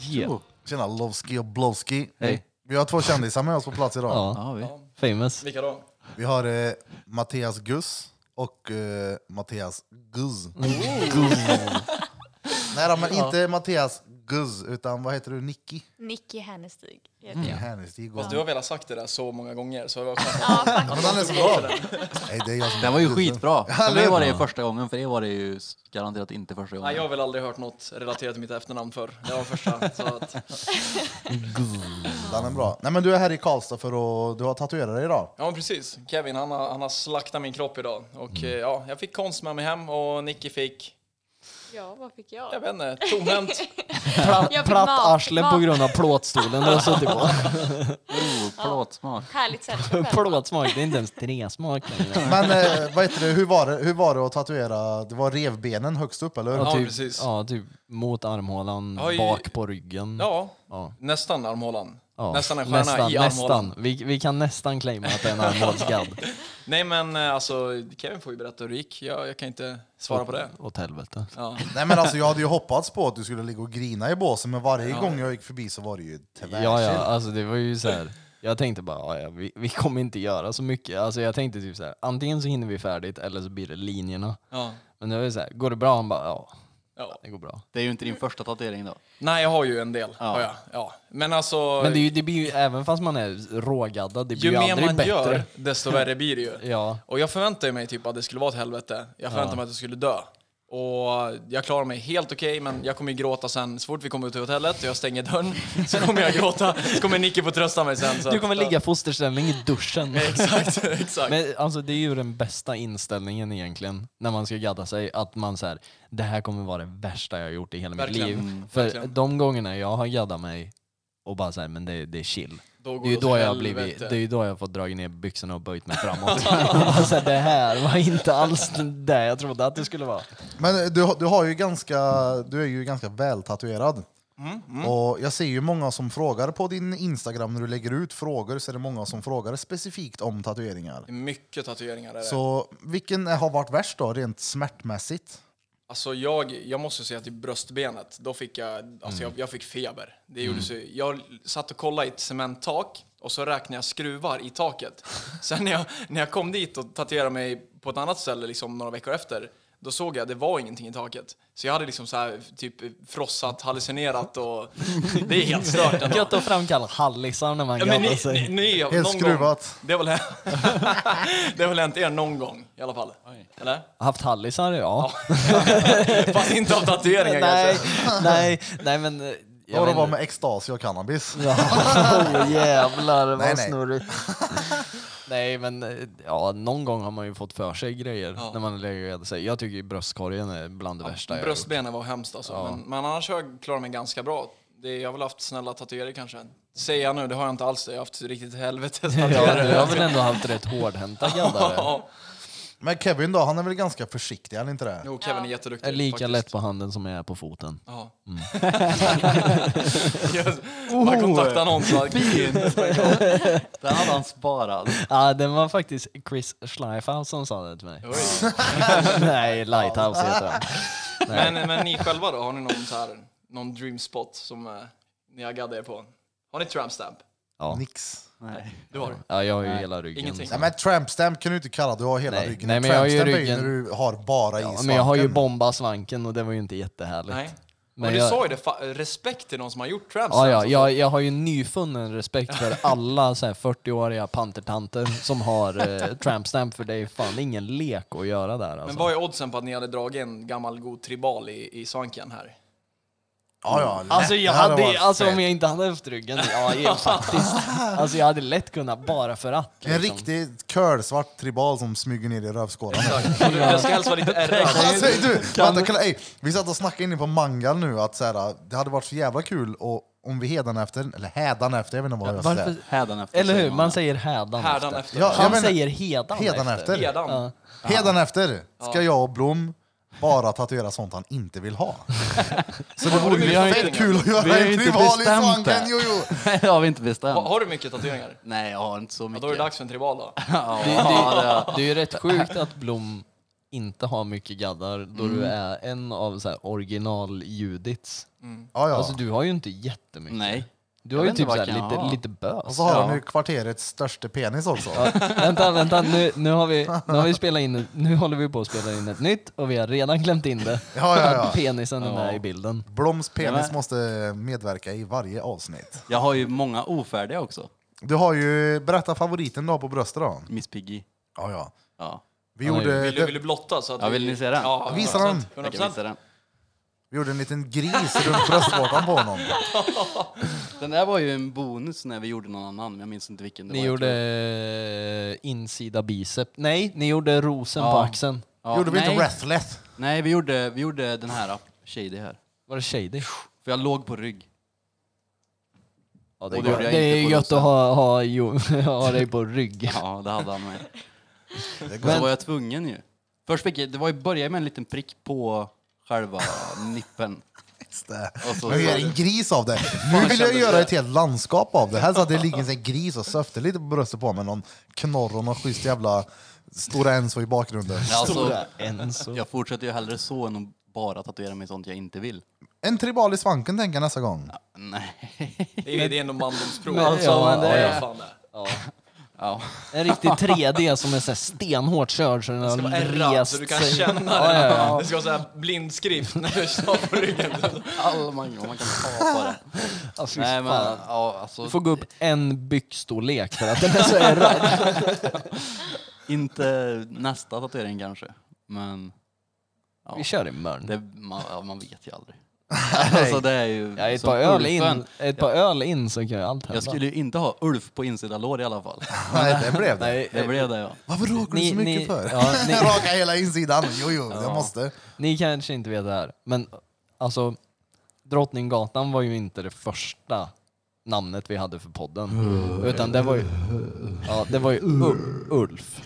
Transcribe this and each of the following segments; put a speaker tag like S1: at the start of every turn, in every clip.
S1: Yeah.
S2: Tjena Lovski och Blowski.
S1: Hej.
S2: Vi har två kändisar med oss på plats idag.
S1: Ja.
S3: Ja, vi.
S1: Famous.
S4: Vilka då?
S2: Vi har eh, Mattias Guss och eh, Mattias Guzz. Nej då, men inte Mattias Guzz, utan vad heter du? Nicky?
S5: Nicky Hennestig. heter
S2: Mm.
S5: jag.
S2: Härnestig.
S4: Fast du har velat sagt det där så många gånger så jag var
S5: Ja, faktiskt.
S2: Men han är så bra. Nej, det är jag som
S3: Den var ju
S2: Guzz.
S3: skitbra. För
S2: eller
S3: mig var det
S2: hur?
S3: ju första gången, för er var det ju s- garanterat inte första
S4: Nej, jag
S3: gången.
S4: har väl aldrig hört något relaterat till mitt efternamn förr. Det var första. Så att,
S2: Den är bra. Nej, men du är här i Karlstad för att du har tatuerat dig idag.
S4: ja, men precis. Kevin, han har, han har slaktat min kropp idag.
S1: Mm.
S4: Och eh, ja, jag fick konst med mig hem och Nicky fick,
S5: Ja, vad fick
S4: jag
S5: jag?
S4: vet inte, tomhänt.
S5: Jag fick
S1: Platt
S5: mat-
S1: arsle
S5: mat.
S1: på grund av plåtstolen du har suttit på.
S3: Oh, plåtsmak.
S5: Härligt sällskap.
S1: Plåtsmak, det är inte ens träsmak längre.
S2: Men eh, vad heter det? Hur, var det, hur var det att tatuera? Det var revbenen högst upp, eller hur?
S4: Ja,
S1: typ,
S4: precis.
S1: Ja, typ mot armhålan,
S4: Oj.
S1: bak på ryggen.
S4: Ja,
S1: Ja.
S4: nästan armhålan.
S1: Ja.
S4: Nästan en stjärna
S1: nästan,
S4: i armhålan.
S1: nästan. Vi, vi kan nästan claima att det är en armhålsgadd.
S4: Nej men eh, alltså, Kevin får ju berätta hur det gick. Jag, jag kan inte svara på det.
S1: Åt helvete.
S4: Ja.
S2: Nej, men alltså, jag hade ju hoppats på att du skulle ligga och grina i båsen, men varje gång jag gick förbi så var det ju tvärchill.
S1: Ja, ja, alltså det var ju så här. Jag tänkte bara, ja, ja, vi, vi kommer inte göra så mycket. Alltså jag tänkte typ så här, antingen så hinner vi färdigt eller så blir det linjerna.
S4: Ja.
S1: Men det var ju så här, går det bra? Han bara, ja,
S4: Ja.
S1: det går bra.
S3: Det är ju inte din första tatuering då.
S4: Nej, jag har ju en del. Ja.
S3: Ja.
S4: Ja, ja. Men alltså,
S1: Men det, är ju, det blir ju, även fast man är rågaddad, det blir
S4: ju
S1: ju,
S4: mer
S1: aldrig
S4: man
S1: bättre.
S4: gör, desto värre blir det ju.
S1: Ja,
S4: Och jag förväntade mig typ att det skulle vara ett helvete. Jag förväntade mig att jag skulle dö. Och jag klarar mig helt okej, men jag kommer ju gråta sen. Så fort vi kommer ut till hotellet och jag stänger dörren så kommer jag gråta. Så kommer Nicky få trösta mig sen. Så
S1: du
S4: att-
S1: kommer ligga i fosterställning i duschen.
S4: Exakt, exakt.
S1: Men alltså det är ju den bästa inställningen egentligen, när man ska gadda sig, att man säger det här kommer vara det värsta jag har gjort i hela
S4: Verkligen.
S1: mitt liv.
S4: Mm,
S1: För
S4: verkligen.
S1: de gångerna jag har gaddat mig och bara såhär, men det, det är chill.
S4: Då
S1: Det är, ju
S4: åt
S1: då jag har
S4: helvete.
S1: blivit, det är ju då jag har fått dra ner byxorna och böjt mig framåt. alltså, det här var inte alls det jag trodde att det skulle vara.
S2: Men eh, du, du, har ju ganska, du är ju ganska vältatuerad. Och jag ser ju många som frågar på din Instagram när du lägger ut frågor så är det många som frågar specifikt om tatueringar.
S4: Mycket tatueringar är det.
S2: Så vilken har varit värst då, rent smärtmässigt?
S4: Alltså jag, jag måste säga till bröstbenet, då fick jag, alltså jag, jag fick feber. Det gjorde så, jag satt och kollade i ett cementtak och så räknade jag skruvar i taket. Sen när jag, när jag kom dit och tatuerade mig på ett annat ställe liksom några veckor efter, då såg jag att det var ingenting i taket. Så jag hade liksom så här, typ frossat, hallucinerat och det är helt stört ändå.
S1: Gött att framkalla hallisar när man
S4: Ja, men
S1: gaddar
S4: ni, ni,
S1: sig.
S4: ni, någon
S2: Helt
S4: gång-
S2: skruvat.
S4: Det har väl hänt- det har väl hänt er någon gång i alla fall? Eller?
S1: Haft hallisar, ja.
S4: Fast inte av tatueringar
S1: nej,
S4: kanske.
S1: nej, nej men... eh,
S2: Jag och
S1: vet
S2: det var
S1: inte.
S2: med extas och cannabis.
S1: Oh, jävlar vad
S2: Nej, nej.
S1: snurrigt. nej men eh, ja, någon gång har man ju fått för sig grejer
S4: Ja.
S1: när man har legat och sig. Jag tycker ju bröstkorgen är bland det värsta jag har gjort.
S4: Bröstbenen var hemskt alltså. Men, men annars har jag klarat mig ganska bra. Det, jag har väl haft snälla tatueringar kanske. Säger jag nu, det har jag inte alls. det. Jag har haft riktigt helvetes
S1: Ja,
S4: tatueringar.
S1: du har väl ändå haft rätt hårdhänta gaddare?
S4: Ja.
S2: Men Kevin då, han är väl ganska försiktig, är han inte det?
S4: Jo, Kevin är jätteduktig.
S1: Är lika
S4: faktiskt.
S1: lätt Mm. på handen som jag är på foten.
S4: Ja. yes.
S1: Oh.
S4: Man kontaktar någon så att
S3: Den hade han sparad.
S1: Ja, den var faktiskt Chris Schleifhaus som sa det till mig.
S4: Oj.
S1: Nej, Lighthouse heter han.
S4: men, men ni själva då? Har ni någon, så här, någon dream spot som eh, ni har gaddat er på? Har ni tramp stamp?
S1: Ja.
S2: Nix.
S3: Nej.
S4: Du har det?
S1: Ja, jag har ju hela ryggen.
S4: Ingenting.
S1: så-
S2: Nej men tramp stamp kan du inte kalla det, du har hela
S1: Nej.
S2: ryggen.
S1: Nej,
S2: Nej,
S1: men jag har ju
S2: är ju
S1: ryggen-
S2: när du har bara i
S1: Ja, men
S2: svanken.
S1: jag har ju bombat svanken och det var ju inte jättehärligt.
S4: Nej.
S1: Men
S4: Men du
S1: jag-
S4: sa ju det, fa- respekt till någon som har gjort tramp
S1: Ja,
S4: stamp.
S1: ja, jag, jag har ju nyfunnen respekt för alla så här 40-åriga pantertanter som har eh, tramp stamp för det är fan ingen lek att göra där
S4: Men
S1: alltså.
S4: vad är oddsen på att ni hade dragit en gammal god tribal i, i svanken här?
S2: Ja, ja, lätt.
S1: Alltså, jag
S2: Det här
S1: hade,
S2: var
S1: alltså
S2: fett.
S1: om jag inte hade haft ryggen, ja ja, faktiskt. Alltså jag hade lätt kunnat bara för att.
S2: En
S1: liksom.
S2: riktig curlsvart tribal som smyger ner i rövskålen.
S4: Och du- Det ska helst vara lite ärrigt.
S2: Alltså, du, vänta, kolla, ey, vi satt och snackade inne på Mangal nu att så här, det hade varit så jävla kul och om vi hädanefter, eller hädanefter, jag vet inte vad jag ska
S1: Varför?
S2: säga.
S3: Hädanefter
S1: Eller hur?
S3: säger
S1: Man säger hädan
S4: Härdan
S1: efter.
S4: efter.
S2: Ja,
S1: Han
S2: jag menar-
S1: säger hedan,
S2: Hedan efter.
S4: Hedan.
S1: Ja.
S2: Hädanefter ska jag och Blom bara tatuera sånt han inte vill ha. Så det vore
S4: du
S2: ju
S4: gjort
S2: fett
S4: tatueringar?
S2: kul att
S3: Vi har
S2: göra
S3: ju
S2: en
S3: inte
S2: tribal i
S3: bestämt
S2: svanken,
S3: det.
S2: jo jo!
S3: det har vi inte bestämt.
S4: Har, har du mycket tatueringar?
S3: Nej, jag har inte så
S4: Ja,
S3: mycket.
S4: då är det dags för en tribal då.
S3: Ja,
S1: Det,
S3: det-
S1: det, det är ju rätt sjukt att Blom inte har mycket gaddar då du
S2: Mm.
S1: är en av så här original-Judits.
S2: Ja, ja.
S1: Alltså du har ju inte jättemycket.
S3: Nej.
S1: Du
S3: Jag
S1: har ju
S3: vet inte
S1: typ
S3: vad
S1: så här,
S3: jag kan ha.
S1: lite, lite
S2: och
S1: bös.
S2: så har
S3: ja.
S2: han ju kvarterets största penis också.
S1: vänta, vänta, nu, nu, har vi, nu har vi spelat in, nu håller vi på att spela in ett nytt och vi har redan glömt in det.
S2: Ja, ja, ja.
S1: Att Penisen är med i bilden.
S2: Bloms
S3: Ja,
S2: penis
S3: men-
S2: måste medverka i varje avsnitt.
S3: Jag har ju många ofärdiga också.
S2: Du har ju, berätta favoriten då på bröstet då.
S3: Miss Piggy.
S2: Ja, ja.
S3: Ja.
S2: Vi,
S1: Han har ju-
S2: gjorde,
S4: Vill du, vill du blotta? Så att
S3: Ja,
S4: vi-
S3: vill ni se den?
S4: Ja,
S2: Visa den.
S4: 100%.
S3: Jag kan visa den.
S2: vi gjorde en liten gris runt bröstvårtan på honom.
S3: Den där var ju en bonus när vi gjorde någon annan, men jag minns inte vilken det
S1: Ni
S3: var. jag
S1: gjorde
S3: tror.
S1: eh, insida bicep. Nej, ni gjorde rosen
S3: Ja.
S1: på axeln.
S3: Ja,
S2: gjorde vi
S3: nej,
S2: inte Breathless?
S3: Nej, vi gjorde, vi gjorde den här, shady här.
S1: Var det shady?
S3: För jag låg på rygg.
S1: Ja, det, är
S3: Och det
S1: gött.
S3: gjorde jag
S1: det är
S3: inte på
S1: gött
S3: rosen.
S1: att ha, ha, jo, ha dig på rygg.
S3: Ja, det hade han med.
S2: Det går.
S3: Men så var jag tvungen ju. Först fick jag, det var ju börja med en liten prick på själva nippen.
S2: Just det.
S3: Och så,
S2: Men vi gör en gris av det. Nu vill jag
S3: kändes
S2: göra
S3: det.
S2: ett helt landskap av det. Här så att det ligger en sån här gris och söfter lite på bröstet på mig. Någon knorr och någon schysst jävla Stora Enso i bakgrunden.
S3: Ja, alltså,
S1: Enso.
S3: jag fortsätter ju hellre så än att bara tatuera mig sånt jag inte vill.
S2: En tribal i svanken tänker jag nästa gång.
S3: Nej.
S4: Det är, det är ändå mandomsprov.
S1: Men alltså,
S4: ja,
S1: men det
S4: ja,
S1: är-
S4: ja, fan det.
S3: Ja.
S1: En riktig 3D som är så här stenhårt körd så den
S4: Det ska
S1: har
S4: vara ärrad
S1: rest
S4: så du kan
S1: sig.
S4: känna det.
S1: Ja, ja, ja.
S4: Det ska vara så här blindskrift när du står på ryggen.
S3: All man, man kan ta på det.
S1: Ja, fy
S3: Nej, men,
S1: fan.
S3: ja, alltså,
S1: Du får gå upp en byxstorlek för att den är så ärrad.
S3: Inte nästa tatuering kanske, men
S1: Vi kör i mörn.
S3: det, man, ja, man vet ju aldrig. Alltså, det är ju
S1: Ja, ett
S3: som
S1: par, öl
S3: Ulfen.
S1: in, ett par öl in så kan ju allt hända.
S3: Jag skulle ju inte ha Ulf på insida lår i alla fall.
S2: Nej, det blev det.
S1: Nej,
S3: Det blev det ja.
S2: Varför råkar du
S1: Ni-
S2: så mycket
S1: ni-
S2: för?
S1: ja, ni-
S2: Raka hela insidan. Jo, jo, jag måste.
S1: Ni kanske inte vet det här, men alltså Drottninggatan var ju inte det första namnet vi hade för podden.
S2: Mm.
S1: Utan det var ju, ja, det var ju U- Ulf.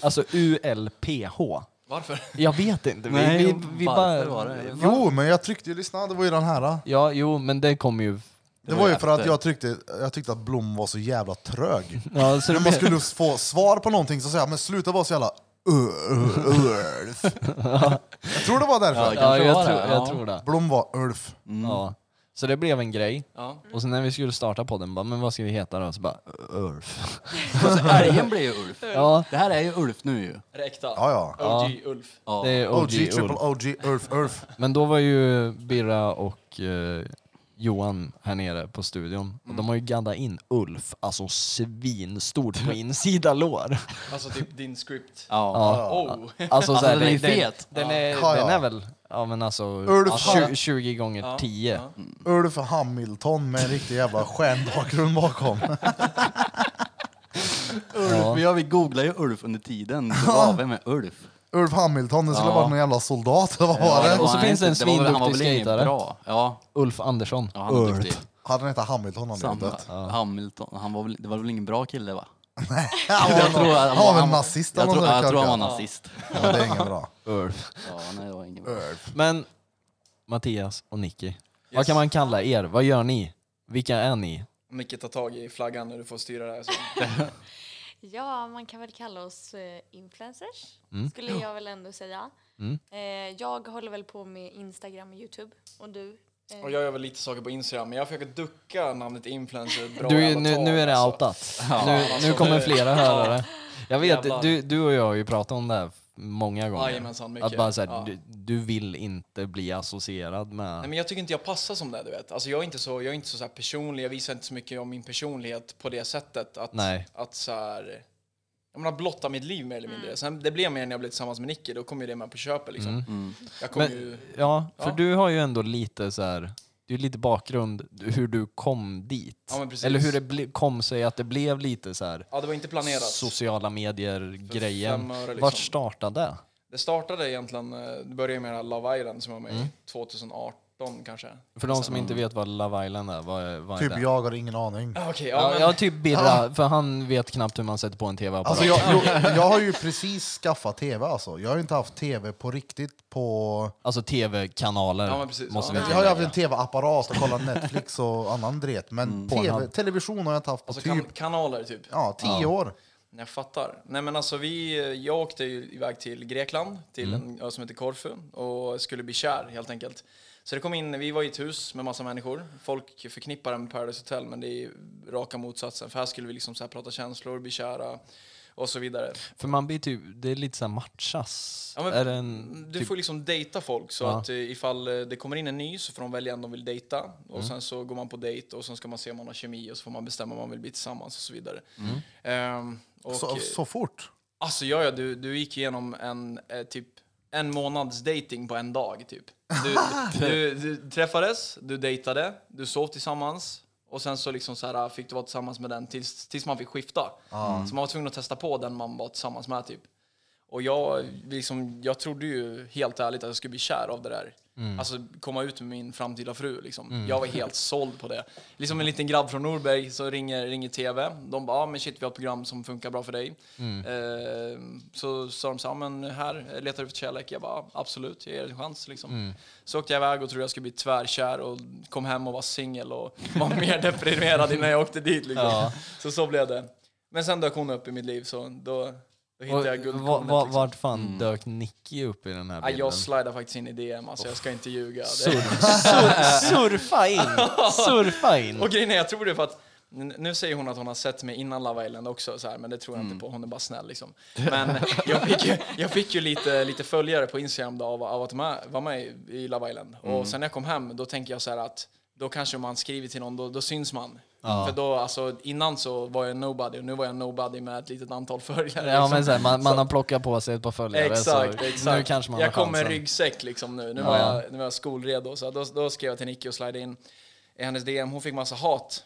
S1: Alltså U-L-P-H.
S4: Varför?
S1: Jag vet inte. Vi,
S3: Nej,
S1: vi, vi bara,
S3: varför var det?
S2: Jo, men jag tryckte ju, lyssna, det var ju den här.
S1: Ja, jo, men det kom ju...
S2: Det var ju för att
S3: efter.
S2: jag, tryckte, jag tyckte att Blom var så jävla trög.
S1: Ja,
S2: När
S1: så det
S2: man
S1: blev,
S2: skulle få svar på någonting så sa jag, men sluta vara så jävla "Ö, ö, Ulf. Jag tror det var därför.
S1: ja,
S3: kanske
S1: jag,
S3: var
S1: tror,
S3: det,
S1: jag
S3: ja. Mm.
S1: tror det.
S2: Blom var Ulf.
S1: Ja. Så det blev en grej.
S4: Ja.
S1: Och sen när vi skulle starta podden, bara, men vad ska vi heta då? Så bara, Ulf.
S3: Fast älgen blir ju Ulf.
S1: Ja,
S3: Det här är ju Ulf nu ju.
S4: Är det äkta?
S2: Ja, ja.
S4: OG Ulf.
S3: Ja.
S1: det är
S2: OG,
S1: OG
S2: triple
S1: Ulf.
S2: OG, Ulf, Ulf.
S1: Men då var ju Birra och eh, Johan här nere på studion och
S2: Mm.
S1: de har ju gaddat in Ulf, alltså svinstort på insida lår.
S4: Alltså typ din script.
S3: Ja.
S1: Ja.
S4: Oh.
S1: Alltså, så här,
S3: Alltså, den är ju
S1: den,
S3: fet.
S1: Den är,
S2: Ja, ja.
S1: den är väl, ja men alltså,
S2: Ulf
S1: tju-
S2: har-
S1: 20 gånger 10.
S2: Ulf Hamilton med en riktig jävla stjärnbakgrund bakom.
S1: Ja.
S3: Men jag vi googlade ju Ulf under tiden. Det var vem är Ulf?
S2: Ulf Hamilton, det skulle
S3: Ja.
S2: vara någon jävla soldat eller vad var det?
S1: Och så
S3: var
S1: finns det en
S3: inte. var väl- han var
S1: svinduktig
S3: väl ingen
S1: skejtare.
S3: Bra. Ja,
S1: Ulf Andersson.
S3: ja han är duktig.
S2: Hade han hetat Hamilton hade han
S3: Samma.
S2: dött.
S3: Hamilton. Han var väl, det var väl ingen bra kille va?
S2: Han var,
S3: Jag tror att-
S2: han var väl nazist
S3: Jag
S2: eller
S3: tror,
S2: något sånt
S3: jag
S2: där,
S3: tror han
S2: kanske.
S3: var nazist.
S2: Ja, det är inget bra.
S1: Ulf.
S3: Ja, nej, det var ingen bra.
S1: Men Mattias och Nicky, vad kan man kalla er? Vad gör ni? Vilka är ni?
S4: Micke, ta tag i flaggan när du får styra det här. Så.
S5: Ja, man kan väl kalla oss eh, influencers,
S1: Mm.
S5: skulle jag väl ändå säga. Eh, jag håller väl på med Instagram och Youtube. Och du? Eh,
S4: Och jag gör väl lite saker på Instagram, men jag försöker ducka namnet influencer bra
S1: Du,
S4: jävla
S1: nu,
S4: tag,
S1: nu är det
S4: alltså.
S1: outat.
S3: Ja,
S1: Nu,
S4: alltså,
S1: nu kommer
S4: det-
S1: flera hörare. Jag vet,
S4: Jävlar.
S1: du, du och jag har ju pratat om det här många gånger.
S4: Jajamensan, mycket.
S1: Att bara så här,
S4: Ja.
S1: du, du vill inte bli associerad
S4: Nej,
S1: med...
S4: men jag tycker inte jag passar som det, du vet. Alltså, jag är inte så, jag är inte så, så här personlig, jag visar inte så mycket om min personlighet på det sättet. Att,
S1: Nej.
S4: att så här, jag menar, blotta mitt liv mer eller mindre. Sen, det blev mer när jag blev tillsammans med Nicky, då kom ju det med på köpet. Liksom. Jag kom
S1: Mm. Men,
S4: ju,
S1: ja, för
S4: Ja.
S1: du har ju ändå lite så här... Du är lite bakgrund hur du kom dit.
S4: Ja, men precis.
S1: Eller hur det ble, kom sig att det blev lite så här
S4: ja, det var inte planerat.
S1: sociala
S4: fem
S1: medier-grejen.
S4: öre, liksom.
S1: Vart startade det?
S4: Det startade egentligen, eh, det började med det här Love Island som jag var
S1: Mm.
S4: med i 2018 kanske.
S1: För de som inte vet vad Love Island är, vad är, vad är
S2: Typ
S1: det?
S2: jag har ingen aning.
S4: Ah, Okej, ja,
S1: Ja,
S4: men,
S1: ja, typ Birra, för han vet knappt hur man sätter på en tv-apparat.
S2: Alltså jag, jo, jag har ju precis skaffat tv alltså. Jag har ju inte haft tv på riktigt på...
S1: Alltså tv-kanaler
S4: Ja, men precis.
S1: måste
S4: Ja.
S1: vi
S2: Jag har ju haft en tv-apparat och kollat Netflix
S3: Mm.
S2: och annan dret, men TV, television har jag inte haft på
S4: alltså,
S2: typ
S4: kan, kanaler typ.
S2: ja, tio år.
S4: Jag fattar. Nej, men alltså, vi, jag åkte ju iväg till Grekland, till en ö som heter Korfu, och skulle bli kär helt enkelt. Så det kom in, vi var i ett hus med massa människor. Folk förknippar det med Paradise Hotel, men det är raka motsatsen. För här skulle vi liksom så här prata känslor, bli kära och så vidare.
S1: För man blir typ, det är lite så här matchas.
S4: Ja, men
S1: är det en,
S4: Du
S1: typ,
S4: får liksom dejta folk så
S1: Ja.
S4: att eh, ifall eh, det kommer in en ny så får de välja en de vill dejta och sen så går man på dejt och sen ska man se om man har kemi och så får man bestämma om man vill bli tillsammans och så vidare. Ehm, och,
S2: Så, så fort?
S4: Alltså ja, ja du, du gick igenom en eh, typ en månads dating på en dag typ. Du, du, du träffades, du dejtade, du sov tillsammans och sen så liksom så här, fick du vara tillsammans med den tills, tills man fick skifta. Så man var tvungen att testa på den man var tillsammans med typ. Och jag, liksom, jag trodde ju helt ärligt att jag skulle bli kär av det där. Alltså komma ut med min framtida fru. Liksom. Jag var helt såld på det. Liksom en liten grabb från Norberg så ringer, ringer TV. De bara, ah, men shit vi har ett program som funkar bra för dig. Eh, så sa de så här, "Ah, men här, letar du efter kärlek? Jag bara, "Ah, absolut, jag ger det en chans. Liksom. Så åkte jag iväg och trodde jag skulle bli tvärkär och kom hem och var singel och var mer deprimerad innan jag åkte dit. Liksom.
S1: Ja.
S4: Så så blev det. Men sen dök hon upp i mitt liv så då, då hittade jag
S1: och,
S4: guldkornet.
S1: va, va,
S4: liksom.
S1: vart fan dök Nicky upp i den här
S4: Ja,
S1: bilden?
S4: jag slidade faktiskt in i DM, alltså jag ska inte ljuga. Det.
S1: Surf, sur, surfa in! Surfa in!
S4: Och grejen är, jag tror det är för att n- nu säger hon att hon har sett mig innan Love Island också, så här, men det tror jag
S1: Mm.
S4: inte på. Hon är bara snäll liksom. Men jag fick ju, jag fick ju lite, lite följare på Instagram då, av, av att ma- vara med i- i Love Island.
S1: Mm.
S4: Och sen när jag kom hem, då tänker jag så här att då kanske man skriver till någon, då, då syns man. För då, alltså, innan så var jag nobody och nu var jag nobody med ett litet antal följare.
S1: Ja,
S4: liksom.
S1: men så här, man, man har plockat på sig ett par följare
S4: Exakt,
S1: så
S4: exakt.
S1: nu kanske man
S4: jag
S1: har
S4: kom med
S1: chansen.
S4: ryggsäck liksom nu. Nu, var jag, nu var jag skolredo. Så då, då skrev jag till Nicky och slide in i hennes DM. Hon fick massa hat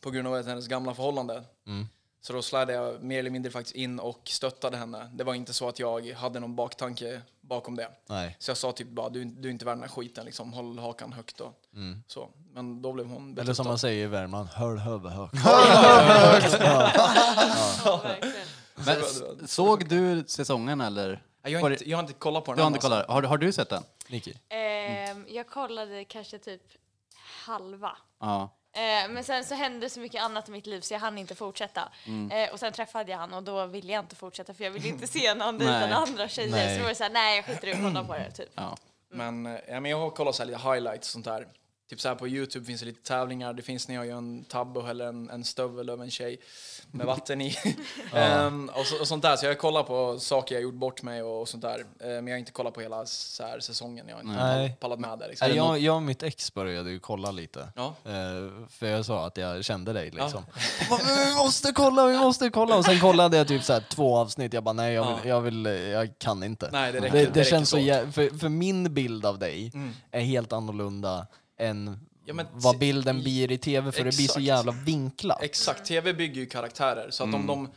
S4: på grund av ett- hennes gamla förhållande.
S1: Mm.
S4: Så då slide jag mer eller mindre faktiskt in och stöttade henne. Det var inte så att jag hade någon baktanke bakom det.
S1: Nej.
S4: Så jag sa typ bara, du, du är inte värd den här skiten, liksom. håll hakan högt. Och, så. Men då blev hon
S1: Mm. Eller som
S4: betuttad.
S1: man säger i Värmland, höll huvudet högt.
S5: Verkligen.
S4: det
S3: Men,
S4: var-
S3: s- såg du säsongen eller?
S4: jag, har inte, jag har inte kollat på den
S3: Du har
S4: än,
S3: inte kollat? Har, du- har du sett den?
S1: Nicky.
S5: Ehm, jag kollade kanske typ halva.
S3: Ja.
S5: Eh, men sen så hände så mycket annat i mitt liv så jag hann inte fortsätta.
S1: Mm.
S5: Eh, och sen träffade jag han och då ville jag inte fortsätta för jag ville inte se någon
S3: Nej.
S5: dejta några andra tjejer.
S1: Nej.
S5: Så då var det såhär, nej jag skiter i att kolla på det typ.
S3: ja.
S4: Men, eh, ja, men jag har kollat så här lite highlights och sånt där. Typ så här på Youtube finns det lite tävlingar. Det finns när jag gör en tabbe eller en, en stövel över en tjej med vatten i. Ehm, och, så, och sånt där. Så jag kollar på saker jag gjort bort mig och, och sånt där. Eh, men jag har inte kollat på hela så här, säsongen. Jag har inte
S1: Nej.
S4: pall- pallat med det. Liksom.
S1: Nej, Jag, jag och mitt ex började ju kolla lite.
S4: Ja.
S1: Eh, för jag sa att jag kände dig liksom. Jag bara, "Men Vi måste kolla, vi måste kolla! Och sen kollade jag typ så här, två avsnitt, jag bara nej jag, vill, jag, vill, eh, jag kan inte.
S4: Nej, det räcker-
S1: det,
S4: det räcker
S1: känns så
S4: så.
S1: jä- för, för min bild av dig är helt annorlunda än
S4: Ja, men
S1: vad
S4: se-
S1: bilden blir i tv för det blir så
S4: Exakt.
S1: jävla vinklat.
S4: Exakt, tv bygger ju karaktärer. Så att
S3: Mm.
S4: om de,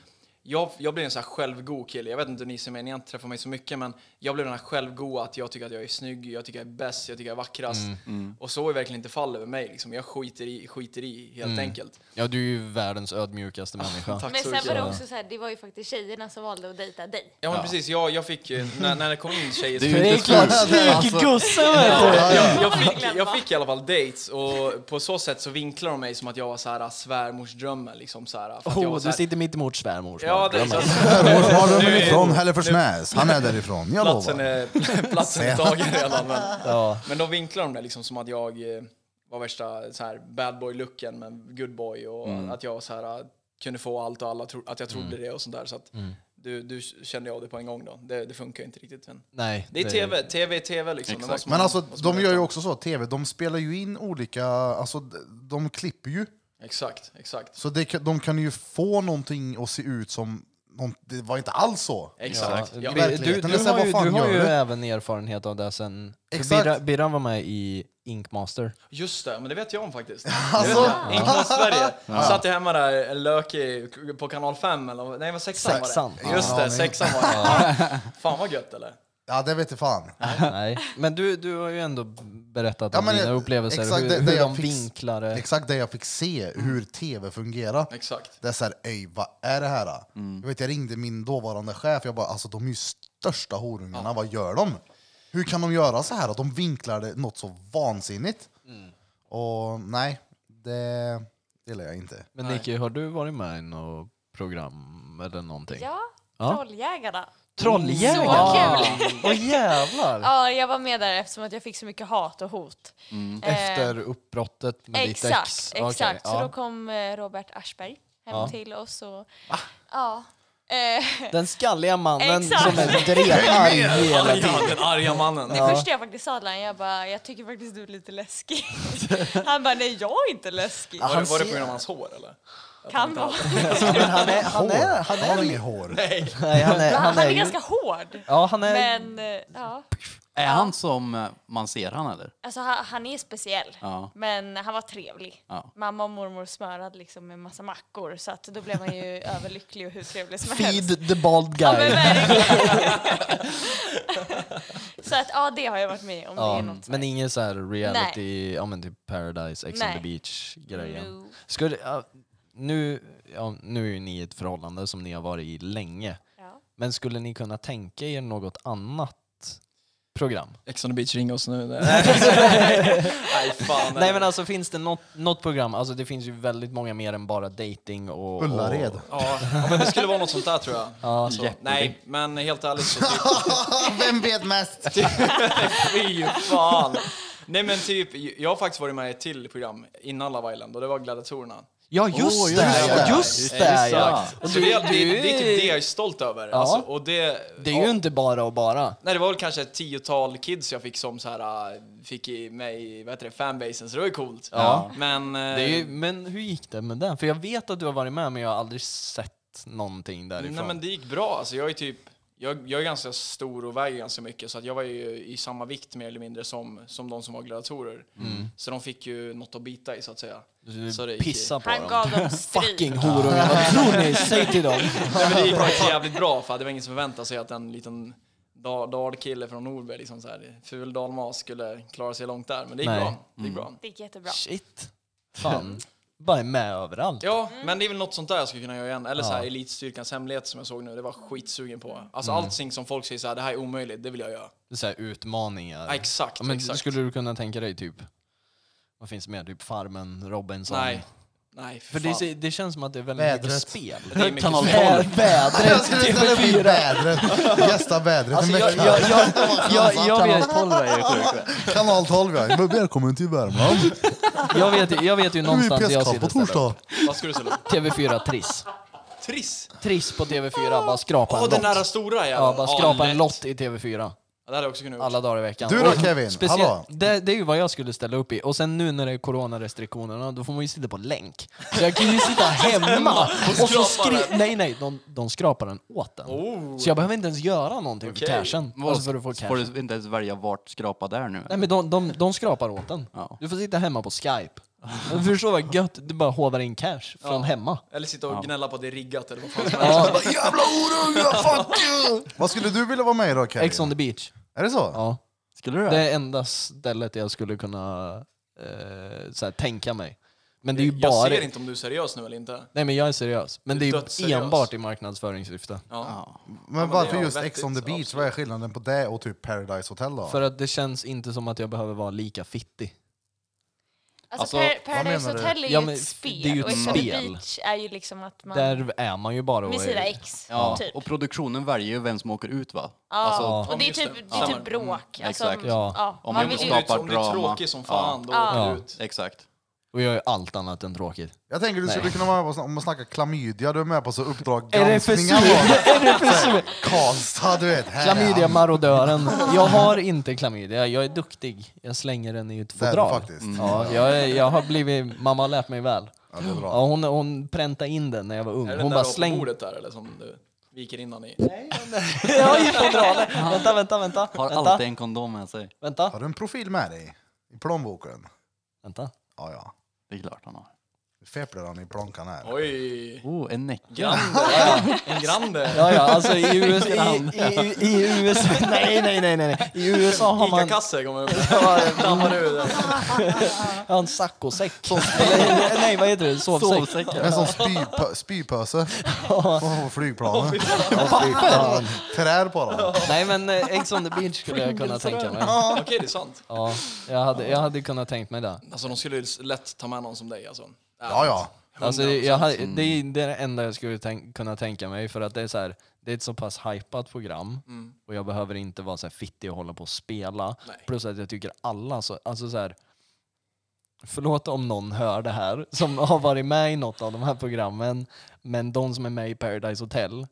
S4: jag, jag blir en så här självgod kille. Jag vet inte hur ni ser mig, ni har inte träffat mig så mycket, men jag blir den här självgoa att jag tycker att jag är snygg, jag tycker jag är bäst, jag tycker jag är vackrast.
S3: Mm,
S4: Och så är verkligen inte fallet med mig. Liksom. Jag skiter i, skiter i helt
S3: Mm.
S4: enkelt.
S1: Ja du är ju världens ödmjukaste människa.
S4: Tack
S5: Men
S4: så
S5: sen var
S4: mycket.
S5: det också såhär, det var ju faktiskt tjejerna som valde att dejta dig.
S4: Ja, men precis. Jag, jag fick, eh, när, när det kom in tjejer...
S3: Det är ju inte
S1: klart,
S3: slut. Alltså-
S1: gussen vet du!
S4: jag, jag, fick, jag fick i alla fall dates och på så sätt så vinklar de mig som att jag var så här äh, svärmorsdrömmen. Liksom, så här, för att jag var
S1: Oh,
S4: så
S1: du
S4: här,
S1: sitter mitt emot svärmors
S4: Ja, det är
S1: mardrömmar.
S4: så.
S2: Mormardrömmen
S4: Nu-
S2: ifrån Hälleforsnäs. Han är därifrån, jag
S4: platsen
S2: lovar.
S4: är, platsen är tagen redan. Men,
S1: Ja.
S4: men de vinklar om det liksom som att jag eh, var värsta så här, bad boy-looken men good boy och
S2: Mm.
S4: att jag så här, eh, kunde få allt och alla, tro, att jag trodde det och sånt där. Så att
S2: Mm.
S4: du, du kände jag det på en gång då. Det, det funkar ju inte riktigt. Men.
S1: Nej,
S4: Det är tv, tv är tv liksom. Det
S3: Exakt.
S4: måste man-
S2: Men alltså,
S4: måste man
S2: de gör ju
S4: veta.
S2: också så, tv, de spelar ju in olika, alltså d- de klipper ju.
S4: Exakt, exakt.
S2: Så det, kan- de kan ju få någonting att se ut som, någon, det var inte alls så.
S4: Exakt.
S1: Ja,
S4: Ja,
S1: Bi- du, du,
S2: verkligheten. Men sen,
S1: har
S2: vad
S1: ju,
S2: fan
S1: du har
S2: gör
S1: ju
S2: du?
S1: även erfarenhet av det sen... för
S2: Exakt.
S1: Birra- Birran var med i Ink Master.
S4: Just det, men det vet jag om faktiskt. Alltså? Inkomst Sverige. Satt jag hemma där, en lökig, på kanal 5 eller nej, vad sexan
S1: Sexan.
S4: var det. Just
S2: Ja,
S4: det,
S2: men-
S4: sexan var det. Fan vad gött eller?
S2: Ja, det vet jag fan.
S1: Nej. Men du, du har ju ändå berättat
S2: Ja,
S1: om
S2: men
S1: dina
S2: det-
S1: upplevelser,
S2: exakt,
S1: hur,
S2: det- det
S1: hur
S2: jag
S1: de
S2: fick-
S1: vinklar det. Mm.
S2: Exakt det jag fick se, hur tv fungerar.
S4: Exakt.
S2: Det är såhär, öj vad är det här? då?" Jag, vet, jag ringde min dåvarande chef, jag bara alltså de är ju största horungarna, vad gör de? Hur kan de göra så här? Att de vinklar det något så vansinnigt. Och nej, det gillar jag inte.
S1: Men Nicky, har du varit med i något program fem eller någonting.
S5: Ja,
S1: Ja.
S5: Trolljägarna.
S1: Trolljägare!
S5: Så
S1: Åh jävlar!
S5: Ja, jag var med där eftersom att jag fick så mycket hat och hot.
S1: Mm. Efter uppbrottet med ditt
S5: Eh, Exakt,
S1: ex? Okej,
S5: exakt. Så
S1: ja.
S5: då kom eh, Robert Aschberg hem
S1: Ja.
S5: till oss och... Ja. Eh,
S1: Den skalliga mannen
S5: Exakt.
S1: som är drevarg hela tiden.
S4: Arga, den arga mannen.
S5: Det första jag faktiskt sa till honom, jag bara, jag tycker faktiskt du är lite läskig. Han bara, nej jag är inte läskig.
S1: Ja,
S4: Var,
S1: han
S4: det- var det
S1: ser-
S4: på grund av hans hår eller?
S5: Kan vara.
S1: Men han är, han
S2: Hår.
S1: är, han
S2: har
S1: är,
S2: inget hår.
S4: Nej.
S1: nej, han är,
S5: Han
S1: han
S5: är
S1: ju-
S5: ganska hård.
S1: Ja, han är...
S5: Men eh, ja,
S3: Är han som eh, man ser han eller?
S5: alltså han, han är speciell.
S3: Ja.
S5: Men han var trevlig.
S3: Ja.
S5: Mamma och mormor smörade liksom med massa mackor så att då blev man ju överlycklig och hur trevlig som helst.
S1: Feed the bald
S5: Ja, men
S1: guy.
S5: verkligen. så att ja, det har jag varit med om. det
S1: Ja,
S5: är något så här.
S1: men ingen så här reality, ja men typ Paradise, Ex on the
S5: Nej.
S1: beach-grejen.
S5: No.
S1: Skulle, ja, nu, ja, nu är ju ni i ett förhållande som ni har varit i länge.
S5: Ja.
S1: Men skulle ni kunna tänka er något annat program?
S4: Ex on the beach, ring oss nu. Nej, fan.
S1: Nej men alltså finns det något, något program, alltså det finns ju väldigt många mer än bara dating och...
S2: Ullared.
S1: Och,
S4: Ja, men det skulle vara något sånt där tror jag. Alltså,
S3: Jeopardy.
S4: nej, men helt ärligt så typ,
S2: Vem vet mest?
S4: fy fan. Nej men typ, jag har faktiskt varit med i ett till program innan Love Island och det var Gladiatorerna.
S1: ja just
S3: Åh, just
S1: det!
S2: det.
S1: ja,
S3: Just
S1: Just
S3: det,
S1: det! Ja.
S3: exakt.
S1: Och
S4: Så det, är- det, det är typ det
S1: det,
S4: jag är stolt över. Alltså, och det,
S1: det är ju inte bara och bara.
S4: Nej, det var väl kanske ett tiotal kids jag fick som så här, äh, fick i mig, vad heter det, fanbasen, så det var ju coolt.
S1: Ja.
S4: Men, äh,
S1: Det är
S2: Ehm.
S1: ju, men hur gick det med den? För jag vet att du har varit med men jag har aldrig sett någonting därifrån.
S4: nej men det gick bra. Alltså, jag är typ, jag, jag är ganska stor och väger ganska mycket så att jag var ju i samma vikt mer eller mindre som, som de som var gladiatorer. Så de fick ju något att bita i så att säga.
S1: Mm. Du
S4: så det gick ju-
S1: Pissa på
S5: Han
S1: dem.
S5: gav dem strid.
S1: Fucking horungar, vad tror ni? Säg till dem!
S4: Nej, men det gick faktiskt jävligt bra för det var ingen som förväntade sig att en liten da- dalkille från Norberg, liksom så här, ful dalmas, skulle klara sig långt där. Men det gick
S1: Nej. Mm.
S4: bra. Det gick bra.
S5: Det gick jättebra.
S1: Shit! Fan. Bara är med överallt.
S4: Ja, men det är väl något sånt där jag skulle kunna göra igen. Eller så här Elitstyrkans hemlighet som jag såg nu, det var jag skitsugen på. Alltså
S1: Mm.
S4: allting som folk säger så här, det här är omöjligt, det vill jag göra.
S1: Så här utmaningar.
S4: Ja, exakt,
S1: Ja, men
S4: exakt.
S1: skulle du kunna tänka dig typ, vad finns det mer? Typ Farmen, Robinson?
S4: Nej, nej för,
S1: För
S4: fan.
S1: det, det känns som att det är väldigt mycket
S2: Vädret.
S1: spel.
S4: Det är mycket
S3: Kanal
S4: fel.
S3: tolv.
S1: Vädret!
S2: Jag skulle ställa upp i vädret. Gästa vädret en
S1: Alltså, jag,
S2: vecka.
S1: jag, jag, jag, jag,
S3: Kanal
S1: vet,
S3: 12 är ju sjuk.
S2: Kanal 12 ja. Men Välkommen till Värmland.
S1: jag, vet, ju- jag vet ju
S2: Nu
S1: någonstans
S2: är
S1: jag
S2: PSK
S1: sitter
S2: på
S1: istället.
S2: torsdag.
S4: Vad skulle du säga?
S1: TV4 Triss.
S4: Triss!
S1: Triss på TV4, bara skrapa
S4: Åh,
S1: en
S4: den där
S1: lott.
S4: stora jäveln!
S1: Ja, bara skrapa en
S4: lätt.
S1: lott i TV4.
S4: Ja, det hade jag också kunnat
S1: Alla dagar i veckan.
S2: Du då,
S1: Och
S2: Kevin?
S1: speciellt-
S2: Hallå?
S1: Det, det är ju vad jag skulle ställa upp i. Och sen nu när det är coronarestriktionerna, då får man ju sitta på länk. Så jag kan ju sitta hemma och så
S4: skrapa
S1: skri- Nej, nej, de, de skrapar den åt en.
S4: Oh.
S1: Så jag behöver inte ens göra någonting för
S4: Okej.
S1: cashen. Alltså för att få cash.
S3: Får du inte ens välja vart skrapa där nu?
S1: Nej men de, de, de skrapar åt den.
S3: Ja.
S1: Du får sitta hemma på Skype. Du förstår vad gött, du bara hovar in cash från hemma.
S4: Eller sitta och gnälla på att det är riggat eller vad fan som helst.
S1: Ja,
S2: Jävla horungar, fuck you! Vad skulle du vilja vara med i då Kevin?
S1: Ex on the beach.
S2: Är det så?
S1: Ja.
S3: Skulle du
S1: Det
S3: det?
S1: är enda stället jag skulle kunna eh, så här, tänka mig. Men det är ju
S4: Jag
S1: bara...
S4: ser inte om du är seriös nu eller inte. Ja.
S1: Nej men jag är seriös. Men
S4: Du
S1: det
S4: är
S1: är ju
S4: dödsseriös.
S1: enbart i marknadsföringssyfte.
S2: Men
S4: det
S2: varför
S4: är
S2: just
S4: vettigt,
S2: Ex on the beach?
S4: absolut.
S2: Vad är skillnaden på det och typ Paradise Hotel då?
S1: För att det känns inte som att jag behöver vara lika fittig.
S5: Alltså,
S3: Alltså,
S5: per,
S2: vad
S5: Paradise
S2: menar du?
S5: Hotel är ju
S1: Ja, men
S5: ett spel
S1: det är ju ett
S5: och Ex on the
S1: spel.
S5: Beach är ju liksom att man
S1: Där är man ju bara och
S5: med sina
S1: är-
S5: ex,
S3: Ja,
S5: typ.
S3: och produktionen väljer ju vem som åker ut va?
S5: Ja,
S3: Alltså,
S5: och det är
S4: just
S5: typ,
S4: det.
S5: det är
S4: Ja.
S5: typ bråk.
S3: Mm,
S5: Alltså,
S3: exakt.
S1: Ja.
S5: ja.
S3: Om
S5: Man
S3: man
S5: vill
S4: Om
S5: ju
S4: du
S3: skapar
S4: är
S3: drama.
S4: tråkig som fan, då
S5: Ja.
S4: åker
S1: Ja.
S4: du ut.
S3: exakt.
S1: Och jag är allt annat än tråkig.
S2: Jag tänker du skulle
S1: Nej.
S2: kunna vara med på, om man snackar klamydia, du är med på så Uppdrag
S1: Är det för
S2: granskningar då. Karlstad du vet. Här är
S1: Klamydia
S2: han.
S1: marodören. Jag har inte klamydia, jag är duktig. Jag slänger den i ett
S2: Det är du
S1: fodral.
S2: faktiskt.
S1: Mm. Ja, jag, är- jag har blivit, mamma har lärt mig väl.
S2: Ja, det är bra.
S1: Ja, hon, hon präntade in den när jag var ung.
S4: Är det
S1: Hon
S4: den
S1: bara
S4: där släng... på
S1: slängde
S4: bordet där eller som du viker innan i?
S1: Ja, i fodralet. Vänta, vänta, vänta.
S3: Har
S1: Vänta,
S3: alltid en kondom med sig.
S1: vänta.
S2: Har du en profil med dig? I plånboken?
S1: vänta.
S2: Ja, ja.
S3: Det är klart han har.
S2: Nu fepplar han i plånkan här.
S4: Oj!
S3: Oh, en näcka.
S4: Grande! En grande!
S1: Ja, ja, alltså i USA... I, i, i, i USA nej, nej, nej, nej, nej. I USA har man...
S4: Ica-kasse kommer upp. Dammar ur den.
S1: Ja, en saccosäck. Eller, Nej, vad heter det? Sovsäck.
S2: En sån spypö- spypöse. Oh, flygplanen. Trär på dem.
S1: Nej, men eh, Ex on the beach skulle jag kunna tänka mig.
S4: Okej, det är sant.
S1: Ja, jag hade, jag hade kunnat tänkt mig det.
S4: Alltså de skulle ju lätt ta med någon som dig alltså.
S2: Ja, ja.
S1: Alltså, jag, hade- det, är det är det enda jag skulle tänk, kunna tänka mig för att det är så här, det är ett så pass hypat program och jag behöver inte vara så här fittig och hålla på och spela.
S4: Mm. Nej.
S1: Plus att jag tycker alla, så, alltså så här, förlåt om någon hör det här som har varit med i något av de här programmen, men de som är med i Paradise Hotel,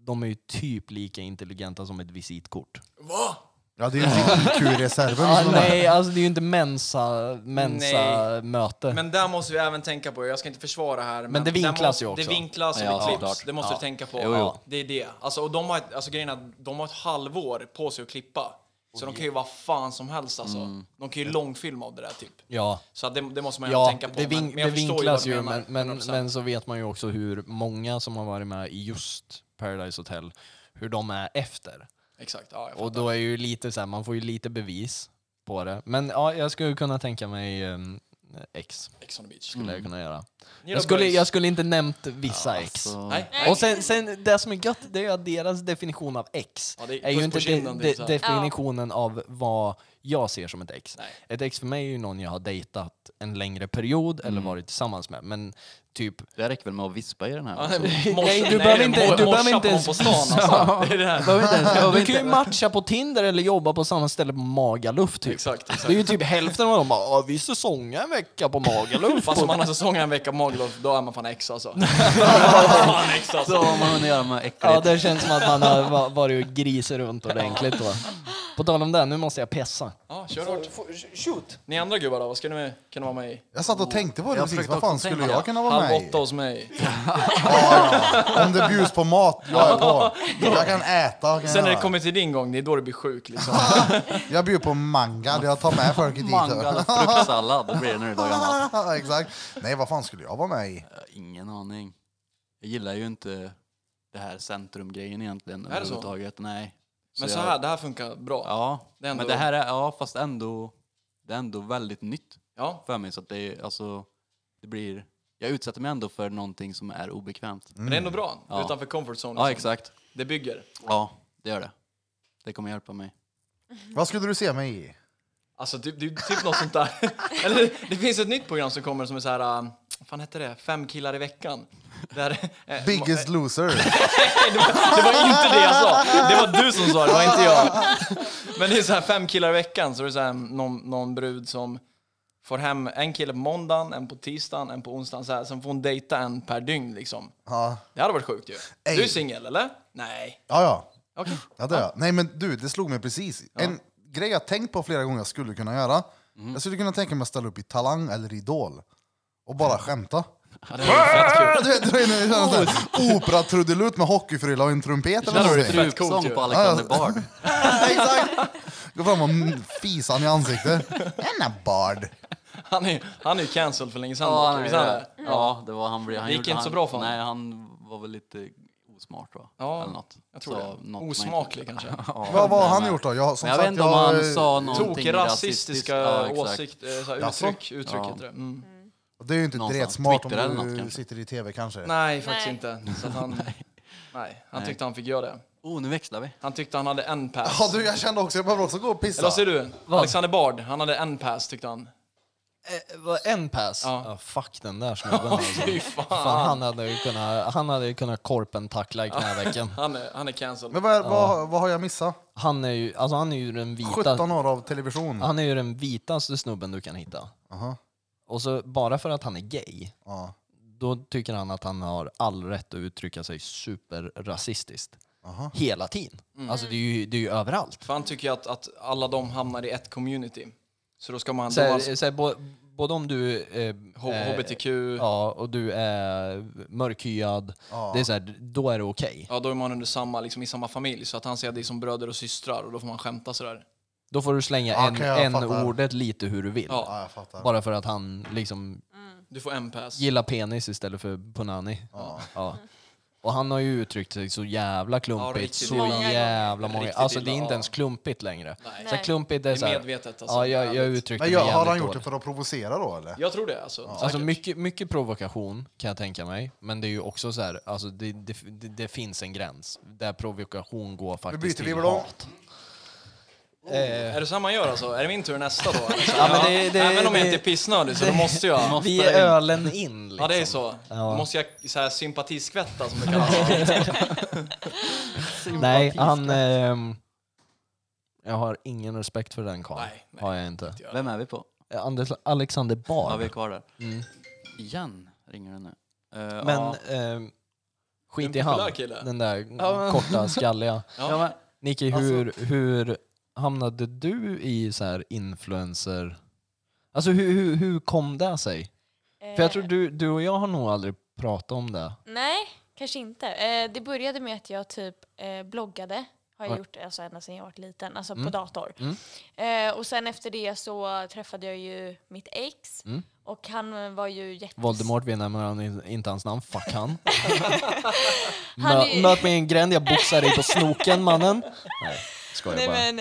S1: de är ju typ lika intelligenta som ett visitkort.
S4: Va?
S2: Ja, det är ju liksom. IQ-reserven
S1: Ah,
S2: som är
S1: nej, alltså det är ju inte mensa, mensa möte.
S4: Men där måste vi även tänka på, jag ska inte försvara här. Men,
S1: det
S4: där
S1: vinklas
S4: må-
S1: ju också.
S4: Det vinklas och
S3: Ja,
S4: det klipps.
S3: såklart.
S4: Det måste
S3: Ja.
S4: du tänka på.
S3: Jo, jo.
S4: Det är det. Alltså, och de har, ett- alltså, grejen är att de har ett halvår på sig att klippa. Så de kan ju vara fan som helst alltså. De kan ju långfilma av det där typ.
S1: ja.
S4: Så att det, det måste man ju
S1: Ja,
S4: tänka på.
S1: det, vin-
S4: men, men jag
S1: det
S4: förstår
S1: vinklas
S4: ju,
S1: ju,
S4: vad du
S1: men,
S4: menar,
S1: men,
S4: 100%.
S1: men så vet man ju också hur många som har varit med i just Paradise Hotel, hur de är efter.
S4: Exakt, ja, jag
S1: Och då är ju lite så här, man får ju lite bevis på det. Men ja, jag skulle kunna tänka mig um, X,
S4: fattar. Ex on the beach.
S1: skulle jag kunna göra.
S4: Gilla
S1: Jag skulle,
S4: boys.
S1: jag skulle inte nämnt vissa X.
S3: Så-
S4: Nej.
S1: Och sen, sen, det som är gött, det är ju att deras definition av X
S4: Ja, det är
S1: är ju
S4: puss
S1: inte
S4: på kinden,
S1: de,
S4: typ så
S1: de,
S4: här.
S1: definitionen av vad jag ser som ett X.
S4: Nej.
S1: Ett X för mig är ju någon jag har dejtat en längre period eller varit tillsammans med. Men typ...
S3: Det räcker väl med att vispa i den här?
S4: Nej,
S1: Nej,
S4: mors-
S1: du
S4: nej,
S1: behöver
S4: det är
S1: inte-
S4: mor-
S1: du behöver
S4: morsa på
S1: inte
S4: någon på
S1: ens-
S4: stan alltså. Det är det här.
S1: Du kan ju matcha på Tinder eller jobba på samma ställe på Magaluf typ.
S4: Exakt, exakt.
S1: Det är ju typ hälften av dem bara "Ja, vi säsongar en vecka på Magaluf.
S4: Fast om man har säsongen en vecka Magaluf, då är man fan ex alltså. fan ex alltså.
S3: Så har man hunnit göra med äckligt.
S1: ja, det känns som att man har va- varit och grisat runt ordentligt då. På tal om det, nu måste jag pissa.
S4: Ja, kör hårt. Ni andra gubbar då, vad skulle ni kunna vara med i?
S2: Jag satt och tänkte på det
S3: Jag
S2: precis,
S3: försökte
S2: vad fan
S3: också
S2: skulle
S3: tänka.
S2: jag kunna vara
S4: Halv
S2: med i?
S4: åtta hos mig.
S2: Om det bjuds på mat, jag är på. Jag kan äta. jag Kan
S4: Sen när det
S2: göra.
S4: kommer till din gång, det är då du blir sjuk liksom.
S2: Jag bjuder på mangal, jag tar med folk dit.
S3: Manglad och fruktsallad, det blir det när du lagar mat.
S2: Exakt. Nej, vad fan skulle jag vara med i?
S3: Jag har Ingen aning. Jag gillar ju inte det här centrumgrejen egentligen
S4: det så?
S3: överhuvudtaget. Nej.
S4: Men så
S3: jag-
S4: här, det här funkar bra.
S3: Ja,
S4: Det är ändå-
S3: men det här är, ja fast ändå, det är ändå väldigt nytt
S4: Ja.
S3: för mig så att det är, alltså, det blir, jag utsätter mig ändå för någonting som är obekvämt.
S2: Mm.
S4: Men det är ändå
S1: Mm.
S4: bra.
S3: Ja.
S4: Utanför comfort zone.
S3: Ja,
S4: liksom.
S3: exakt.
S4: Det bygger.
S3: Ja, det gör det. Det kommer hjälpa mig.
S2: Vad skulle du se mig i?
S4: Alltså typ, typ, typ något sånt där. Eller det finns ett nytt program som kommer som är så här, äh, vad fan hette det? Fem killar i veckan. Där, eh,
S2: Biggest loser.
S4: det, var, det var inte det jag sa. Det var du som sa det, det var inte jag. Men det är så här fem killar i veckan, så det är så här någon, någon brud som får hem en kille på måndagen, en på tisdagen, en på onsdagen. Så här, sen får hon dejta en per dygn liksom.
S2: Ja,
S4: Det hade varit sjukt ju.
S2: Ey.
S4: Du är singel eller? Nej.
S2: ja. ja.
S4: Okej.
S2: Ja, det är jag. Nej, men du, det slog mig precis. En grej jag tänkt på flera gånger jag skulle kunna göra.
S4: Mm.
S2: Jag skulle kunna tänka mig att ställa upp i Talang eller Idol och bara skämta. Ah, Du vet, du vet, du vet,
S4: Oh.
S2: Opera-trudelutt med hockeyfrilla och en trumpet eller
S3: Där har du
S2: någonting.
S4: coolt
S3: strupsång
S4: ju.
S3: på Alexander Bard.
S2: Exakt! Gå fram och n- fisa han i ansiktet. Denna bard.
S4: Han är ju han är ju cancelled för länge sedan.
S3: Ja,
S4: dock.
S3: han
S4: Visst är
S3: är,
S4: det?
S3: ja, det var han. blev- han
S4: Det gick
S3: gjorde-
S4: inte så
S3: han,
S4: bra för honom.
S3: Nej, han var väl lite osmart va?
S4: Ja,
S3: Eller något.
S4: jag tror
S3: Sa
S4: det.
S3: något man inte-
S4: Osmaklig kanske.
S3: Ja,
S2: Vad vad har han
S3: men-
S2: gjort då? Jag, som
S3: Men jag vet
S2: sagt,
S3: inte om han
S2: jag,
S3: sa någonting
S4: Tokrasistiska
S3: rasistiskt. Ja, exakt.
S4: åsikter, eh, så här,
S2: Jaså?
S4: uttryck, uttryck
S3: Ja.
S4: heter det. Mm.
S2: Det är ju inte
S3: Någonstans.
S2: direkt smart om
S3: Twitter eller något,
S2: du
S3: kanske.
S2: sitter i tv kanske.
S4: Nej, faktiskt
S5: Nej.
S4: inte. Så att han, nej, han tyckte han fick göra det.
S3: Oh, nu växlar vi.
S4: Han tyckte han hade en pass.
S2: Ja, du, jag kände också, jag behöver också gå och pissa.
S4: Eller vad säger du? Alexander Bard, han hade en pass tyckte han.
S1: Eh, vad, en pass?
S4: Ja.
S1: Ja. fuck den där snubben alltså.
S4: Fy fan.
S1: Fan, han hade ju kunnat, han hade ju kunnat korpen tackla i knävecken.
S4: Han är, han är cancelled.
S2: Men vad, är- vad, vad har jag missat?
S1: Han är ju, alltså han är ju den vita,
S2: 17 år av television.
S1: han är ju den vitaste snubben du kan hitta.
S2: Aha.
S1: Och så bara för att han är gay,
S2: Ja.
S1: då tycker han att han har all rätt att uttrycka sig superrasistiskt.
S2: Aha.
S1: Hela tiden.
S4: Mm.
S1: Alltså det är, ju, det är ju överallt.
S4: För han tycker ju att, att alla de hamnar i ett community. Så då ska man...
S1: Så
S4: då man
S1: här, eh, så här, bo, både om du eh,
S4: H-
S1: eh,
S4: HBTQ, ja.
S1: Ja, och du är mörkhyad. Det är så här, då är det okej.
S4: då är man under samma, liksom, i samma familj. Så att han ser det som bröder och systrar och då får man skämta sådär.
S1: Då får du slänga
S2: Ja,
S1: en,
S2: okej, jag
S1: en
S2: fattar.
S1: ordet lite hur du vill.
S4: Ja.
S2: Ja, jag fattar.
S1: Bara för att han liksom
S4: Du får en pass.
S1: gillar penis istället för punani. Ja. Och han har ju uttryckt sig så jävla
S4: Ja,
S1: klumpigt.
S4: riktigt
S1: så
S4: illa.
S5: Många
S1: jävla många
S4: Riktigt
S1: Alltså
S4: illa,
S1: det är inte
S4: ja.
S1: ens klumpigt längre.
S4: Nej.
S1: Så här, klumpigt är,
S4: Det
S1: så
S4: är
S1: här,
S4: medvetet alltså.
S1: Ja, jag, jag
S4: jävligt.
S1: uttryckte
S2: Men
S1: mig
S2: jag, har han
S1: jävligt
S2: gjort det
S1: dåligt.
S2: för att provocera då eller?
S4: Jag tror det alltså. säkert.
S1: Alltså mycket, mycket provokation kan jag tänka mig, men det är ju också så här, alltså det, det, det, det finns en gräns där provokation går
S2: Nu
S1: faktiskt
S2: byter vi
S1: till
S2: väl om.
S1: hat. Eh,
S4: Är det så här man gör alltså? Är det min tur nästa då? Alltså,
S1: Ja, men det- det-
S4: Även om jag
S1: det-
S4: inte är pissnödig så då måste jag.
S1: vi är ölen in liksom.
S4: Ja, det är så.
S1: Ja.
S4: Då måste jag så här sympatiskvätta som det kallas.
S1: Nej, han... ehm, jag har ingen respekt för den karln.
S4: Nej, nej.
S1: Har jag inte.
S3: Vem är vi på?
S1: Anders, Alexander
S3: Ja, vi är
S1: Bard.
S3: kvar där.
S1: Mm.
S3: Igen ringer den nu. Eh,
S1: Men
S3: ja.
S1: ehm, skit
S4: En
S1: i
S4: populär
S1: han.
S4: kille.
S1: Den där
S3: Ja, men-
S1: korta, skalliga.
S3: Ja, men,
S1: Nicky, hur, hur hamnade du i så här influencer... Alltså hur, hur, hur kom det sig? För jag tror du, du och jag har nog aldrig pratat om det.
S5: Nej, kanske inte. Eh, det började med att jag typ eh, bloggade. Har
S1: Oj. Mm.
S5: jag gjort alltså, ända sedan jag var liten, alltså på dator. Eh, och sen efter det så träffade jag ju mitt ex. Och han var ju jätte...
S1: Mm. Voldemort vinner men han är inte hans namn. Fuck han.
S5: Han
S1: Mö,
S5: är-
S1: Möt mig i en gränd, jag boxar dig på snoken mannen. Nej, skojar
S5: Nej,
S1: bara.
S5: men,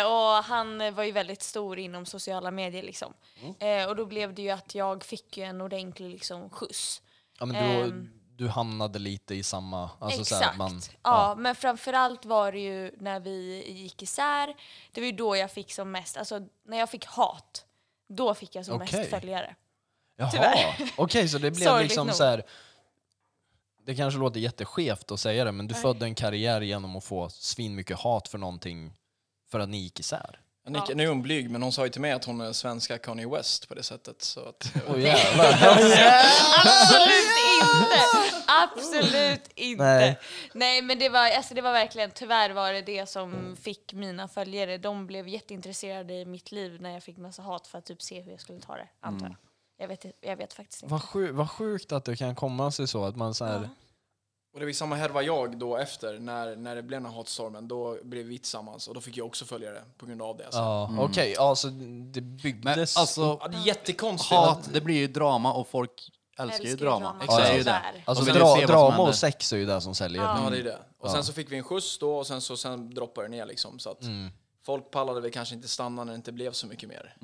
S5: eh, och han var ju väldigt stor inom sociala medier liksom.
S1: Mm.
S5: Eh, och då blev det ju att jag fick ju en ordentlig liksom, skjuts.
S1: ja, men du,
S5: ehm.
S1: du hamnade lite i samma... Alltså,
S5: Exakt.
S1: Så här, man,
S5: ja, men framförallt var det ju när vi gick isär. Det var ju då jag fick som mest, alltså när jag fick hat, då fick jag som
S1: Okej.
S5: mest följare.
S1: Jaha,
S5: Tyvärr.
S1: okej så det blev
S5: Sorgligt
S1: liksom
S5: nog.
S1: så här. Det kanske låter jätteskevt att säga det, men du
S5: Nej.
S1: födde en karriär genom att få svinmycket hat för någonting för att ni gick isär.
S4: Annika, nu är hon blyg, men hon sa ju till mig att hon är svenska Kanye West på det sättet. Så att,
S1: Åh jävlar.
S5: Absolut inte! Absolut inte!
S1: Nej.
S5: Nej, men det var, alltså, det var verkligen, tyvärr var det det som fick mina följare. De blev jätteintresserade i mitt liv när jag fick massa hat för att typ se hur jag skulle ta det,
S1: Mm.
S5: antar jag. Jag vet, jag vet faktiskt inte.
S1: vad, sju, vad sjukt att det kan komma sig så att man så här,
S4: och det var ju samma härva jag då efter, när, när det blev den här hatstormen. Då blev vi tillsammans och då fick jag också följare på grund av det. Alltså.
S1: ja, okej, ja, så det
S3: men
S1: byggdes.
S3: alltså,
S4: Ja, det är jättekonstigt.
S3: hat, det blir ju drama och folk älskar ju drama.
S5: Exakt.
S3: Det är ju
S5: Tyvärr.
S3: det.
S1: alltså
S3: och sen
S1: dra,
S3: vi ser vad som
S1: drama
S3: händer.
S1: och sex är ju det som säljer.
S4: Ja, det är
S1: Mm.
S4: det. Och sen så fick vi en skjuts då och sen så sen droppade det ner liksom. Så att
S1: Mm.
S4: folk pallade väl kanske inte stanna när det inte blev så mycket mer.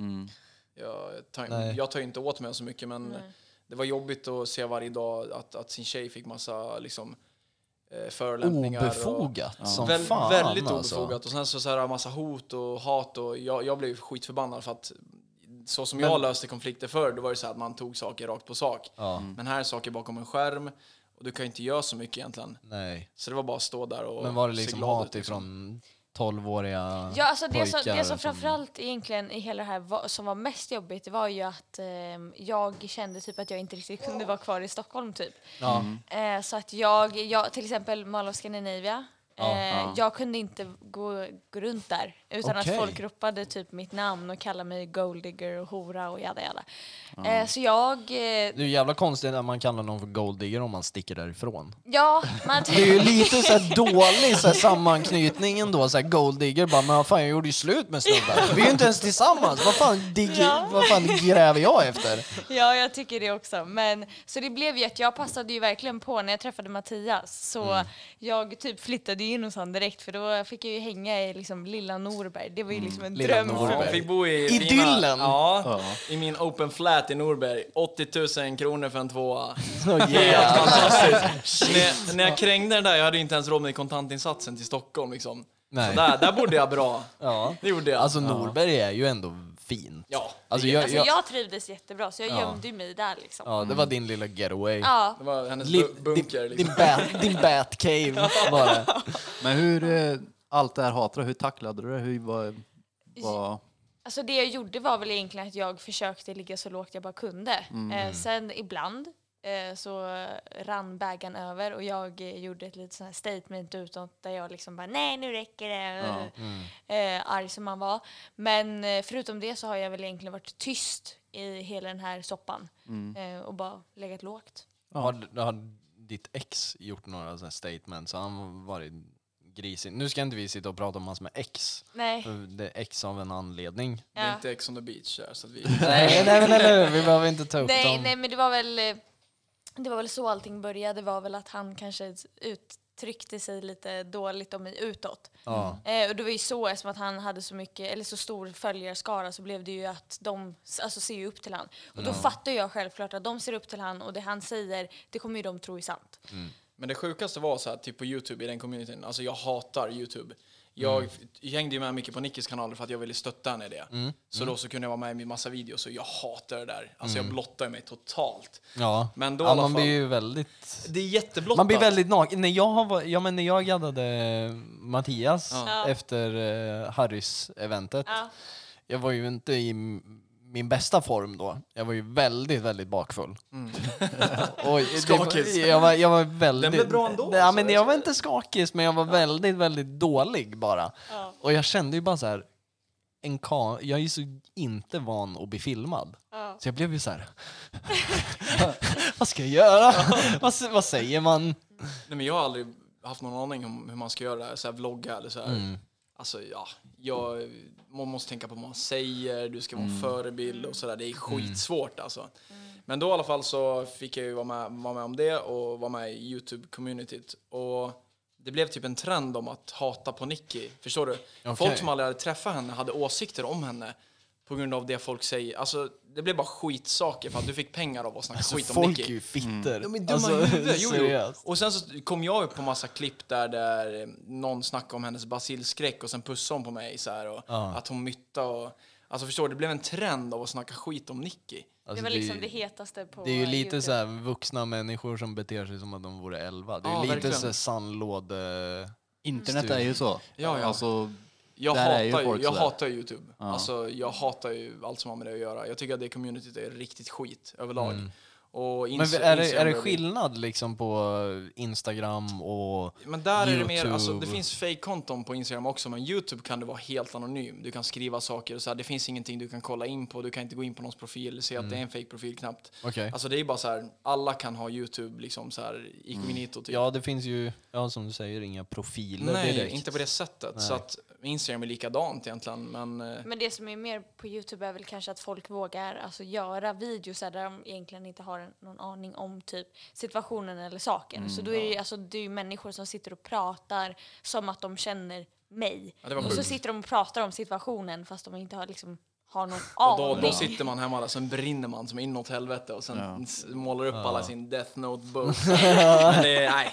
S4: Jag, tar,
S1: Mm. Nej.
S4: jag tar ju inte åt mig så mycket men det var jobbigt att se varje dag att, att sin tjej fick massa liksom eh,
S3: Mm.
S4: förolämpningar. och-
S1: Obefogat som
S4: Väl,
S1: fan.
S4: väldigt
S1: alltså.
S4: obefogat. Och sen så, så här massa hot och hat och jag, jag blev skitförbannad för att så som jag löste konflikter förr, då var det så här att man tog saker rakt på sak. Men här är saker bakom en skärm och du kan ju inte göra så mycket egentligen.
S1: Nej.
S4: Så det var bara att stå där och
S1: Men var det
S4: se
S1: liksom
S4: glad
S1: hat
S4: ut, liksom.
S1: ifrån 12-åriga
S5: Ja, alltså det, som,
S1: pojkar
S5: det som framförallt egentligen i hela det här var, som var mest jobbigt var ju att ehm, jag kände typ att jag inte riktigt kunde vara kvar i Stockholm typ.
S1: Ja.
S5: Eh, så att jag, jag, till exempel Mall of Scandinavia, eh, jag kunde inte gå, gå runt där utan
S1: Okej.
S5: att folk ropade typ mitt namn och kallade mig golddigger och hora och jada jada. Eh, så jag, eh,
S1: Det är ju jävla konstigt att man kallar någon för golddigger om man sticker därifrån.
S5: ja, man
S1: Det är ju lite så här dålig så här sammanknytning ändå, så här golddigger bara men vad fan jag gjorde ju slut med snubben. Vi är ju inte ens tillsammans, vad fan, dig,
S5: Ja.
S1: vad fan gräver jag efter?
S5: Ja, jag tycker det också. Men, så det blev ju att jag passade ju verkligen på när jag träffade Mattias. Så
S1: Mm.
S5: jag typ flyttade ju in hos honom direkt för då fick jag ju hänga i liksom lilla Norberg. Det var ju liksom en
S1: Mm, Lilla
S5: dröm.
S1: Norberg.
S4: Jag
S5: För
S4: fick bo i fina-
S1: Idyllen.
S4: Ja, i min open flat i Norberg. 80 000 kronor för en tvåa.
S1: Oh,
S4: Helt
S1: yeah.
S4: fantastiskt. när, när jag krängde den där, jag hade inte ens råd med kontantinsatsen till Stockholm liksom.
S1: Nej.
S4: Så där, där bodde jag bra.
S1: Ja.
S4: Det gjorde jag.
S1: Alltså Norberg är ju ändå fint.
S4: ja.
S1: Alltså,
S5: jag,
S1: jag,
S5: alltså,
S1: jag,
S5: jag trivdes jättebra så jag gömde ju mig där liksom. Ja.
S1: ja, det var din lilla getaway.
S4: Det var hennes
S1: Li-
S4: bu- bunker
S1: din, din,
S4: liksom.
S1: bat, din batcave var det.
S3: Men hur, eh, allt det här hatet, hur tacklade du det? Hur var, var
S5: Alltså det jag gjorde var väl egentligen att jag försökte ligga så lågt jag bara kunde. Eh, sen ibland eh, så rann bägaren över och jag eh, gjorde ett litet sånt här statement utåt där jag liksom bara nej nu räcker det. Eh, arg som man var. Men eh, förutom det så har jag väl egentligen varit tyst i hela den här soppan eh, och bara legat lågt.
S1: Har, har ditt ex gjort några sådana statements? Så han varit grisig. Nu ska inte vi sitta och prata om hans med ex.
S5: Nej.
S1: För Det är ex av en anledning.
S4: Det är
S5: Ja.
S4: inte Ex on the beach där, så att vi...
S1: Nej, nej, nej, nej, vi behöver inte ta upp
S5: Nej,
S1: dem.
S5: nej men det var väl eh, det var väl så allting började. Det var väl att han kanske uttryckte sig lite dåligt om mig utåt.
S1: Ja.
S5: Eh, och det var ju så eftersom att han hade så mycket eller så stor följarskara så blev det ju att de alltså, ser ju upp till han. Och då fattar jag självklart att de ser upp till han och det han säger det kommer ju de tro är sant.
S4: Men det sjukaste var så här, typ på Youtube i den communityn, alltså jag hatar Youtube. Jag
S1: Mm.
S4: f- hängde ju med mycket på Nickis kanaler för att jag ville stötta henne i det. Så
S1: Mm.
S4: då så kunde jag vara med i massa videos och jag hatar det där. Alltså jag blottar mig totalt.
S1: Ja,
S4: Men då i
S1: ja
S4: alla
S1: man blir
S4: fall-
S1: ju väldigt...
S4: Det är jätteblottat.
S1: Mm. Man blir väldigt naken. När jag, var, ja, men när jag gaddade Mattias
S5: Ja.
S1: efter eh, Harrys-eventet,
S5: Ja.
S1: jag var ju inte i m- min bästa form då. Jag var ju väldigt, väldigt bakfull.
S4: Mm.
S1: Och det-
S4: Skakis.
S1: Jag var, jag var väldigt...
S4: Den blev bra ändå,
S1: Ja,
S4: alltså.
S1: men jag var inte skakis, men jag var väldigt, väldigt dålig bara.
S5: Ja.
S1: Och jag kände ju bara så här, en ka- jag är ju så inte van att bli filmad.
S5: Ja.
S1: Så jag blev ju så här. vad ska jag göra? vad, s- vad säger man?
S4: Nej, men jag har aldrig haft någon aning om hur man ska göra det här, så här vlogga eller så här. Alltså ja, jag, man måste tänka på vad man säger, du ska vara en förebild och sådär. Det är skitsvårt alltså. Men då i alla fall så fick jag ju vara med, vara med om det och vara med i Youtube-communityt. Och det blev typ en trend om att hata på Nicky. Förstår du? Folk som aldrig hade träffat henne hade åsikter om henne på grund av det folk säger. Alltså, det blev bara skitsaker för att du fick pengar av att snacka skit om
S1: Alltså,
S4: Mm.
S1: Folk
S4: Nicky.
S1: är ju fitter. Alltså,
S4: De är dumma i huvudet, jo, jo. Och sen så kom jag upp på massa klipp där, där eh, någon snackade om hennes basilskräck och sen pussade hon på mig så här, och
S1: Ja.
S4: att hon mytta och... Alltså förstår du, det blev en trend av att snacka skit om Nicky.
S5: det
S1: Alltså,
S5: var liksom det
S1: det,
S5: hetaste på
S1: det är ju
S5: YouTube.
S1: lite så här vuxna människor som beter sig som att de vore elva. Det är
S4: Ja,
S1: ju lite
S4: verkligen.
S1: så här sandlåde...
S3: Internet är ju så.
S4: Ja, ja.
S3: Alltså,
S4: Jag,
S3: Där är
S4: hatar
S3: ju
S4: ju,
S3: folk
S4: jag
S3: sådär.
S4: hatar ju Youtube. Alltså, jag hatar ju allt som har med det att göra. Jag tycker att det communityt är riktigt skit överlag. Och
S1: Mm. Men
S4: ins-
S1: är det,
S4: Instagram
S1: är det
S4: börjar bli-
S1: skillnad liksom på Instagram och...
S4: Men där är det mer, alltså det
S1: YouTube.
S4: finns fake-konton på Instagram också, men YouTube kan det vara helt anonym. Du kan skriva saker och så här, det finns ingenting du kan kolla in på, du kan inte gå in på någons profil, se att det är en fake-profil knappt.
S1: Mm. Okej.
S4: Alltså det är bara så här, alla kan ha YouTube liksom så här inkognito typ.
S1: Mm. Ja, det finns ju, ja, som du säger, inga profiler
S4: Nej,
S1: direkt.
S4: inte på det sättet. Så att Instagram är likadant egentligen, men eh,
S5: Men det som är mer på Youtube är väl kanske att folk vågar alltså, göra videos där de egentligen inte har en- någon aning om typ situationen eller saken. så
S4: Mm,
S5: då är det, ju- alltså, det är ju människor som sitter och pratar som att de känner mig.
S4: Ja, det var
S5: och så
S4: sjukt.
S5: sitter de och pratar om situationen fast de inte har, liksom, har någon
S4: och då,
S5: aning.
S4: då sitter man hemma där, sen brinner man som inåt helvete och sen s- målar upp alla sin death note bok. men det, nej.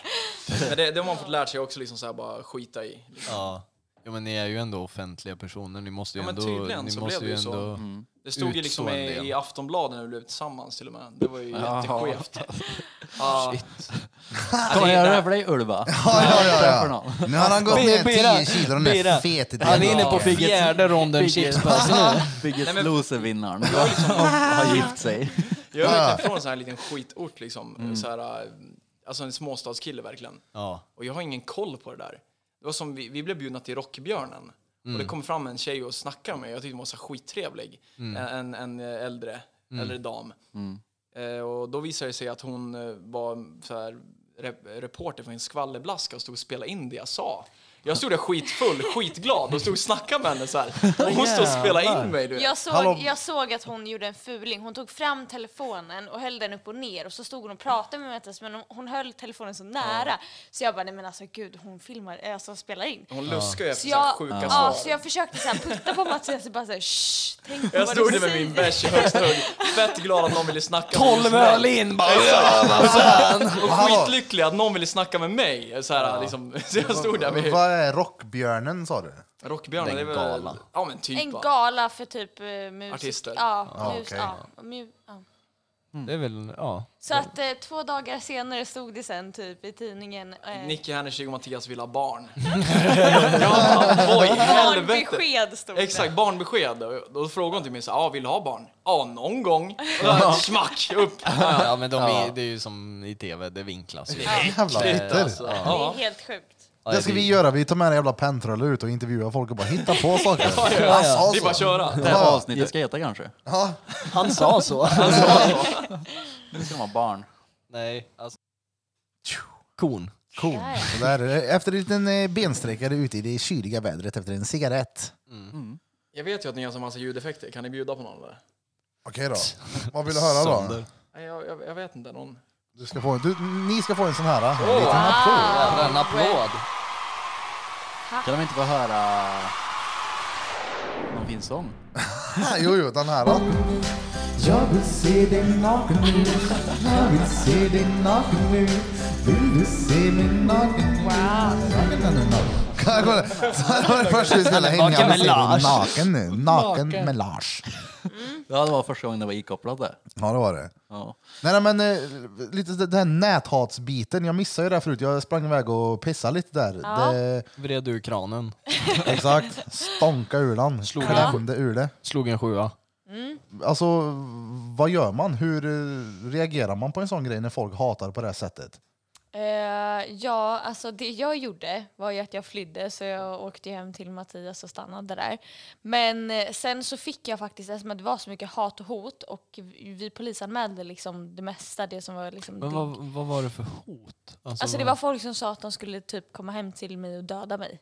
S4: Men det, det har man fått lärt sig också liksom så här bara skita i.
S1: Ja. ja, men ni är ju ändå offentliga personer. Ni måste ju
S4: Ja, men
S1: ändå...
S4: tydligen
S1: ni
S4: så
S1: måste
S4: blev det ju så.
S1: ändå-
S4: Det stod ju
S1: ut
S4: liksom
S1: så en
S4: i,
S1: del.
S4: i Aftonbladet när vi blev tillsammans till och med. Det var ju jätteskevt. Ja.
S3: kan man göra det för dig Ulva?
S2: Ja, ja, ja,
S3: Träffar
S2: ja.
S3: någon.
S2: Nu har han gått ner
S1: Bira,
S2: 10 kilo, den är
S1: Bira.
S2: fet. i
S1: Han är
S2: DNA.
S1: inne på
S3: Biggest-
S1: fjärde ronden
S3: biggest-
S1: chipspåse nu.
S3: Biggest
S4: Nej, men-
S3: Loser-vinnaren har gift sig.
S4: Jag är lite från en sån här liten skitort liksom. Så här, äh, alltså en småstadskille verkligen.
S1: Ja.
S4: Och jag har ingen koll på det där. Det var som vi, vi blev bjudna till Rockbjörnen. Och det kom fram en tjej och snackade med mig. Jag tyckte hon var så här skittrevlig. Eh, En, en äldre, äldre dam. Eh, och då visade det sig att hon eh, var så här, rep- reporter för en skvallerblaska och stod och spelade in det jag sa. Jag stod där skitfull, skitglad och stod och snackade med henne så här. Och hon stod och spelade in mig du vet.
S5: Jag
S2: Hallå.
S5: såg, jag såg att hon gjorde en fuling. Hon tog fram telefonen och höll den upp och ner och så stod hon och pratade med mig men hon- hon höll telefonen så nära. Så jag bara, nej men alltså gud, hon filmar, eh, alltså spelar in.
S4: Hon luskade ju
S5: Så
S4: efter så här
S5: jag,
S4: sjuka
S5: ja,
S4: svar.
S5: så jag försökte så här putta på Mattias och bara såhär shh, tänk på
S4: Jag
S5: vad
S4: stod
S5: du
S4: där med
S5: säger.
S4: min bärs i högsta hugg. Fett glad att någon ville snacka med mig.
S1: Tolv öl in bara! Ja, vad fan.
S4: Och
S2: Hallå.
S4: skitlycklig att någon ville snacka med mig. Så, här, liksom, så jag stod där med
S2: Vad är rockbjörnen sa du?
S4: Rockbjörnen.
S1: Den
S4: Det var,
S1: gala.
S4: Ja men typ
S5: En
S4: va.
S5: gala för typ eh, musik.
S4: Artister.
S5: Ja, mus,
S2: okej.
S5: ja, mu, ja.
S2: Mm.
S1: Det är väl, ja.
S5: Så att eh, två dagar senare stod det sen typ i tidningen. Eh,
S4: Nicky Hennersig och Mattias vill ha barn. ja, vad i helvete?
S5: Barnbesked stod det.
S4: Exakt, barnbesked. Och Då frågade hon till mig så här, ah, vill du ha barn? Ja, någon gång. Och då, smack, upp.
S1: Ja, men de är, det är ju som i tv, det vinklas ju. alltså.
S2: Jävla fitter.
S4: Ja.
S5: Det är helt sjukt.
S1: Ja,
S2: Det ska vi göra, vi tar med en jävla pentroll ut och intervjuar folk och bara hitta på saker. Han sa
S4: Det är bara att
S2: så.
S4: köra.
S3: Det här avsnittet ska heta kanske.
S2: Ja.
S1: Han sa så.
S3: Nu ska de ha barn.
S1: Nej, alltså. Korn.
S2: Cool.
S5: Ja, ja.
S2: Så där, eh, efter en liten eh, bensträckare ute i det kyliga vädret efter en cigarett.
S4: Jag vet ju att ni har så massa ljudeffekter. Kan ni bjuda på någon eller?
S2: Okej då. Vad vill du höra då?
S1: Sönder.
S4: Nej, jag, jag, jag vet inte. Någon.
S2: Du ska få, en- du, ni ska få en sån här. eh,
S4: Åh.
S2: liten applåd.
S1: Jävlar, en applåd.
S3: Kan de inte få höra någon fin sång?
S2: Ah, Jo, jo, den här. Då.
S6: Jag vill se dig naken nu Jag vill se dig naken nu Vill du se mig naken nu? Naken, naken, naken.
S2: Kolla, kolla. Så här var det första vi spelade
S1: Naken
S2: hänga med
S1: melage.
S2: Naken nu. Naken
S3: Naken.
S2: melage.
S3: Ja, det var första gången det var ikopplad där.
S2: Ja, det var det.
S3: Ja.
S2: Nej, nej, men eh, lite den här näthatsbiten. Jag missade ju det här förut. Jag sprang iväg och pissade lite där.
S5: Ja.
S2: Det,
S1: Vred ur kranen.
S2: exakt. Stånka ur den.
S1: Slog
S2: Klämde ur det.
S1: Slog en sjua.
S2: Alltså, vad gör man? Hur eh, reagerar man på en sån grej när folk hatar på det här sättet?
S5: Eh, ja, alltså det jag gjorde var ju att jag flydde så jag åkte ju hem till Mattias och stannade där. Men eh, sen så fick jag faktiskt, eftersom att det var så mycket hat och hot och vi vi polisanmälde liksom det mesta, det som var liksom
S1: Men
S5: digg.
S1: vad, vad var det för hot?
S5: Alltså det var folk som sa att de skulle typ komma hem till mig och döda mig.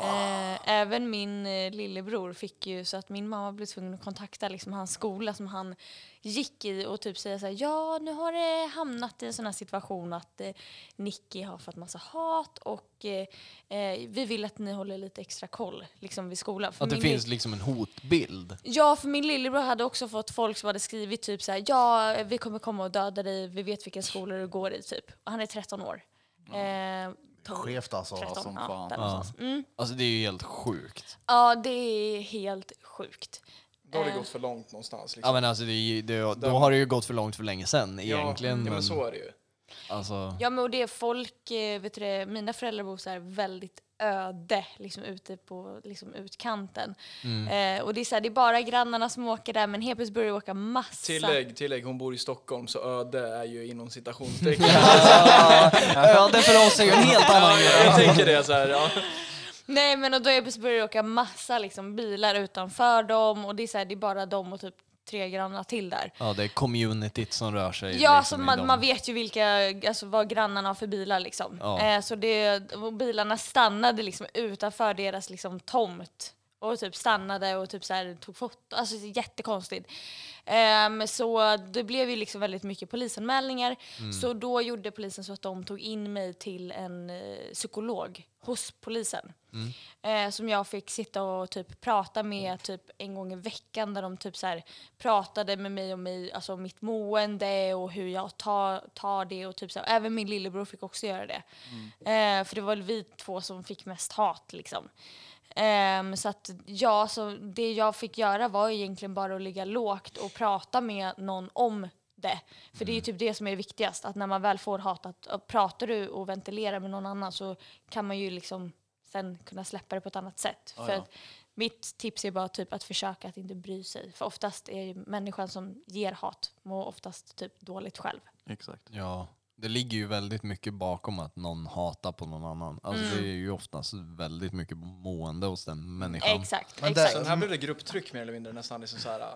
S5: Eh, även min eh, lillebror fick ju så att min mamma blev tvungen att kontakta liksom, hans skola som han gick i och typ säga så här, ja nu har det hamnat i en sån här situation att eh, Nicky har fått massa hat och eh, eh, vi vill att ni håller lite extra koll liksom, vid skolan. För
S1: Att det
S5: min li-
S1: finns liksom en hotbild.
S5: Ja, för min lillebror hade också fått folk som hade skrivit typ så här, ja vi kommer komma och döda dig, vi vet vilken skola du går i typ. Och han är 13 år. Eh, 12,
S2: Skevt alltså.
S5: 13,
S3: Mm. som
S5: ja,
S3: fan.
S5: där
S1: Ja.
S5: någonstans. Mm.
S1: Alltså det är ju helt sjukt.
S5: ja, det är helt sjukt.
S4: Då har det
S5: Eh.
S4: gått för långt någonstans.
S1: Ja
S4: Liksom.
S1: men alltså det, är ju- det, då har det ju gått för långt för länge sedan egentligen.
S4: Ja, ja,
S1: men
S4: men så är det ju.
S1: alltså,
S5: Ja men och det är folk, eh, vet du det, mina föräldrar bor så här väldigt öde liksom ute på liksom utkanten. Eh, och det är, så här, det är bara grannarna som åker där men helt plötsligt börjar det åka massa.
S3: eh,
S4: Tillägg, tillägg, hon bor i Stockholm så öde är ju inom citationstecken.
S1: ja, det för oss är ju en helt annan
S4: ja,
S1: grej.
S4: jag tänker det så här, ja.
S5: Nej men och då helt plötsligt börjar det åka massa liksom, bilar utanför dem och det är, så här, det är bara de och typ tre grannar till där.
S1: Ja det är communityt som rör sig. liksom
S5: Ja, alltså,
S1: i
S5: man,
S1: dem.
S5: man vet ju vilka, alltså, vad grannarna har för bilar. Liksom.
S1: Ja.
S5: Eh, så det, och bilarna stannade liksom utanför deras liksom, tomt och typ stannade och typ så här, tog foto. Alltså det är jättekonstigt. Ehm, så det blev ju liksom väldigt mycket polisanmälningar.
S1: Mm.
S5: Så då gjorde polisen så att de tog in mig till en eh, psykolog hos polisen. Eh, som jag fick sitta och typ prata med typ en gång i veckan där de typ så här pratade med mig om mig, alltså om mitt mående och hur jag tar, tar det. Och typ så här. Även min lillebror fick också göra det. Eh, för det var väl vi två som fick mest hat liksom. Ehm, så att ja, så det jag fick göra var egentligen bara att ligga lågt och prata med någon om det. För det är ju typ det som är viktigast, att när man väl får hat, att och pratar du och ventilerar med någon annan så kan man ju liksom sen kunna släppa det på ett annat sätt.
S3: Ja,
S5: För
S3: ja.
S5: att mitt tips är bara typ att försöka att inte bry sig. För oftast är ju människan som ger hat mår oftast typ dåligt själv.
S3: Exakt.
S1: Ja, det ligger ju väldigt mycket bakom att någon hatar på någon annan. Alltså
S4: Mm.
S1: det är ju oftast väldigt mycket mående hos den människan.
S5: Exakt,
S2: Men det-
S5: exakt.
S4: Sen här blev det grupptryck mer eller mindre nästan. Liksom så här, äh,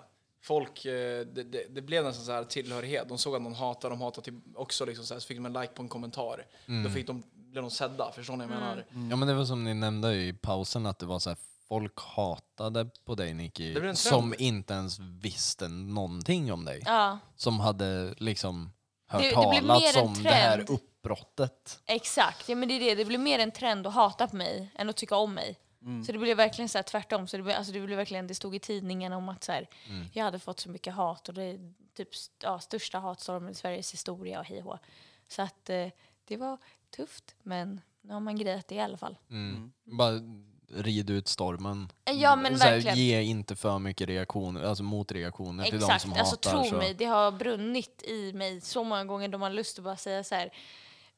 S4: folk, eh, det, det, det blev nästan så här tillhörighet. De såg att någon hatade, de hatade till, också. Liksom så, här, så fick de en like på en kommentar.
S1: Mm.
S4: Då fick de, blev de sedda, förstår ni vad jag menar?
S1: Ja men det var som ni nämnde i pausen att det var så här folk hatade på dig
S4: Det blev
S1: Nicky
S4: en
S1: som
S4: trend.
S1: inte ens visste någonting om dig.
S5: Ja.
S1: Som hade liksom hört
S5: Det- det blev
S1: talas
S5: mer en
S1: om det här
S5: trend.
S1: uppbrottet.
S5: Exakt, ja, men det är det. Det blir mer en trend att hata på mig än att tycka om mig. Så det blev verkligen så här tvärtom. Så det, blev, alltså det, blev verkligen, det stod i tidningen om att så här, jag hade fått så mycket hat och det är typ st- ja, största hatstormen i Sveriges historia och hej och hå. Så att eh, det var tufft men nu har man grejat det i alla fall.
S1: Mm. Bara rid ut stormen.
S5: Ja men
S1: så här,
S5: verkligen.
S1: ge inte för mycket reaktioner, alltså motreaktioner till de
S5: Exakt,
S1: som
S5: alltså
S1: hatar.
S5: tro
S1: så.
S5: mig, det har brunnit i mig så många gånger då man lust att bara säga så här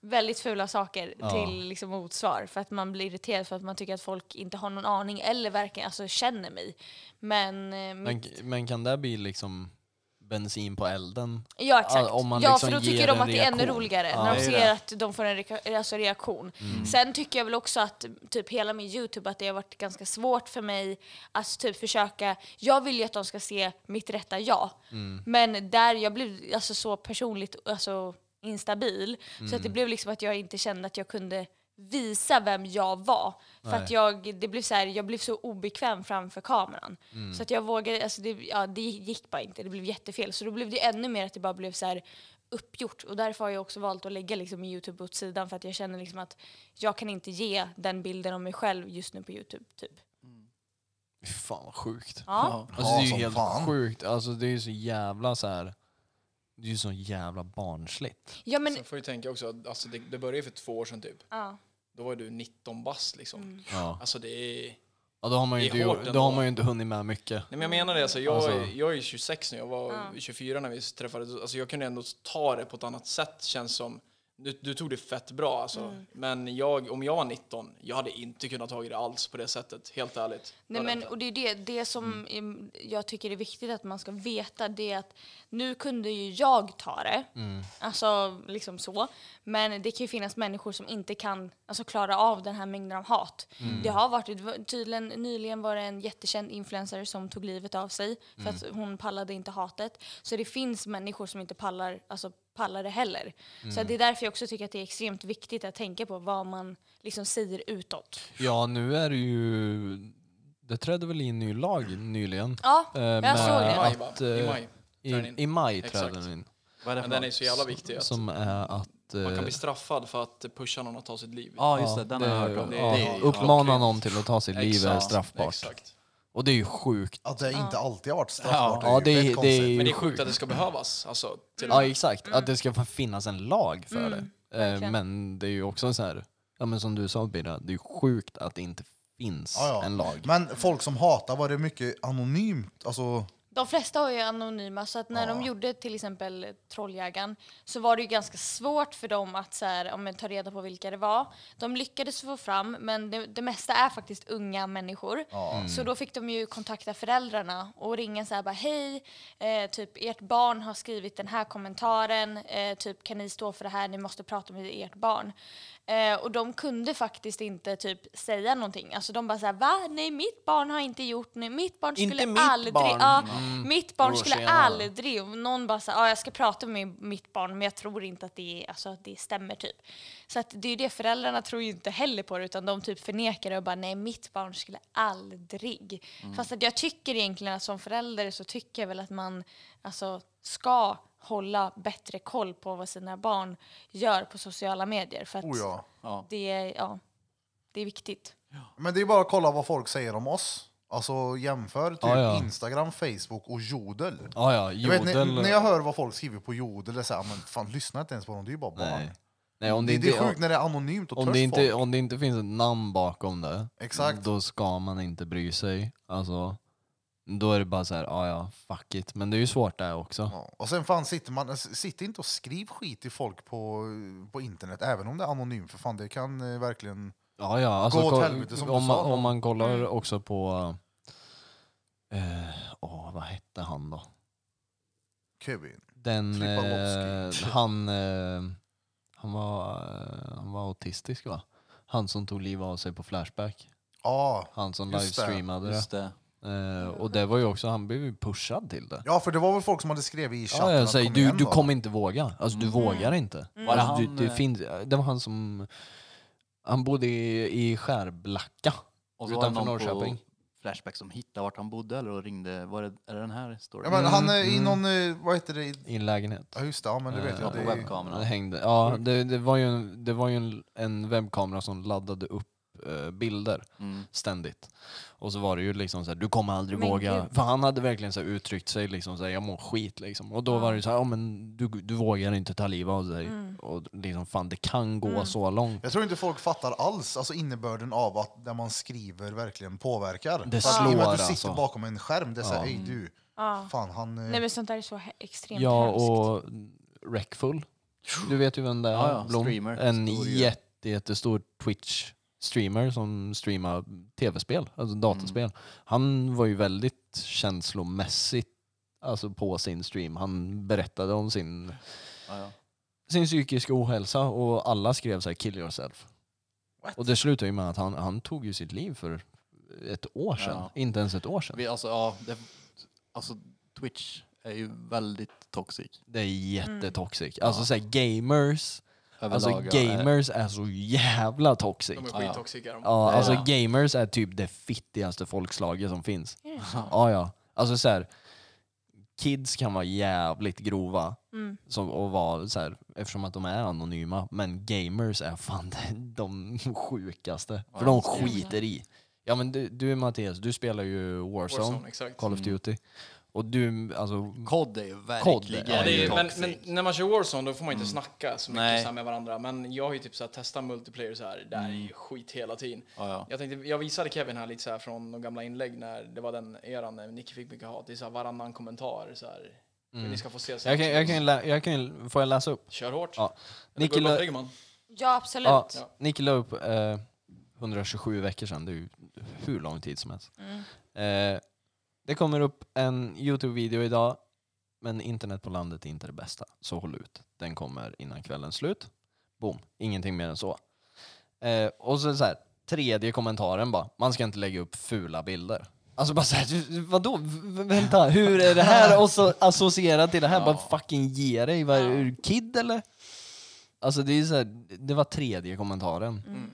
S5: väldigt fula saker
S1: Ja.
S5: till liksom motsvar för att man blir irriterad för att man tycker att folk inte har någon aning eller verkligen alltså, känner mig. Men, eh,
S1: Men,
S5: mitt,
S1: men kan det bli liksom bensin på elden?
S5: ja exakt.
S1: ja, om man
S5: ja
S1: liksom
S5: för då
S1: ger
S5: tycker de
S1: en
S5: att det är ännu
S1: reaktion.
S5: roligare
S1: Ja,
S5: när de
S3: det är
S5: ser
S3: det. Mm.
S5: att de får en reka- alltså, reaktion. Sen tycker jag väl också att typ hela min Youtube att det har varit ganska svårt för mig att typ försöka, jag vill ju att de ska se mitt rätta jag.
S3: Mm.
S5: Men där jag blev alltså, så personligt alltså, instabil så att
S3: Mm.
S5: det blev liksom att jag inte kände att jag kunde visa vem jag var. För att jag, det blev så här, jag blev så obekväm framför kameran.
S3: Mm.
S5: Så att jag vågade, alltså det, ja, det gick bara inte, det blev jättefel. Så då blev det ännu mer att det bara blev så här uppgjort. Och därför har jag också valt att lägga liksom Youtube åt sidan för att jag känner liksom att jag kan inte ge den bilden om mig själv just nu på Youtube. Typ.
S1: Fy fan vad sjukt.
S5: Ja.
S1: Alltså det är ju
S2: som
S1: helt
S2: fan.
S1: sjukt. Alltså det är ju så jävla så här. Det är ju så jävla barnsligt.
S5: ja, men
S4: Sen får du tänka också, att, alltså, det, det började ju för två år sedan typ.
S5: ja.
S4: Då var du 19 bast liksom.
S1: Ja.
S4: Alltså det är...
S1: Ja, då har man ju
S4: Det
S1: inte,
S4: är hårt
S1: gjort-
S4: ändå.
S1: då har man ju inte hunnit med mycket.
S4: Nej men jag menar det, alltså, jag,
S1: Alltså-
S4: jag är 26 nu, jag var 24 när vi träffades. Alltså, jag kunde ändå ta det på ett annat sätt känns som. Du, du tog det fett bra alltså.
S5: Mm.
S4: Men jag, om jag var 19, jag hade inte kunnat ta det alls på det sättet, helt ärligt.
S5: Nej,
S4: Hade jag
S5: men,
S4: inte.
S5: och det är det, det som em, jag tycker är viktigt att man ska veta. Det är att nu kunde ju jag ta det, alltså liksom så. Men det kan ju finnas människor som inte kan alltså, klara av den här mängden av hat. Det har varit, det var- tydligen nyligen var det en jättekänd influencer som tog livet av sig för att hon pallade inte hatet. Så det finns människor som inte pallar, alltså, pallar det heller. Så det är därför jag också tycker att det är extremt viktigt att tänka på vad man liksom säger utåt.
S1: Ja, nu är det ju... Det trädde väl in ny lag nyligen?
S5: Ja,
S1: Eh,
S5: jag
S1: med
S5: såg
S4: I maj
S5: det.
S4: va?
S1: att, eh,
S4: I maj. trädde den in.
S1: I, i maj
S4: Exakt.
S1: trädde den in.
S3: Vad är det för
S4: Men den är
S3: något?
S4: så jävla viktig att
S1: Som är att...
S4: man
S1: eh,
S4: kan bli straffad för att pusha någon att ta sitt liv.
S3: Ja, just det. Den har jag hört om.
S4: det-
S1: ja,
S4: det är-
S1: uppmana någon till att ta sitt liv är
S3: Exakt,
S1: straffbart.
S4: Exakt.
S1: Och det är ju sjukt.
S2: Att det inte alltid har varit straffbart
S1: Ja,
S2: är
S1: det
S2: ju
S1: är,
S2: fett
S1: det är
S2: konstigt.
S1: ju
S4: Men det är sjukt att det ska behövas. Alltså, till
S1: Ja, exakt. Att det ska fan finnas en lag för det. Eh,
S5: Mm, verkligen.
S1: Men det är ju också så här, ja men som du sa Birra, det är ju sjukt att det inte finns
S2: Ja, ja.
S1: en lag.
S2: Men folk som hatar, var det mycket anonymt? Alltså,
S5: De flesta har ju anonyma, så att när de gjorde till exempel Trolljägaren så var det ju ganska svårt för dem att så här, ja, men, ta reda på vilka det var. De lyckades få fram, men det, det mesta är faktiskt unga människor.
S1: Mm.
S5: Så då fick de ju kontakta föräldrarna och ringa så här bara hej, eh, typ ert barn har skrivit den här kommentaren, eh, typ kan ni stå för det här, ni måste prata med ert barn. Eh, och de kunde faktiskt inte typ säga någonting. Alltså de bara såhär, va? Nej mitt barn har inte gjort nej, mitt barn skulle
S1: mitt
S5: aldrig...
S1: barn.
S5: Ja,
S2: Mm.
S5: Mitt barn
S1: Några år
S5: skulle
S1: senare.
S5: aldrig... Och någon bara såhär, ja jag ska prata med mitt barn men jag tror inte att det, är, alltså, att det stämmer typ. Så att det är ju det, föräldrarna tror ju inte heller på det utan de typ förnekar det och bara, nej mitt barn skulle aldrig.
S2: Mm.
S5: Fast att jag tycker egentligen att som förälder så tycker jag väl att man alltså, ska hålla bättre koll på vad sina barn gör på sociala medier. För att
S2: oh ja.
S3: Ja.
S5: det är, ja, det är viktigt.
S2: Men det är bara att kolla vad folk säger om oss. Alltså jämför typ
S1: Ja, ja.
S2: Instagram, Facebook och Jodel.
S1: Ja, ja,
S2: Jag vet, när,
S1: jodel. eh.
S2: när jag hör vad folk skriver på Jodel, det är så här, men fan lyssna inte ens på dem, det är ju bara barn.
S1: Nej. Nej, om
S2: Det,
S1: det,
S2: det är sjukt
S1: inte,
S2: när det är anonymt och
S1: om,
S2: törs
S1: det inte,
S2: folk.
S1: om det inte finns ett namn bakom det,
S2: Exakt.
S1: då ska man inte bry sig. Alltså, då är det bara så här, ja ja, fuck it. Men det är ju svårt det här också.
S2: Ja. Och sen fan sitter man, s- sitt inte och skriv skit till folk på, på internet, även om det är anonymt, för fan det kan eh, verkligen...
S1: Ja, ja. Alltså,
S2: Gå åt
S1: ko-
S2: helvete, som du
S1: om, man,
S2: sa då.
S1: om man kollar också på... Eh, åh, vad hette han då?
S2: Kevin.
S1: Den... Eh,
S2: Flippanowski.
S1: han, eh, han, var, eh, han var autistisk va? Han som tog liv av sig på Flashback.
S2: Ja.
S1: Han som
S2: Just det,
S1: livestreamade det.
S3: Just det.
S1: Eh, och det var ju också, han blev ju pushad till det.
S2: ja, för det var väl folk som hade skrivit i chatten
S1: Ja, jag
S2: att
S1: säger,
S2: kom
S1: du,
S2: igen
S1: du
S2: då. Mm.
S1: kommer inte våga. Alltså du vågar inte.
S3: Var det
S1: Alltså,
S3: han,
S1: du,
S3: eh,
S1: det, finns, det var han som... Han bodde i, i Skärblacka.
S3: Och så var det
S1: Utanför
S3: någon på
S1: Norrköping.
S3: Flashback som hittade vart han bodde eller och ringde. Var det, är det den här
S2: Ja,
S3: storyn?
S2: men han är i någon, eh, vad heter det, i-
S1: I en lägenhet.
S2: ja just det, ja men det vet
S3: Det var
S2: jag.
S3: på
S2: Det är,
S1: Mm. Ja,
S3: webbkameran.
S1: det hängde. Ja, det, det var ju, en, det var ju en, en webbkamera som laddade upp eh, bilder
S3: Mm.
S1: ständigt. Och så var det ju liksom så här, du kommer aldrig
S5: Men
S1: våga.
S5: gud.
S1: För han hade verkligen så här uttryckt sig liksom så här, jag mår skit liksom. Och då var det så här, ja men du, du vågar inte ta livet av dig. Och liksom fan, det kan gå så långt.
S2: jag tror inte folk fattar alls alltså innebörden av att det man skriver verkligen påverkar.
S1: Det
S2: För att i och med att du
S1: slår,
S2: sitter
S1: alltså.
S2: bakom en skärm, det är såhär, ej du,
S5: Ja.
S2: fan han... eh,
S5: Nej men sånt där är så he- extremt
S1: Ja,
S5: hemskt.
S1: och Wreckful. Du vet ju vem det är.
S3: Ja, ja,
S1: Blom.
S3: streamer.
S1: En
S3: Stor ju.
S1: jätte, jättestor Twitch streamer som streamar tv-spel, alltså dataspel.
S3: Mm.
S1: Han var ju väldigt känslomässigt alltså på sin stream. Han berättade om sin,
S3: Ja, ja.
S1: sin psykiska ohälsa och alla skrev så här “kill yourself”. Och det slutade ju med att han, han tog ju sitt liv för ett år sedan.
S3: Ja.
S1: Inte ens ett år sedan.
S3: Vi, alltså, ja, det, alltså Twitch är ju väldigt toxic.
S1: Det är jättetoxic.
S3: Mm.
S1: Alltså så här, gamers, alltså
S3: Överlag, ja, är-
S1: gamers är så jävla toxic.
S4: De är skittoxica. de.
S1: Ja, alltså
S3: Ja.
S1: gamers är typ det fittigaste folkslaget som finns. Ja, ja. Alltså så här, kids kan vara jävligt grova
S4: Mm.
S1: som, och vara så här, eftersom att de är anonyma. Men gamers är fan de, de sjukaste. För de skiter i. Ja men du, du Mattias, du spelar ju Warzone,
S4: Warzone, exakt.
S3: Mm.
S1: Call of Duty. Och du, alltså...
S3: Kod är ju
S1: Kod,
S3: verkligen
S1: ja,
S4: Ja, det är, men,
S3: toxic.
S4: men när man kör Warzone då får man inte snacka så mycket
S3: Nej.
S4: så här med varandra. Men jag har ju typ så här, testat multiplayer så här, där är ju skit hela tiden.
S3: Ja, ja.
S4: Jag, tänkte, jag visade Kevin här lite så här från de gamla inlägg när det var den eran när Nicky fick mycket hat. Det är så här varannan kommentar så här. Men ni ska få se sen.
S1: Mm. Jag kan, jag kan, lä- jag kan, får jag läsa upp?
S4: Kör hårt.
S1: Ja.
S4: Eller
S1: Nicky
S4: Gullhoff
S1: Lö-
S4: Ryggman.
S5: Ja, absolut.
S1: Ja,
S4: Ja.
S1: Nicky la upp eh, 127 veckor sedan, det är ju hur lång tid som helst.
S5: Mm.
S1: Eh, det kommer upp en Youtube-video idag, men internet på landet är inte det bästa, så håll ut. Den kommer innan kvällens slut. Boom, ingenting mer än så. Eh, och så, så här, tredje kommentaren bara, man ska inte lägga upp fula bilder. Alltså bara såhär, vadå, V- vänta, hur är det här och så associerat till det här? Bara fucking ge dig, vad är du, är du kid eller? Alltså det är så här, det var tredje kommentaren.
S4: Mm.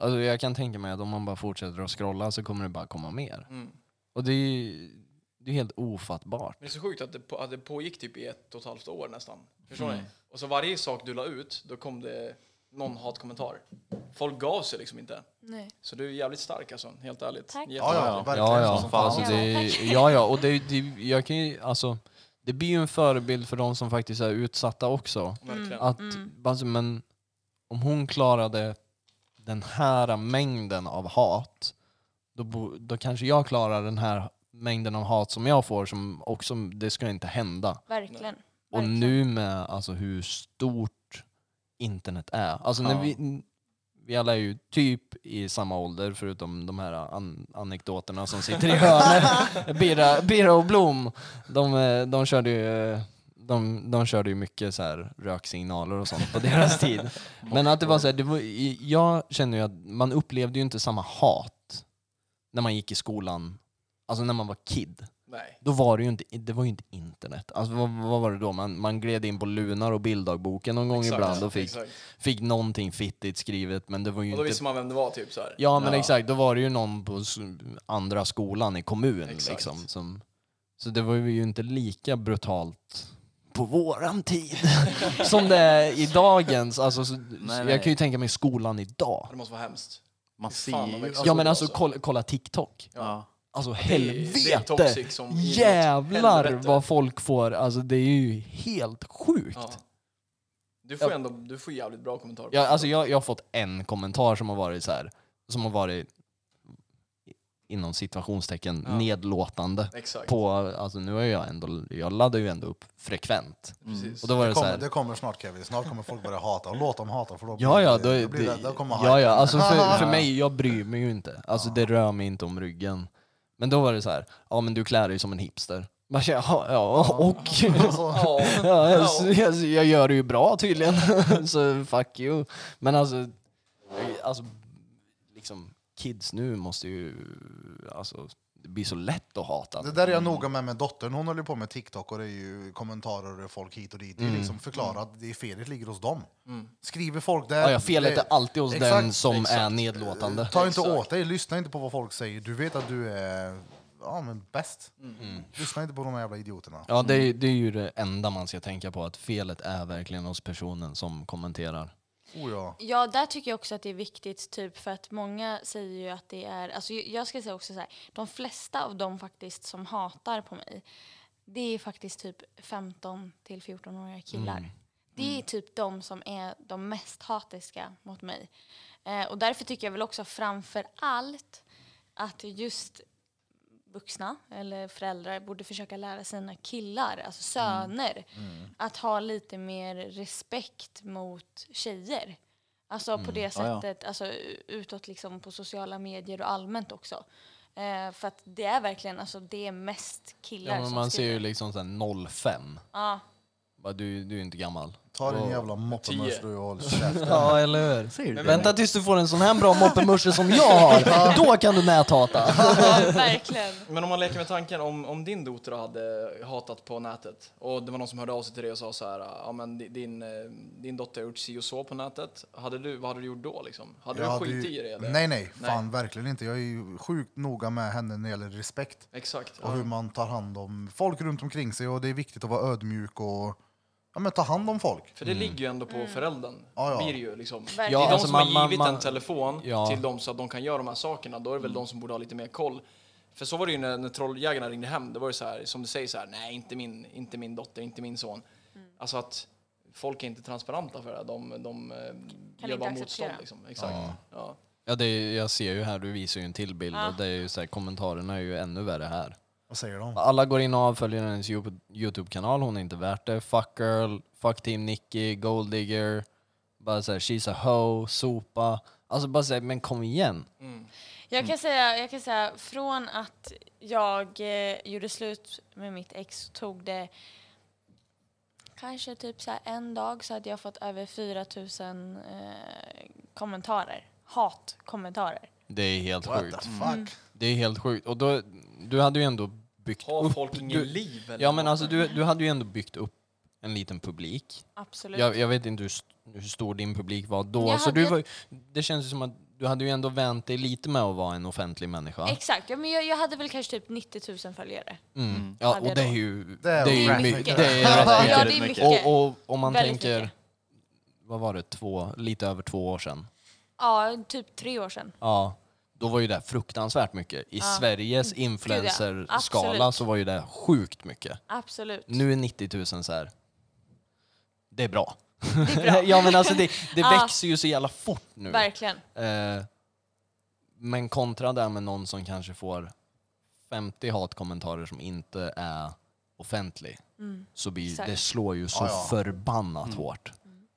S1: Alltså jag kan tänka mig att om man bara fortsätter att scrolla så kommer det bara komma mer. Och det är ju det är helt ofattbart.
S4: Men Mm. det är så sjukt att det, på, att det pågick typ i ett och ett halvt år nästan. Förstår ni? Och så varje sak du la ut, då kom det någon hatkommentar. Folk gav sig liksom inte.
S5: Nej.
S4: Så du är jävligt stark alltså, helt ärligt.
S5: Tack.
S2: Ja,
S4: Jätteduktig.
S2: ja, verkligen.
S1: Ja, ja.
S2: Som fan.
S1: Alltså, det, ja, ja. Och det, det, jag kan ju, alltså, det blir ju en förebild för de som faktiskt är utsatta också.
S4: Verkligen.
S1: Att, alltså, men om hon klarade den här mängden av hat, då, bo, då kanske jag klarar den här mängden av hat som jag får, som också, det ska inte hända.
S5: Verkligen.
S1: Och
S5: Verkligen.
S1: nu med alltså, hur stort internet är. Alltså,
S3: Ja.
S1: när vi, vi alla är ju typ i samma ålder förutom de här an- anekdoterna som sitter i hörnet. Birra, Birra och Blom, de, eh, de körde ju eh, de, de körde ju mycket så här röksignaler och sånt på deras tid. Men att det var så här, det var, i- jag känner ju att man upplevde ju inte samma hat när man gick i skolan, alltså när man var kid
S4: Nej.
S1: då var det ju inte, det var ju inte internet. Alltså, vad, vad var det då? Man, man gled in på Lunar och bilddagboken någon gång
S4: Exakt,
S1: ibland och fick,
S4: exakt.
S1: fick någonting fittigt skrivet men det var ju
S4: Och då
S1: inte...
S4: visste man vem det var typ så här.
S1: Ja men exakt, då var det ju någon på s- andra skolan i kommunen
S4: Exakt.
S1: liksom. Som, så det var ju inte lika brutalt på våran tid som det är i dagens. Alltså, så,
S3: Nej,
S1: jag
S3: nej.
S1: kan ju tänka mig skolan idag.
S4: Det måste vara hemskt.
S3: Man ser
S4: Fan, vad
S3: ju...
S4: växer
S1: ja
S4: upp
S1: men alltså
S4: alltså.
S1: kolla, kolla TikTok.
S3: Ja.
S1: Alltså
S4: är- det är
S1: helvete!
S4: toxic som inåt
S1: Jävlar
S4: helvete.
S1: vad folk får, alltså det är ju helt sjukt.
S4: Ja.
S1: Ja.
S4: Du får
S1: Ja.
S4: ändå, du får jävligt bra kommentarer. på
S1: Jag,
S4: det.
S1: alltså jag, jag har fått en kommentar som har varit så här, som har varit i- inom situationstecken nedlåtande.
S4: Exakt.
S1: På, alltså nu har jag ändå, jag laddar ju ändå upp frekvent.
S4: Precis.
S1: Och då var det,
S2: Det
S1: så
S2: kommer,
S1: här,
S2: det kommer snart Kevin, snart kommer folk börja hata. Låt dem hata för då
S1: ja ja, då,
S2: blir, det-
S1: det,
S2: då, blir det, då kommer
S1: ja, ja
S2: hypen.
S1: alltså för, för mig, jag bryr mig ju inte. Alltså det rör mig inte om ryggen. Men då var det så här, ja men du klär dig som en hipster. Man känner, ja, ja och...
S2: Så,
S1: Ja, jag, jag, jag gör det ju bra tydligen, så fuck you. Men alltså, alltså liksom, kids nu måste ju... Alltså, det blir så lätt att hata.
S2: det där är jag noga med med dottern. Hon håller på med TikTok och det är ju kommentarer och folk hit och dit. Det
S1: Mm.
S2: är liksom förklara att det är felet ligger hos dem.
S4: Mm.
S2: Skriver folk där...
S1: Ja, ja, felet
S2: det-
S1: är alltid hos
S2: Exakt.
S1: den som är
S4: exakt.
S1: nedlåtande.
S2: Ta inte
S4: Exakt.
S2: åt dig, lyssna inte på vad folk säger. Du vet att du är ja, men bäst.
S4: Mm.
S2: Lyssna inte på de här jävla idioterna.
S1: Mm. Ja, det är, det är ju det enda man ska tänka på, att felet är verkligen hos personen som kommenterar.
S2: Oh, ja.
S5: Ja, där tycker jag också att det är viktigt, typ för att många säger ju att det är, alltså ju- jag ska säga också så här, de flesta av dem faktiskt som hatar på mig, det är faktiskt typ 15 till 14-åriga killar.
S1: Mm.
S5: Det är typ de som är de mest hatiska mot mig. Eh, och därför tycker jag väl också framför allt att just vuxna eller föräldrar borde försöka lära sina killar, alltså
S1: Mm.
S5: söner, att ha lite mer respekt mot tjejer. Alltså
S1: Mm.
S5: på det
S3: Ja, ja.
S5: sättet, alltså u- utåt liksom på sociala medier och allmänt också. Eh, för att det är verkligen, alltså det är mest killar
S1: Ja, men
S5: som
S1: man ser
S5: skriver.
S1: ju liksom såhär 05.
S5: Ja.
S1: Bara, Du, du är inte gammal.
S2: Ta din
S1: Och-
S2: jävla moppemörs
S4: Tio.
S2: du och håll käften.
S1: Ja, eller hur?
S3: Ser du det?
S1: Vänta tills du får en sån här bra moppemusche som jag har. Då kan du näthata.
S5: ja, verkligen.
S4: Men om man leker med tanken om, om din dotter hade hatat på nätet och det var någon som hörde av sig till dig och sa så här, ja men di- din, eh, din dotter har gjort si och så på nätet. Hade du, vad hade du gjort då liksom? Hade
S2: Jag
S4: du
S2: hade ju-
S4: skitit i det eller?
S2: Nej, nej, fan verkligen inte. Jag är ju sjukt noga med henne när det gäller respekt
S4: Exakt.
S2: och hur man tar hand om folk runt omkring sig. Och det är viktigt att vara ödmjuk och ja, men, ta hand om folk.
S4: För det
S1: Mm.
S4: ligger ju ändå på
S5: Mm.
S4: föräldern.
S2: Ja, ja.
S4: Blir det ju liksom. Det är
S5: Ja,
S4: de
S1: alltså
S4: som
S1: man-
S4: har
S1: man-
S4: givit
S1: man-
S4: en telefon
S1: Ja. Mm.
S4: till dem så att de kan göra de här sakerna. Då är det väl de som borde ha lite mer koll. För så var det ju när, när trolljägarna ringde hem. Det var ju så här, som du säger, så här, nej inte min, inte min dotter, inte min son.
S5: Mm.
S4: Alltså att folk är inte transparenta för det. De, de eh, gör
S5: inte
S4: bara
S5: acceptera.
S4: motstånd. Liksom. Exakt. Ja.
S1: Ja, det är, jag ser ju här, du visar ju en till bild
S5: Ja.
S1: och det är ju så här, kommentarerna är ju ännu värre här.
S2: Vad säger de?
S1: Alla går in och avföljer hennes Yo- Youtube-kanal, hon är inte värt det. Fuck girl, fuck team Nicky, gold digger. Bara såhär, she's a hoe, sopa. Alltså bara såhär, men kom igen.
S5: Jag kan, säga, jag kan säga från att jag eh, gjorde slut med mitt ex så tog det kanske typ så här en dag så hade jag fått över 4000 eh, kommentarer. Hatkommentarer.
S1: Det är helt
S2: What the
S1: sjukt.
S2: fuck?
S5: Mm.
S1: Det är helt sjukt. Och då, du hade ju ändå byggt
S4: Har
S1: upp...
S4: folk ingen
S1: du,
S4: liv? Eller
S1: ja men
S4: något?
S1: alltså du, du hade ju ändå byggt upp en liten publik.
S5: Absolut.
S1: Jag, jag vet inte hur, st- hur stor din publik var då.
S5: Jag
S1: så
S5: hade
S1: du
S5: ju-
S1: var, det känns ju som att du hade ju ändå vänt dig lite med att vara en offentlig människa.
S5: Exakt. Ja, men jag, jag hade väl kanske typ 90 000 följare.
S1: Mm. Ja,
S5: Hade
S1: och
S5: jag
S1: det
S5: då.
S1: är ju...
S2: Det är
S1: ju
S2: rätt
S1: my-
S2: mycket.
S1: Det är rätt
S5: Ja,
S1: mycket.
S5: det är mycket.
S1: Och, och om man
S5: Väldigt
S1: tänker,
S5: mycket.
S1: vad var det, två, lite över två år sedan?
S5: Ja, typ tre år sedan.
S1: Ja, då var ju det fruktansvärt mycket. I Sveriges influencerskala
S5: Absolut.
S1: så var ju det sjukt mycket.
S5: Absolut.
S1: Nu är 90 000 så här. det är bra.
S5: Det är bra.
S1: ja men alltså det, det
S5: Ja.
S1: växer ju så jävla fort nu.
S5: Verkligen.
S1: Eh, men kontra där med någon som kanske får 50 hatkommentarer som inte är offentlig. Så blir,
S5: Mm. Exakt.
S1: det slår ju
S2: Ja,
S1: så
S2: Mm. ja.
S1: förbannat hårt.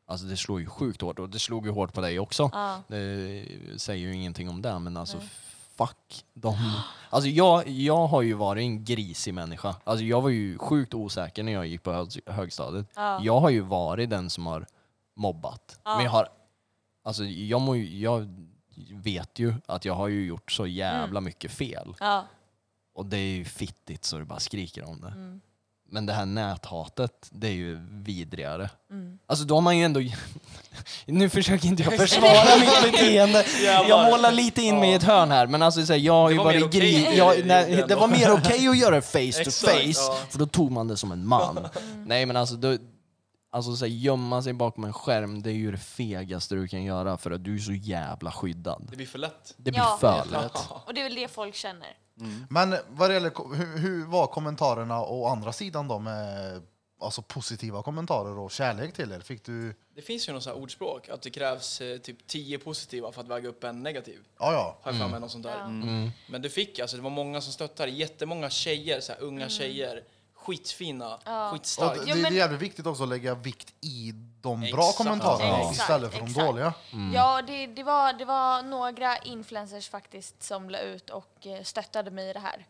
S1: Alltså det slår ju sjukt hårt och det slog ju hårt på dig också.
S5: Ja.
S1: Det Eh, säger ju ingenting om det men alltså fuck dem. Alltså jag, jag har ju varit en grisig människa. Alltså jag var ju sjukt osäker när jag gick på hög, högstadiet. Jag har ju varit den som har mobbat. Men jag har Alltså jag, må, ju- jag vet ju att jag har ju gjort så jävla mycket fel.
S5: Ja.
S1: Och det är ju fittigt så det bara skriker om det.
S5: Mm.
S1: Men det här näthatet, det är ju vidrigare.
S5: Mm.
S1: Alltså då har man ju ändå... nu försöker inte jag försvara mitt beteende. Jag målar lite in mig i ett hörn här. Men alltså så här, jag har ju
S4: var mer
S1: varit
S4: okej
S1: gris...
S4: i-
S1: Jag,
S4: i
S1: nej, det
S4: den då.
S1: var mer okej att göra det face to
S4: Exakt,
S1: face.
S4: ja. Mm.
S1: För då tog man det som en man. Nej men alltså... Då, Alltså så här, gömma sig bakom en skärm, det är ju det fegaste du kan göra för att du är så jävla skyddad.
S4: Det blir för lätt.
S1: Det blir
S5: Ja.
S1: för lätt.
S5: Och det är väl det folk känner.
S2: Men vad det gäller, ko- hur, hur var kommentarerna å andra sidan då med alltså, positiva kommentarer och kärlek till er? Fick du...
S4: Det finns ju något sånt här ordspråk att det krävs eh, typ 10 positiva för att väga upp en negativ.
S2: Ja, ja.
S4: Har jag
S1: Mm.
S4: för mig något sånt där. Mm. Men du fick alltså, det var många som stöttade. Jättemånga tjejer, så här, unga tjejer. Skitfina,
S2: Och
S4: skitstarka.
S2: det,
S5: Mm. Ja,
S2: det är
S5: men-
S2: jävligt viktigt också att lägga vikt i de bra
S4: Exakt.
S2: kommentarerna
S5: Ja.
S2: istället för de
S5: Exakt.
S2: dåliga.
S5: Ja, det, det, var, det var några influencers faktiskt som la ut och eh, stöttade mig i det här.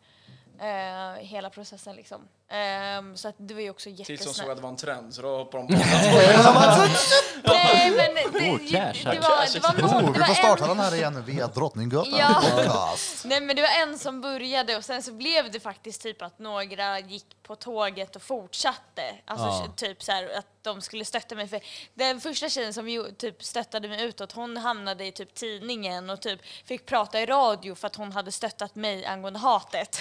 S5: Eh, hela processen liksom. Ehm, så att det var ju också
S4: Tills de såg
S5: jättesnällt.
S4: att det var en trend, så då hoppade de på
S5: Nej, men det, det,
S3: Oh, cash.
S5: det var, det var någon,
S2: Oh, vi
S5: det
S2: får
S5: var
S2: starta
S5: en,
S2: den här igen nu via Drottninggatan
S5: Ja.
S2: podcast.
S5: nej, men det var en som började och sen så blev det faktiskt typ att några gick på tåget och fortsatte. Alltså typ så här att de skulle stötta mig. För den första tjejen som ju, typ stöttade mig utåt, hon hamnade i typ tidningen och typ fick prata i radio för att hon hade stöttat mig angående hatet.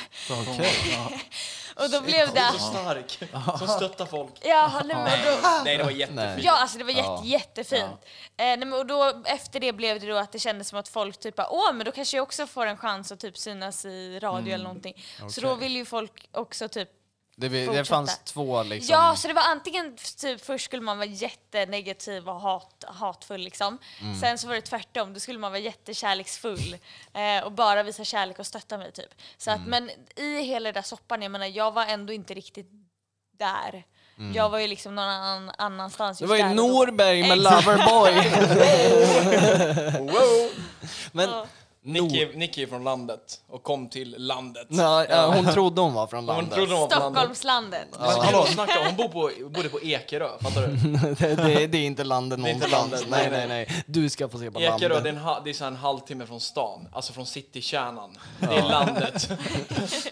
S5: Och då blev det...
S4: Så stark, som stöttar folk.
S5: Ja, nej, men då,
S1: Ah!
S4: Nej, det var jättefint.
S5: ja, alltså det var jätte, jättefint. Eh, nej, men, och då, efter det blev det då att det kändes som att folk typ bara, åh, men då kanske jag också får en chans att typ synas i radio eller någonting. Så då vill ju folk också typ
S1: Det, vi- det
S5: Fortsätta.
S1: fanns två liksom.
S5: Ja, så det var antingen f- typ först skulle man vara jättenegativ och hat, hatfull liksom. Sen så var det tvärtom, då skulle man vara jättekärleksfull eh, och bara visa kärlek och stötta mig typ. Så att, men i hela den där soppan, jag menar jag var ändå inte riktigt där. Jag var ju liksom någon annan, annanstans.
S1: det
S5: just
S1: var ju
S5: där och då.
S1: Norberg med
S5: Exakt.
S1: Loverboy.
S4: Wow.
S1: Men
S5: Ja.
S1: Nor-
S4: Nicky, Nicky är från landet och kom till landet.
S1: Nej, ja, hon trodde hon var från
S4: Hon
S1: landet.
S4: trodde hon var från landet.
S5: Stockholmslandet.
S4: Men hallå, snacka, hon bor på, bodde på Ekerö, fattar du?
S1: det, det, det är inte landet
S4: är inte
S1: någonstans.
S4: landet,
S1: nej, nej,
S4: nej,
S1: nej. Du ska få se på
S4: Ekerö, det är,
S1: landet.
S4: en, ha- det är så här en halvtimme från stan, alltså från citykärnan. Det är landet.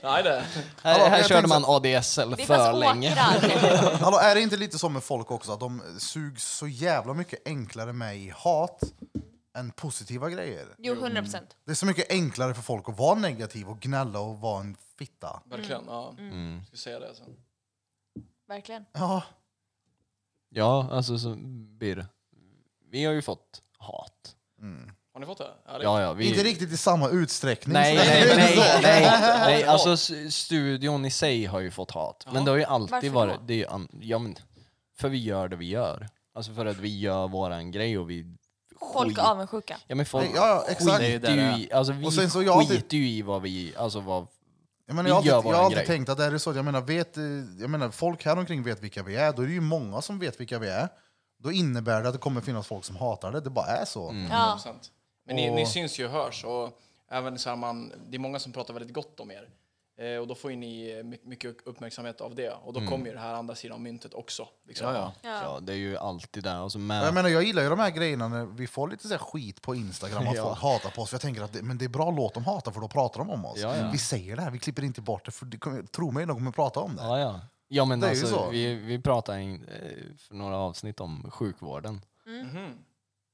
S4: Nej det.
S2: Hallå,
S1: Här, här
S2: jag
S1: körde
S2: tänkte-
S1: man ADSL för
S5: Det fanns
S1: länge.
S5: åkrar.
S2: Hallå, är det inte lite så med folk också att de sugs så jävla mycket enklare med i hat än positiva grejer?
S5: Jo, 100 procent.
S2: Det är så mycket enklare för folk att vara negativ och gnälla och vara en fitta.
S4: Verkligen,
S1: Mm.
S4: ja. Jag ska säga det sen.
S5: Verkligen.
S2: Ja,
S1: Ja, alltså så blir det. Vi har ju fått hat.
S4: Har Har ni fått det? Ja, det-
S1: Ja, ja, vi...
S2: Inte riktigt i samma utsträckning.
S1: Nej,
S2: så-
S1: nej, nej,
S2: Så-
S1: nej, nej. Alltså s- studion i sig har ju fått hat. Men det har ju alltid
S5: Varför då?
S1: varit... Det är ju an... ja, men, för vi gör det vi gör. Alltså för att vi gör våran grej och vi...
S5: Folk är avundsjuka.
S1: Ja men folk
S2: Ja, ja, exakt.
S1: skiter ju i... Alltså vi
S2: Och sen så jag har typ-
S1: skiter
S2: alltid-
S1: ju i vad vi... Alltså vad...
S2: Jag, menar,
S1: Vi
S2: jag har alltid,
S1: gör
S2: jag har
S1: våran
S2: alltid
S1: grej.
S2: tänkt att det här är så. att Jag menar, vet, eh, jag menar, folk här omkring vet vilka vi är. Då är det ju många som vet vilka vi är. Då innebär det att det kommer finnas folk som hatar det. Det bara är så.
S1: Mm.
S5: Ja.
S4: 100%. Men ni, ni syns ju och hörs och även så här man, det är många som pratar väldigt gott om er. Eh, och då får ju ni eh, my- mycket uppmärksamhet av det och då kommer ju det här andra sidan av myntet också. Liksom.
S3: Ja, ja.
S1: Mm. Ja.
S5: Ja.
S1: det är ju alltid det. Alltså,
S2: Jag
S1: men...
S2: menar, jag gillar ju de här grejerna när vi får lite så här skit på Instagram att folk hatar på oss. För jag tänker att det, men det är bra låt de hatar för då pratar de om oss.
S1: Ja, ja.
S2: Vi säger det här, vi klipper inte bort det. För det kommer, tro mig, de kommer prata om det.
S1: Ja, ja. Ja men
S2: Det är ju
S1: alltså,
S2: så.
S1: vi, vi pratade i- eh, för några avsnitt om sjukvården.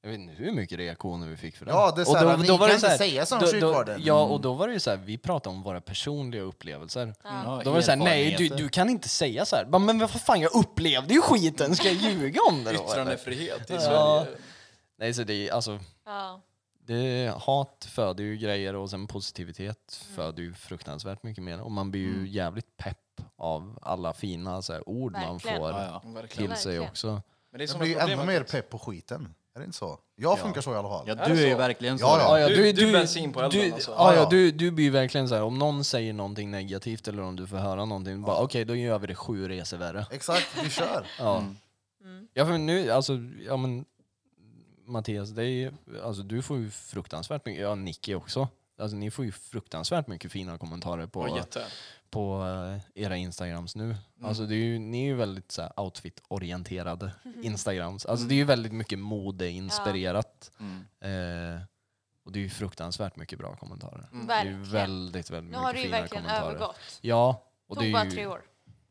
S1: Jag vet inte hur mycket reaktioner vi fick för det.
S2: Mhm. Ja, det är så här, ni kan inte
S1: här-
S2: säga som
S1: då- då-
S2: sjukvården. Mm.
S1: Ja, och då var det ju så här, vi pratade om våra personliga upplevelser.
S3: Ja,
S1: Då var det såhär, nej du,
S3: erfarenheter.
S1: du kan inte säga så här. Bara, Men vad fan, jag upplevde ju skiten, ska jag ljuga om det då? eller?
S4: Yttrandefrihet i
S1: Ja.
S4: Sverige.
S1: Nej, så det är alltså,
S5: Ja.
S1: det, hat föder ju grejer och sen positivitet
S5: Mm.
S1: föder ju fruktansvärt mycket mer. Och man blir ju
S4: Mm.
S1: jävligt pepp av alla fina så här, ord man
S5: Verkligen.
S1: får
S3: Ja, ja.
S4: Verkligen.
S1: till sig
S5: Verkligen.
S1: också.
S4: Men det är
S2: Jag
S4: som
S2: blir ju
S4: är problemet.
S2: ännu mer pepp på skiten. Är det inte så? Jag funkar så i alla fall.
S3: Ja,
S4: Är det
S3: du är ju
S4: så?
S3: verkligen så.
S2: Ja, ja.
S4: Du- du är bensin på elden,
S1: du,
S4: alltså.
S1: ja,
S2: Ja,
S1: ja,
S2: ja.
S1: du, du blir verkligen så här, om någon säger någonting negativt eller om du får höra någonting, bara okej då gör vi det sju resor värre.
S2: Exakt, vi kör.
S1: Ja.
S4: Mm.
S5: Mm.
S1: ja för nu, alltså, ja men Mattias, det är, ju- alltså, du får ju fruktansvärt mycket, ja Nicky också. Alltså ni får ju fruktansvärt mycket fina kommentarer på,
S4: Ja, jätte.
S1: på eh, era instagrams nu.
S4: Mm.
S1: Alltså det är ju, ni är ju väldigt så här, outfit-orienterade
S5: Mhm.
S1: instagrams.
S4: Mm.
S1: Alltså det är ju väldigt mycket mode-inspirerat.
S3: Mm,
S1: Eh, och det är ju fruktansvärt mycket bra kommentarer.
S4: Mm.
S1: Det är ju
S5: Mm, Verkligen.
S1: väldigt, väldigt
S5: Nu
S1: mycket
S5: har det ju
S1: fina
S5: verkligen
S1: kommentarer.
S5: övergått.
S1: Ja. Och det
S5: Tog bara
S1: är
S5: tre
S1: ju,
S5: år.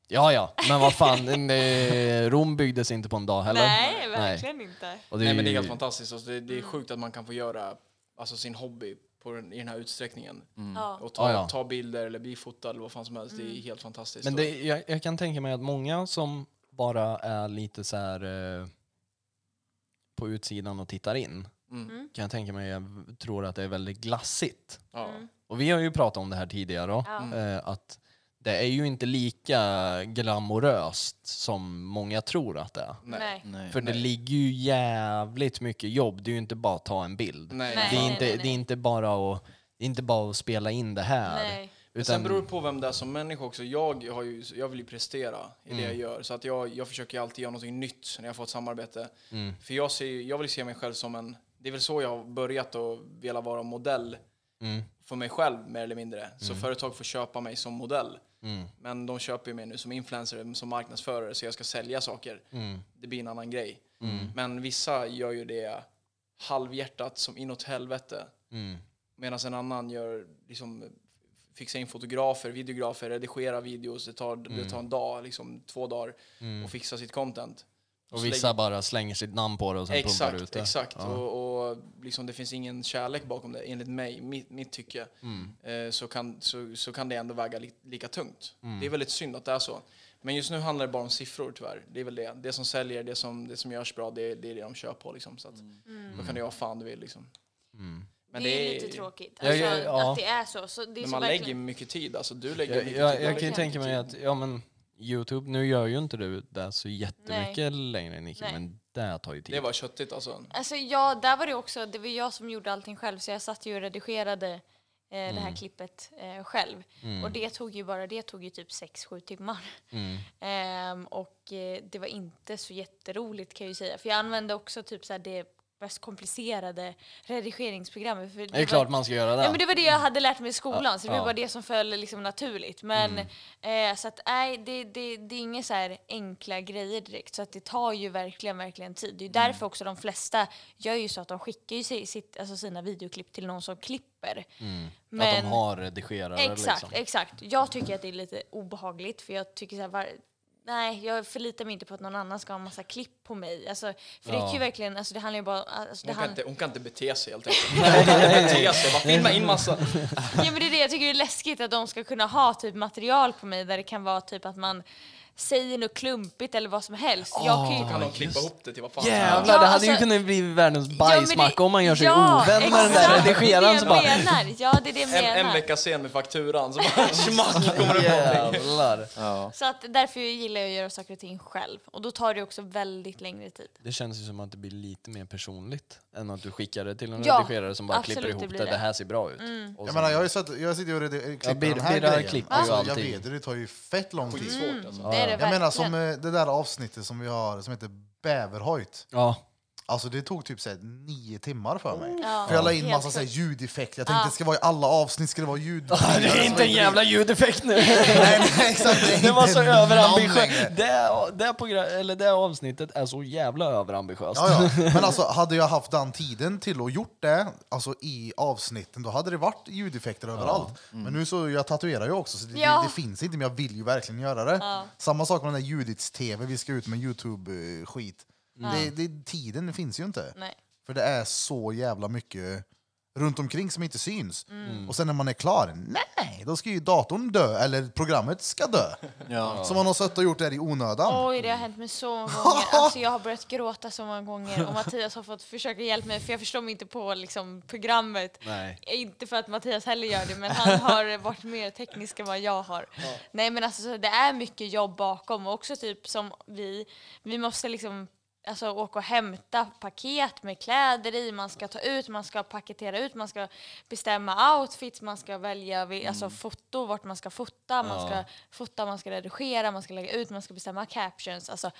S1: ja, ja, men vad fan, en, eh, Rom byggdes inte på en dag heller.
S5: Nej, verkligen inte.
S1: Och
S4: Nej,
S1: ju-
S4: men det är helt fantastiskt. Alltså, det,
S5: Mm.
S4: det är sjukt att man kan få göra alltså, sin hobby på den, i den här utsträckningen.
S5: Ja. Mm.
S4: Och ta,
S1: Ja, ja.
S4: ta bilder eller bli fotad eller vad fan som helst. Det är helt fantastiskt.
S1: Men det, jag, jag kan tänka mig att många som bara är lite så här eh, på utsidan och tittar in
S4: Mm.
S1: kan jag tänka mig jag tror att det är väldigt glassigt.
S4: Och- ja.
S5: Mm.
S1: Och vi har ju pratat om det här tidigare då, eh, att det är ju inte lika glamoröst som många tror att det är.
S5: Nej.
S3: Nej.
S1: För det ligger ju jävligt mycket jobb, det är ju inte bara att ta en bild.
S4: Nej.
S5: Nej.
S1: Det är, inte,
S5: nej, nej.
S1: det är inte bara att, det är inte bara att spela in det här.
S5: Nej.
S4: Men sen beror det på vem det är som människa också. Jag, har ju, jag vill ju prestera i det jag gör. Så att jag, jag försöker ju alltid göra någonting nytt när jag får ett samarbete. För jag, ser, ju- jag vill se mig själv som en... Det är väl så jag har börjat och velat vara modell för mig själv mer eller mindre. Så företag får köpa mig som modell. Men de köper ju mig nu som influencer, som marknadsförare, så jag ska sälja saker. Det blir en annan grej. Men vissa gör ju det halvhjärtat, som inåt helvete.
S1: mm.
S4: Medan en annan gör, liksom, fixar in fotografer, videografer, redigerar videos. Det tar,
S1: Mm.
S4: det tar en dag, liksom, två dagar, och fixa sitt content.
S1: Och
S4: så
S1: vissa bara slänger sitt namn på det och sen pumpar ut
S4: Exakt,
S1: det.
S4: exakt. Och, och liksom det finns ingen kärlek bakom det, enligt mig, mitt, mitt tycke.
S1: Mm.
S4: Eh, så, kan, så, så kan det ändå väga li, lika tungt.
S1: Mm.
S4: Det är väldigt synd att det är så. Men just nu handlar det bara om siffror tyvärr. Det är väl det. Det som säljer, det som, det som görs bra, det, det är det de kör på. Liksom. Så att,
S5: Mm.
S4: Då
S1: Mm.
S4: kan du göra vad fan du vill. Liksom. Men
S5: det, är lite tråkigt.
S1: Ja,
S5: Alltså,
S1: ja, ja.
S5: Att det är så. så det är
S4: Men
S5: så
S4: man
S5: verkligen-
S4: lägger ju mycket tid. Alltså, du lägger
S1: Jag,
S4: mycket
S5: typ
S1: jag,
S4: tid.
S1: jag kan ju
S4: lägger
S1: tänka mig
S4: mycket
S1: att ja, men, Youtube, nu gör ju inte du det så jättemycket längre Nicky,
S5: Nej.
S1: men det tar ju
S4: tid.
S1: tid.
S4: Det var köttigt alltså.
S5: Alltså ja, där var det också, det var jag som gjorde allting själv så jag satt ju och redigerade eh, det
S1: Mm.
S5: här klippet eh, själv. Och det tog ju bara, det tog ju typ 6-7 timmar.
S1: Mm.
S5: Ehm, och eh, det var inte så jätteroligt kan jag ju säga. För jag använde också typ så här det mest komplicerade redigeringsprogrammet. För
S1: det är klart man ska göra det.
S5: Ja, men det var det jag hade lärt mig i skolan, så det
S1: mm. Ja.
S5: var
S1: Mm.
S5: bara det som föll liksom naturligt. Men, eh, så att, nej, det, det, det är inga så här enkla grejer direkt, så att det tar ju verkligen, verkligen tid. Det är ju
S1: Mm.
S5: därför också de flesta gör ju så att de skickar ju si- sitt, alltså sina videoklipp till någon som klipper.
S1: Att Mm. de har redigerare
S5: Exakt,
S1: liksom.
S5: exakt. Jag tycker att det är lite obehagligt för jag tycker så här, var, nej, jag förlitar mig inte på att någon annan ska ha en massa klipp på mig. Alltså, för det kan ju verkligen, alltså det handlar ju bara alltså, det
S4: Hon kan,
S5: handlar,
S4: inte, hon kan inte bete sig helt enkelt. Hon kan inte bete sig. Bara filma in massa.
S5: Ja men det är det jag tycker det är läskigt att de ska kunna ha typ material på mig där det kan vara typ att man säger något klumpigt eller vad som helst. Jag kan ju
S4: Kan de klippa ihop det till vad fan
S1: Jävlar,
S5: Ja,
S1: det hade ju
S5: alltså-
S1: kunnat bli världens
S5: Ja, men det-
S1: bajsmacka om man gör sig
S5: ja,
S1: ovän med den där
S5: exakt, det är
S1: redigeraren.
S5: det
S1: så
S5: jag
S1: bara,
S5: menar. Ja, det är det jag menar.
S4: En, en vecka sen med fakturan så bara smack kommer det på.
S1: Jävlar.
S5: Så att därför gillar jag att göra saker och ting själv. Och då tar det också väldigt längre tid.
S1: Det känns ju som att det blir lite mer personligt än att du skickar det till en
S5: Ja,
S1: redigerare som bara
S5: absolut,
S1: klipper
S5: det
S1: ihop det.
S5: blir
S1: Det.
S5: det. Mm.
S1: här ser bra ut. Och
S2: Jag
S1: sen-
S2: menar, jag, har ju sett, jag sitter ju och redi- klipper
S1: Bir-
S2: den här
S1: Birra
S2: grejen.
S1: klipper ju
S2: Alltså, jag
S1: allting.
S2: vet, det, det tar ju fett lång tid.
S4: Skitsvårt alltså.
S5: Det är det
S2: Jag menar
S5: verkligen.
S2: som eh, det där avsnittet som vi har som heter Bäverhojt.
S1: ja.
S2: Alltså det tog typ så här, nio timmar för mig.
S5: Ja,
S2: För jag la in
S5: helt
S2: massa så här, ljudeffekter. Jag tänkte det ska vara i alla avsnitt ska det vara ljud.
S1: Det är inte en jävla ljudeffekt nu.
S2: Nej, nej, exakt. Det, är
S1: Det var
S2: inte
S1: så
S2: namn
S1: överambitiöst.
S2: längre.
S1: Det, det, progra- eller det avsnittet är så jävla överambitiöst.
S2: Ja, ja. Men alltså, hade jag haft den tiden till och gjort det alltså, i avsnitten, då hade det varit ljudeffekter överallt. Men nu så, jag tatuerar ju också, så det,
S5: Ja.
S2: det, det finns inte, men jag vill ju verkligen göra det. Samma sak med den där Judits-tv, vi ska ut med Youtube-skit. Det, det, tiden finns ju inte.
S5: Nej.
S2: För det är så jävla mycket runt omkring som inte syns. Och sen när man är klar, nej, då ska ju datorn dö, eller programmet ska dö.
S3: Ja.
S2: Som man har suttit och gjort det här i onödan.
S5: Oj, det har hänt mig så många gånger. Alltså, jag har börjat gråta så många gånger och Mattias har fått försöka hjälpa mig för jag förstår mig inte på liksom, programmet.
S1: Nej.
S5: Eh, Inte för att Mattias heller gör det, men han har varit mer teknisk än vad jag har. Nej, men alltså, så det är mycket jobb bakom och också typ som vi, vi måste liksom Alltså åka och hämta paket med kläder i, man ska ta ut, man ska paketera ut, man ska bestämma outfits, man ska välja
S1: Mm.
S5: vi- alltså, foto, vart man ska fota, man ska fota, man ska redigera, man ska lägga ut, man ska bestämma captions. Alltså,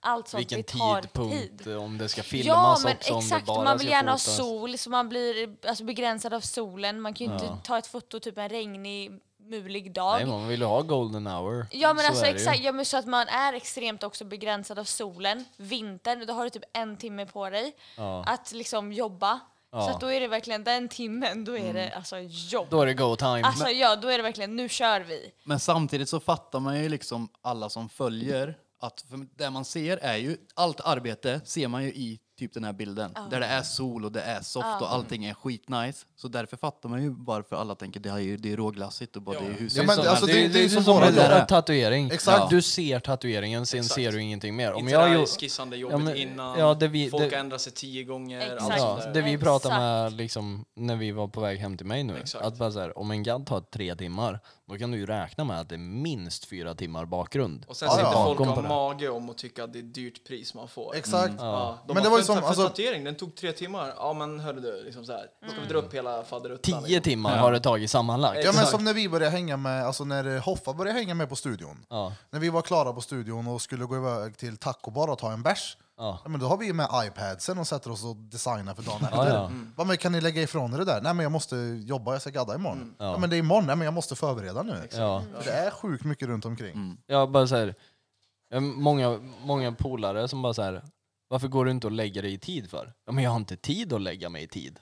S5: allt sånt
S1: Vilken
S5: det tar
S1: tidpunkt,
S5: tid.
S1: om det ska
S5: Ja,
S1: filmas
S5: men
S1: också, om det
S5: exakt.
S1: bara
S5: Man vill
S1: ska
S5: gärna ha
S1: fotas.
S5: sol, så man blir alltså, begränsad av solen. Man kan ju inte ta ett foto typ en regnig, mulig dag.
S1: Nej, man vill ju ha golden hour.
S5: Ja men
S1: Så
S5: alltså
S1: är det ju.
S5: exakt, ja, men så att man är extremt också begränsad av solen, vintern, då har du typ en timme på dig att liksom jobba. Så
S1: Ja. Mm.
S5: att då är det verkligen den timmen, då är det alltså jobb.
S1: Då är det go time.
S5: alltså ja, då är det verkligen nu kör vi.
S3: Men samtidigt så fattar man ju liksom alla som följer att för det man ser är ju allt arbete ser man ju i typ den här bilden där det är sol och det är soft och allting är skitnice. Så därför fattar man ju varför alla tänker det är ju det är råglassigt och bara det är hur
S1: Det är
S2: men
S1: som-
S2: alltså,
S1: det,
S2: det-
S1: är-
S2: det
S1: det är
S2: är
S1: ju
S2: som
S1: som
S2: våra
S1: en
S3: lärare.
S1: tatuering.
S2: Exakt.
S1: Du ser tatueringen, sen ser du ingenting mer. Om
S4: Inte det
S1: jag,
S4: här
S1: ju-
S4: skissande
S1: Ja,
S4: jobbet
S1: men-
S4: innan,
S1: ja, det vi-
S4: folk
S1: det-
S4: har ändrat sig tio gånger. Alltså,
S5: Exakt.
S4: allt
S1: ja, alltså,
S4: sånt där.
S1: det vi pratade med
S5: Exakt.
S1: liksom, när vi var på väg hem till mig nu,
S4: Exakt.
S1: att bara så här, om en gadd tar tre timmar, då kan du ju räkna med att det är minst fyra timmar bakgrund.
S4: Och sen
S2: Ja,
S4: sitter
S2: ja.
S4: folk
S1: Kom
S4: och
S1: på det.
S4: har
S1: Mm.
S4: mage om att tycka att det är ett dyrt pris man får.
S2: Exakt.
S4: Mm. Ja,
S2: Men
S4: de men
S2: det
S4: det
S2: var ju
S4: för,
S2: som-
S4: för
S2: alltså-
S4: tatuering, den tog tre timmar. Ja men hörru du, liksom så här. ska
S5: Mm.
S4: vi dra upp hela faderuttan?
S1: Tio
S4: liksom?
S1: timmar har det tagit sammanlagt.
S2: Ja men
S4: Exakt.
S2: som när vi började hänga med, alltså när eh, Hoffa började hänga med på studion.
S1: Ja.
S2: När vi var klara på studion och skulle gå iväg till tacobar och ta en bärs.
S1: Ja.
S2: men då har vi ju med iPadsen och sätter oss och designar för dagen efter.
S1: Ja,
S2: Ja,
S4: Mm.
S1: ja.
S2: men kan ni lägga ifrån er det där? Nej men jag måste jobba, jag ska gadda imorgon. Ja. men det är imorgon, nej men jag måste förbereda nu.
S1: Ja.
S2: För det är sjukt mycket runt omkring.
S1: Jag bara så här, jag har många, många polare som bara så här, varför går du inte och lägger dig i tid för? Ja, men jag har inte tid att lägga mig i tid.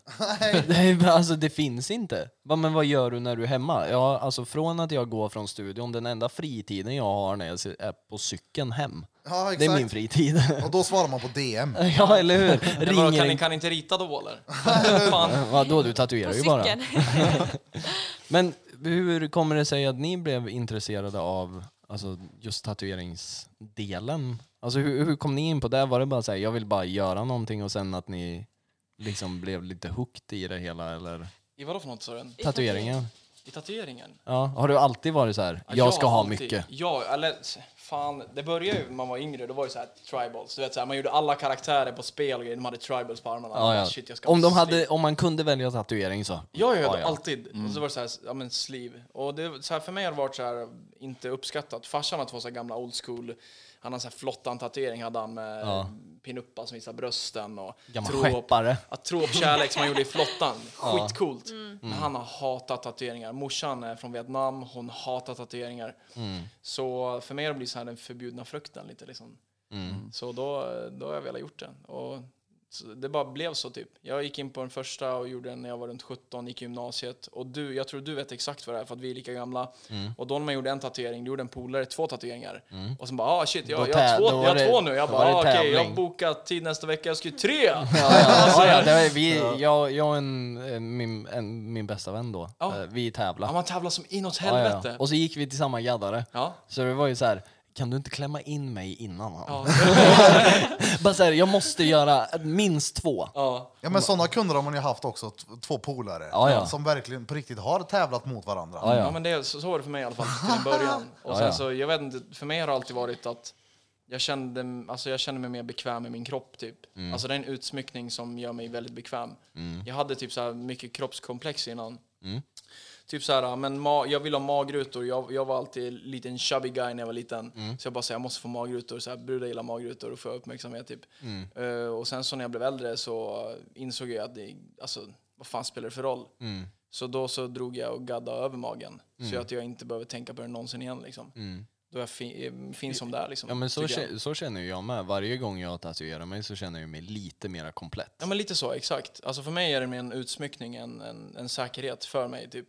S1: det, är, bara- alltså, det finns inte. Bara, men vad gör du när du är hemma? Ja, alltså från att jag går från studion, den enda fritiden jag har när jag si- är på cykeln hem.
S2: Ja,
S1: Det är
S2: exakt.
S1: min fritid.
S2: Och då svarar man på DM.
S1: ja, eller hur?
S4: Men vadå,
S1: Ringer
S4: kan, ni,
S1: en...
S4: kan ni inte rita då eller? Fan.
S1: Vadå, du tatuerar
S5: På
S1: ju bara.
S5: cykeln.
S1: Men hur kommer det sig att ni blev intresserade av alltså, just tatueringsdelen? Alltså, hur, hur kom ni in på det? Var det bara så här, jag vill bara göra någonting och sen att ni liksom blev lite hooked i det hela? Eller
S4: I vadå för något Sören?
S5: I
S1: tatueringen?
S4: I tatueringen?
S1: Ja. Har du alltid varit så här,
S4: Ja,
S1: jag ska ha
S4: alltid-
S1: mycket?
S4: Ja, eller s- fan, det började ju när man var yngre, då var det så här tribals. Du vet, så här, man gjorde alla karaktärer på spel och grejer, de hade tribals på armarna.
S1: Ja,
S4: Bara,
S1: ja.
S4: Shit, jag ska
S1: Om,
S4: ha
S1: de
S4: sleeve.
S1: hade, om man kunde välja tatuering så?
S4: Ja, ja,
S1: Ja,
S4: ja,
S1: ja. Mm.
S4: alltid. Och så var det så här, ja men sleeve. Och det, så här, för mig har det varit så här, inte uppskattat. Farsan har två så här gamla old school, han har så här flottan tatuering hade han med
S1: Ja.
S4: pinuppa som visar brösten och
S1: Gammal skeppare. Mm.
S4: att tro på kärlek som han gjorde i flottan. Skitcoolt. Men han har hatat tatueringar. Morsan är från Vietnam, hon hatar tatueringar.
S1: Mm.
S4: Så för mig har det blivit så här den förbjudna frukten lite liksom.
S1: Mm.
S4: Så då, då har jag velat gjort det. Och så det bara blev så typ. Jag gick in på den första och gjorde den när jag var runt 17, gick i gymnasiet. Och du, jag tror du vet exakt vad det är för att vi är lika gamla.
S1: Mm.
S4: Och då när man gjorde en tatuering, då gjorde en polare två tatueringar. Och sen bara, ah shit,
S1: Då
S4: jag, jag, har
S1: tä-
S4: två,
S1: då var
S4: jag har
S1: det-
S4: två nu. Jag
S1: då
S4: bara,
S1: var
S4: ah,
S1: det
S4: okej, jag
S1: tävling."
S4: har bokat tid nästa vecka, jag ska ju tre!
S1: Ja, ja, det var, vi, jag, jag och en, eh, min, en, min bästa vän då,
S4: Ja.
S1: eh, vi
S4: Ja,
S1: tävlade.
S4: man tävlar som inåt
S1: Ja, ja,
S4: helvete.
S1: ja. Och så gick vi till samma gaddare.
S4: Ja.
S1: Så det var ju så här. kan du inte klämma in mig innan han? Bara så här, jag måste göra minst två.
S4: Ja.
S2: Ja men sådana kunder har man ju haft också, t- två polare.
S1: Ja, ja.
S2: Som verkligen på riktigt har tävlat mot varandra.
S1: Ja,
S4: Ja,
S1: ja.
S4: men det, är- så, så var det för mig i alla fall till en början. Och
S1: Ja,
S4: sen
S1: ja.
S4: så, jag vet inte, för mig har det alltid varit att jag kände, alltså jag kände mig mer bekväm i min kropp typ.
S1: Mm.
S4: Alltså det är en utsmyckning som gör mig väldigt bekväm. Jag hade typ så här mycket kroppskomplex innan. Typ så här, men ma- jag vill ha magrutor. Jag, jag var alltid en liten chubby guy när jag var liten.
S1: Mm.
S4: Så jag bara så här, jag måste få magrutor. Så här, brudar gillar magrutor och få uppmärksamhet typ.
S1: Mm.
S4: Eh, och sen så när jag blev äldre så insåg jag att det, alltså, vad fan spelar det för roll?
S1: Mm.
S4: Så då så drog jag och gaddade över magen. Så att jag inte behöver tänka på det någonsin igen liksom. Då är jag fi- eh, fin som det är liksom.
S1: Mm. Ja, men så,
S4: tycker jag.
S1: kä- så känner ju jag med. Varje gång jag tatuerar mig så känner jag mig lite mer komplett.
S4: Ja men lite så, exakt. Alltså för mig är det mer en utsmyckning än en, en säkerhet för mig typ.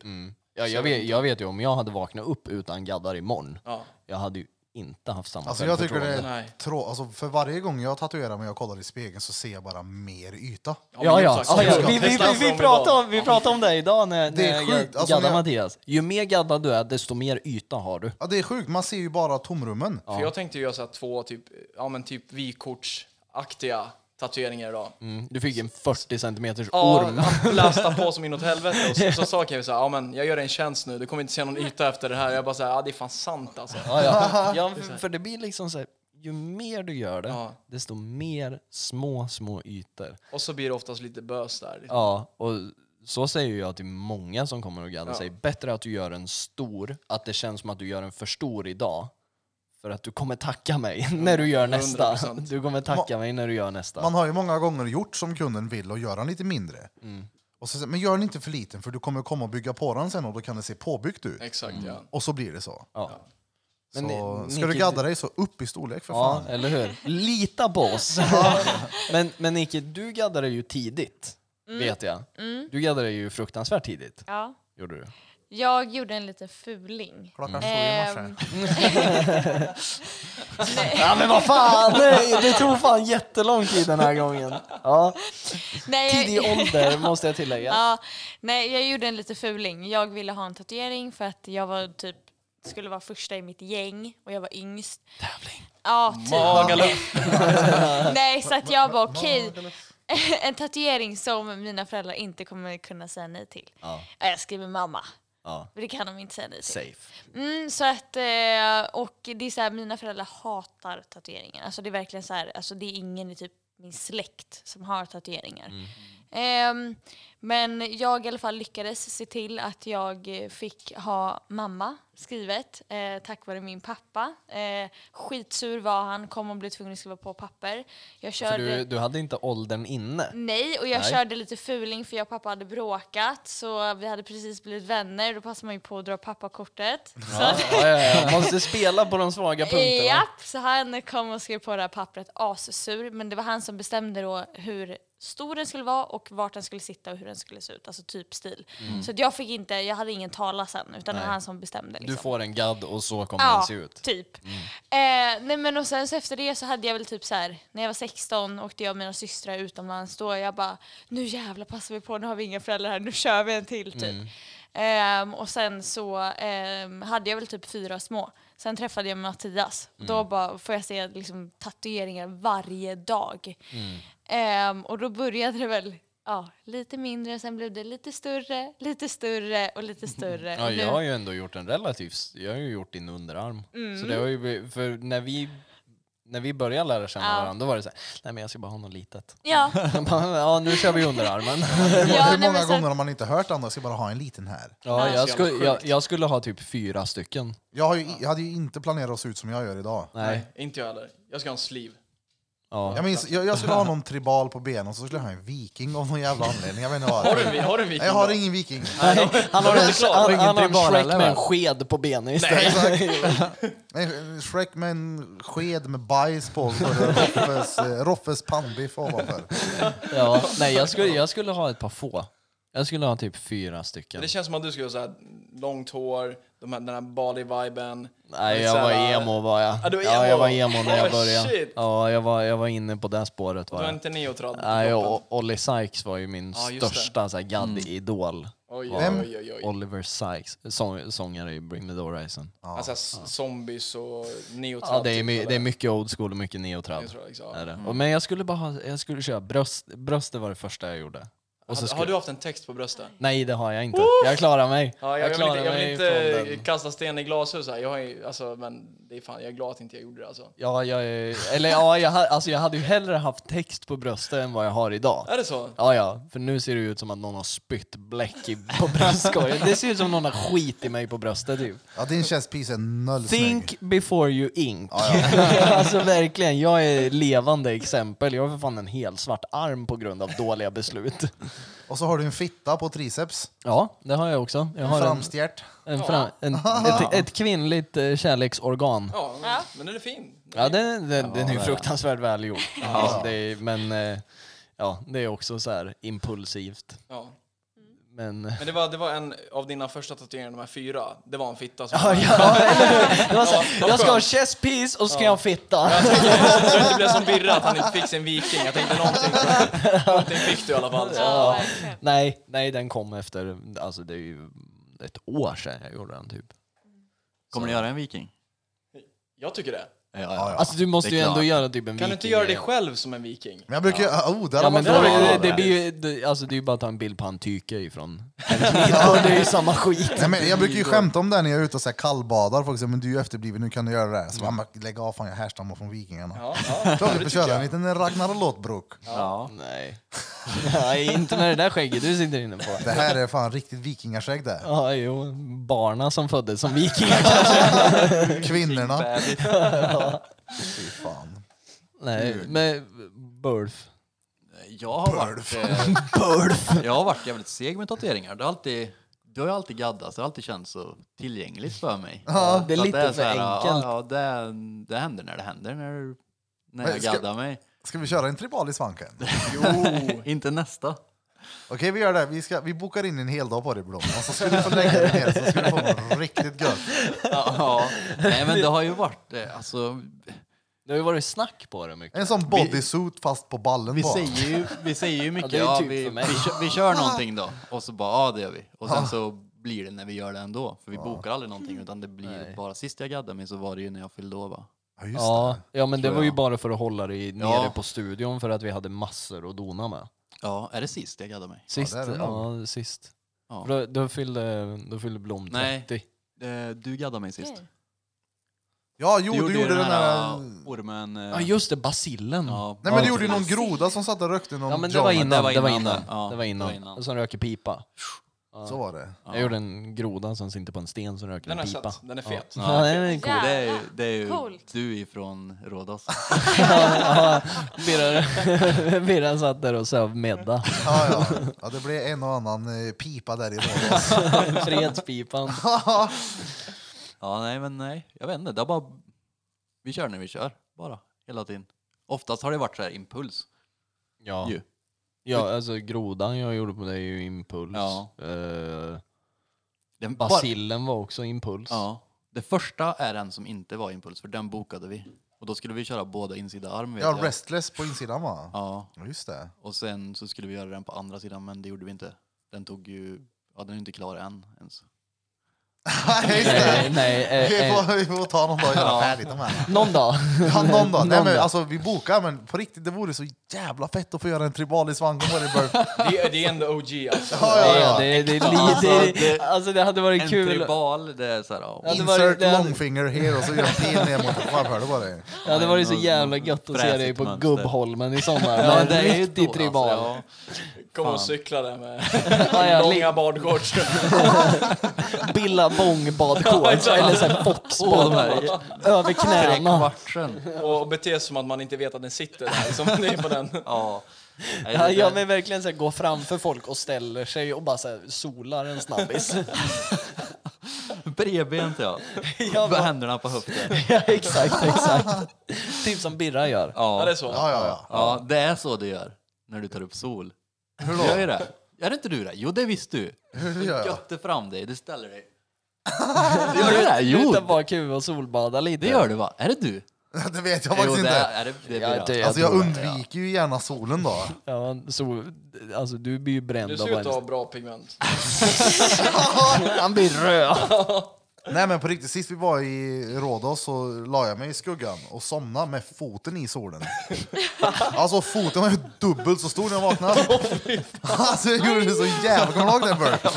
S1: Ja, jag, vet, jag vet ju om jag hade vaknat upp utan gaddar imorgon,
S4: Ja.
S1: jag hade ju inte haft samma
S2: Alltså jag tycker det
S1: självförtroende.
S2: är
S4: Nej.
S2: trå- alltså, För varje gång jag tatuerar mig och kollar i spegeln så ser jag bara mer yta.
S4: men
S1: Ja, ja.
S4: exakt.
S1: ja, ja.
S4: Jag
S1: Vi, vi,
S4: testar
S1: vi, vi,
S4: dem
S1: pratade
S4: idag.
S1: om, vi pratade om det idag när,
S2: Det är
S1: när
S2: sjukt.
S1: jag
S2: Alltså,
S1: gaddade
S2: när jag-
S1: Mattias. Ju mer gaddad du är, desto mer yta har du.
S2: Ja, det är sjukt, man ser ju bara tomrummen.
S4: För jag tänkte göra så här två typ, ja, men typ vykortsaktiga tatueringar idag.
S1: Mm. Du fick en 40 centimeters
S4: Ja,
S1: orm.
S4: han blastar på som inåt helvete och så, så sa Kevin såhär, ja men jag gör en tjänst nu, du kommer inte se någon yta efter det här. Jag bara såhär, ja det är fan sant alltså.
S1: Ja, ja. ja, för- för det blir liksom så här, ju mer du gör det,
S4: Ja.
S1: desto mer små, små ytor.
S4: Och så blir det oftast lite bös där.
S1: Ja, och så säger jag till många som kommer och gaddar sig. Bättre att du gör en stor, att det känns som att du gör en för stor idag. För att du kommer tacka mig när du gör nästa.
S4: 100%.
S1: Du kommer tacka mig när du gör nästa.
S2: Man har ju många gånger gjort som kunden vill och gör den lite mindre.
S1: Mm.
S2: Och så, säger- men gör den inte för liten för du kommer komma och bygga på den sen och då kan det se påbyggt ut.
S4: Exakt ja.
S1: Mm.
S2: Och så blir det så.
S1: ja.
S2: så
S1: Men ni-
S2: ska du
S1: Nicky,
S2: gadda dig så upp i storlek för
S1: Ja,
S2: fan.
S1: eller hur? Lita på oss! men men Nicky, du gaddade ju tidigt,
S2: Mm.
S1: vet jag. Du gaddade ju fruktansvärt tidigt.
S5: Ja.
S1: Gjorde du?
S5: Jag gjorde en liten fuling.
S2: Klockan såg i
S5: Ehm,
S2: morse.
S1: Ja men vad fan! Nej, det tog fan jättelång tid den här gången. Ja.
S5: Nej,
S1: Tidig
S5: jag,
S1: ålder måste jag tillägga.
S5: ja, nej, jag gjorde en liten fuling. Jag ville ha en tatuering för att jag var typ skulle vara första i mitt gäng och jag var yngst.
S1: Tävling.
S5: Ja, typ.
S4: Magaluf!
S5: Nej, så att jag bara okej. en tatuering som mina föräldrar inte kommer kunna säga nej till.
S1: Ja.
S5: Ja, Jag skriver mamma.
S1: Ja.
S5: Men det kan de inte säga nej till.
S1: Safe.
S5: Mm, så att, eh, och det är så här, mina föräldrar hatar tatueringar. Alltså det är verkligen så här, alltså det är ingen i typ min släkt som har tatueringar.
S1: Mm.
S5: Ehm, men jag i alla fall lyckades se till att jag eh, fick ha mamma skrivet eh, tack vare min pappa. Eh, skitsur var han, kom och blev tvungen att skriva på papper. Jag körde...
S1: För du, du hade inte åldern inne.
S5: Nej, och jag
S1: Nej.
S5: körde lite fuling för jag och pappa hade bråkat så vi hade precis blivit vänner. Då passade man ju på att dra pappakortet. Så att,
S1: Ja, ja, ja. Måste spela på de svaga punkterna.
S5: Japp, så han kom och skrev på det här pappret assur, men det var han som bestämde då hur stor den skulle vara och vart den skulle sitta och hur den skulle se ut, alltså typstil. Så att jag fick inte, jag hade ingen tala sen utan det
S1: Mm. Nej.
S5: var han som bestämde. Liksom.
S1: Du får en gadd och så kommer den se ut. Mm.
S5: Typ. Eh, nej men och sen så efter det så hade jag väl typ så här, när jag var 16 åkte jag och mina systrar utomlands då jag bara nu jävlar passar vi på, nu har vi inga föräldrar här, nu kör vi en till typ.
S1: Mm.
S5: Ehm, och sen så ehm, hade jag väl typ fyra små. Sen träffade jag Mattias och
S1: Mm.
S5: då bara får jag se liksom, tatueringar varje dag.
S1: Mm.
S5: Ehm, och då började det väl ja, lite mindre, sen blev det lite större, lite större och lite större.
S1: Ja,
S5: Och nu-
S1: jag har ju ändå gjort en relativt, jag har ju gjort din underarm. Så det har ju, bli- för när vi, när vi började lära känna
S5: Ja.
S1: varandra då var det så här, nej men jag ska bara ha något litet.
S5: ja.
S1: ja, nu kör vi underarmen.
S5: Ja,
S2: Hur
S5: nej,
S2: många
S5: men så att-
S2: gånger har man inte hört andra, jag ska bara ha en liten här.
S1: Ja, jag,
S4: Nej. Så jävla
S1: skulle, jag, jag skulle ha typ fyra stycken.
S2: Jag, har ju, jag hade ju inte planerat att se ut som jag gör idag.
S1: Nej.
S4: Inte jag heller. Jag ska ha en sleeve.
S1: Ja.
S2: Jag, minns, jag, jag skulle ha någon tribal på benen och så skulle jag ha en viking av någon jävla anledning. Jag vet inte
S4: Har
S2: vad.
S4: du, en vi- har du en viking?
S2: Jag har
S4: då?
S2: ingen viking.
S1: Han har en,
S4: inte klar.
S1: han,
S4: Ingen
S1: han har en
S6: tribal
S1: Shrek
S6: eller
S1: med en
S6: vad?
S1: sked på benet istället.
S2: Nej, Shrek med en sked med bajs på och så är det Roffes, eh, Roffes pannbiff ovanför.
S1: Ja. Nej, jag skulle, jag skulle ha ett par få. Jag skulle ha typ fyra stycken.
S4: Det känns som att du skulle ha så här långt hår, de här, den här body-viben.
S1: Nej,
S4: Lite
S1: jag
S4: så
S1: var
S4: här,
S1: emo var jag.
S4: Ja, du var
S1: Ja,
S4: emo.
S1: jag var emo när jag
S4: Oh,
S1: började.
S4: shit.
S1: Ja, jag var, jag var inne på det spåret
S4: Du
S1: var
S4: var
S1: jag.
S4: inte neotrad på
S1: Nej,
S4: toppen.
S1: och Ollie Sykes var ju min
S4: Ja, just det.
S1: största så här, gadd-idol.
S4: Oj,
S1: var
S4: oj, oj, oj, oj.
S1: Oliver Sykes, sång, sångare i Bring Me The Horizon. Ja,
S4: Alltså s- zombies och neotrad.
S1: det, är,
S4: typ,
S1: my,
S4: eller?
S1: det är mycket old school och mycket neotrad.
S4: Neotrad, liksom.
S1: Är det. Och, men jag skulle bara ha, jag skulle köra bröst, bröstet var det första jag gjorde. Och så
S4: Har,
S1: skulle,
S4: har du haft en text på bröstet?
S1: Nej, det har jag inte. Jag klarar mig.
S4: Ja, jag, vill
S1: klarar
S4: inte, jag vill
S1: mig
S4: inte
S1: från den.
S4: kasta sten i glashus här. Jag, har ju, alltså, men det är fan, jag är glad att inte jag gjorde det alltså.
S1: Ja, jag, är- eller ja, jag, ha- alltså, jag hade ju hellre haft text på bröstet än vad jag har idag.
S4: Är det så?
S1: Ja, ja, för nu ser det ju ut som att någon har spytt bläck i, på bröstkorgen. Det ser ut som någon har skit i mig på bröstet typ.
S2: Ja, din chestpiece är noll snygg.
S1: Think before you ink. alltså verkligen, jag är levande exempel. Jag har för fan en hel svart arm på grund av dåliga beslut.
S2: Och så har du en fitta på triceps.
S1: Ja, det har jag också. Jag har en,
S2: Framstjärt.
S1: en, fra- en, ett, ett kvinnligt eh, kärleksorgan.
S4: Ja,
S5: Ja.
S4: men den är fin.
S1: Ja, den, den, den är ju fruktansvärt välgjord. Alltså, det är, men eh, ja, det är också så här impulsivt.
S4: Ja.
S1: Men... eh,
S4: Men det var, det var en av dina första tatueringar, de här fyra. Det var en fitta som...
S1: Ja, ja, det var så här, jag ska ha chess piece och så ska jag ha fitta.
S4: Så det inte blev som Birra att han inte fick sin viking. Jag tänkte någonting, någonting fick du i alla fall.
S5: Ja, verkligen.
S1: Nej, nej, den kom efter, alltså det är ju ett år sedan jag gjorde den typ.
S3: Kommer du göra en viking?
S4: Jag tycker det.
S3: Ja, ja.
S1: Alltså du måste
S3: Det är
S1: ju ändå
S3: klart.
S1: göra typ en
S4: Kan du inte göra dig sjv som en viking?
S2: Men jag brukar ju... Oh, där
S1: Ja,
S2: har
S1: men
S2: man
S1: då,
S3: Ja,
S1: det,
S3: ja,
S1: det,
S3: ja.
S1: blir ju, det, alltså, det är ju bara att ta en bild på en tyke ifrån ja, Det är ju samma skit.
S2: Nej, men jag brukar ju skämta om det här när jag är ute och så här kallbadar. Folk säger men du är ju efterbliven, nu kan du göra det här. Så man lägg av, fan jag härstammar från vikingarna.
S4: Ja, ja.
S2: Klart du får köra en liten Ragnarolotbruk.
S3: Ja.
S1: Nej. Nej, inte med det där skägget du sitter inne på.
S2: Det här är fan riktigt vikingaskägg det.
S1: Ja, jo. Barna som föddes som vikingar kanske.
S2: Kvinnorna. Fy fan.
S1: Nej, men Bulf.
S3: Jag har varit... eh, Jag har varit jävligt seg med tatueringar. Det har alltid... Du har ju alltid gaddat, det har alltid känts så tillgängligt för mig. Ja,
S1: det är lite för enkelt.
S3: Ja, det, det händer när det händer, när, när
S2: Men
S3: jag
S2: ska-
S3: gaddar mig.
S2: Ska vi köra en tribal i svanken?
S3: Inte nästa.
S2: Okej, vi gör det. Vi, ska, vi bokar in en hel dag på dig Blom. Och så ska du få lägga dig ner så ska du få något riktigt gött.
S3: Ja, nej men det har ju varit, eh, alltså,
S1: Det har ju varit snack på det mycket.
S2: En sån bodysuit fast på ballen
S3: vi
S2: bara.
S3: säger ju, vi säger ju mycket,
S1: det är ju
S3: ja,
S1: typ
S3: vi,
S1: för
S3: vi,
S1: mig.
S3: kö- vi kör någonting då, och så bara, ja det gör vi. Och sen så blir det när vi gör det ändå, för vi bokar aldrig någonting, utan det blir bara, sist jag gaddade mig så var det ju när jag fyllde år va?
S2: Ja, just
S1: Ja, ja, men det
S3: Tror
S1: var ju
S3: jag.
S1: bara för att hålla det i- nere
S3: Ja.
S1: på studion för att vi hade massor att dona med.
S3: Ja, är det sist jag gaddade mig?
S1: Sist,
S2: det är
S1: ja,
S2: det
S1: sist.
S3: Ja.
S1: För Då, då, fyllde, då fyllde Blom 30.
S3: Nej. Eh, Du gaddade mig sist.
S5: Okej.
S2: Ja, jo, du gjorde,
S3: ju
S2: den här...
S3: ormen... eh,
S1: Ja, just det, basillen.
S3: ja,
S2: Nej, men du
S3: ja,
S2: gjorde ju någon
S3: precis.
S2: groda som satt och rökte någon
S1: Ja, men det
S2: joint.
S1: var innan.
S3: det
S1: Det
S3: var
S1: var innan. Det var innan.
S3: innan det. Ja, det var innan.
S1: Som röker pipa.
S2: Så var det.
S1: Jag gjorde en groda som sitter på en sten som röker
S4: Den har
S1: en
S4: jag
S1: pipa.
S4: sett. Den är fet.
S1: Ja, den är cool.
S3: Det är ju, det är ju
S5: Coolt.
S3: du ifrån Rhodos.
S1: Birra- Birra satt där och söv medda.
S2: Ja, ja. ja, det blev en och annan eh, pipa där i Rhodos.
S1: Fredspipan.
S3: Ja, nej men nej. Jag vet inte, det har bara... Vi kör när vi kör, bara. Hela tiden. Oftast har det varit så här impuls
S1: Ja.
S3: ju.
S1: ja, alltså grodan jag gjorde på det är ju impuls.
S3: Ja.
S1: Eh,
S3: Den bara-
S1: basillen var också impuls.
S3: Ja. Det första är den som inte var impuls, för den bokade vi. Och då skulle vi köra båda insida arm vet
S2: Ja,
S3: jag.
S2: restless på insidan va?
S3: Ja,
S2: Ja, just det.
S3: och sen så skulle vi göra den på andra sidan, men det gjorde vi inte. Den tog ju... Ja, den är inte klar än ens.
S2: Ja, just det.
S1: Nej, nej eh,
S2: Vi
S1: eh,
S2: får, vi får ta någon dag och göra färdigt de här.
S1: någon dag.
S2: Ja, någon dag. Nej, men,
S1: Någon dag.
S2: alltså, vi bokar, men på riktigt, det vore så jävla fett att få göra en tribal i Svanken på det. Burf.
S4: Det är, det är ändå OG alltså.
S1: Ja,
S2: Ja, ja, ja.
S1: Det, det,
S3: Ja,
S1: det,
S3: alltså, det-
S1: det, alltså det hade varit
S3: En
S1: kul.
S3: tribal, det är så här... Ja,
S1: Ja, det var-
S2: Insert
S1: det hade-
S2: longfinger here och så gör en pil ner mot varphörde på dig.
S1: Det hade varit så
S3: någon-
S1: jävla gött att se dig
S3: fräsigt
S1: på
S3: mönster.
S1: Gubbholmen i sommar.
S3: Ja,
S1: Med
S3: det är
S1: en
S3: ju då,
S1: riktig tribal.
S3: Alltså,
S4: Kom och cykla där med
S1: Ja, ja, li-
S4: långa badshorts.
S1: Billabong-badshorts eller så här
S3: Åh, de
S1: foxbad.
S3: här-
S1: Över
S3: ja.
S1: knäna.
S3: Kvartsen.
S4: Och bete sig som att man inte vet att den sitter där. Som det är på den.
S3: Ja. Nej,
S1: Ja,
S3: det-
S1: ja men verkligen så här, gå framför folk och ställer sig och bara så här, solar en snabbis.
S3: Bredbent ja.
S1: Ja,
S3: Med
S1: men-
S3: händerna på höften.
S1: ja, exakt, exakt. Typ som Birra gör.
S4: Ja,
S3: Ja.
S4: det är så.
S2: Ja, ja, ja.
S3: ja, det är så du gör när du tar upp sol.
S2: Hur
S3: Gör ju
S2: då?
S3: det. Är det inte du det? Jo, det visste du.
S2: Hur
S3: Du
S2: gör jag?
S3: götter fram dig, du ställer dig. Det gör det? Jo,
S1: Utan bara kuva och solbada lite.
S3: det gör det va? Är det du?
S2: det vet jag faktiskt
S3: jo, det
S2: inte.
S3: är det. det,
S1: Ja,
S3: blir
S1: det-
S3: det.
S1: jag
S2: Alltså jag
S1: tror det,
S2: undviker ju gärna solen då.
S1: Ja, så, alltså du blir ju bränd
S4: Du
S1: av
S4: ser ut att ha
S1: varje...
S4: bra pigment.
S1: Han blir röd!
S2: Nej men på riktigt, sist vi var i Rhodos så la jag mig i skuggan och somnade med foten i solen. Alltså foten var ju dubbelt så stor när jag vaknade. Alltså jag gjorde det så jävla... Kommer du ihåg det Bert?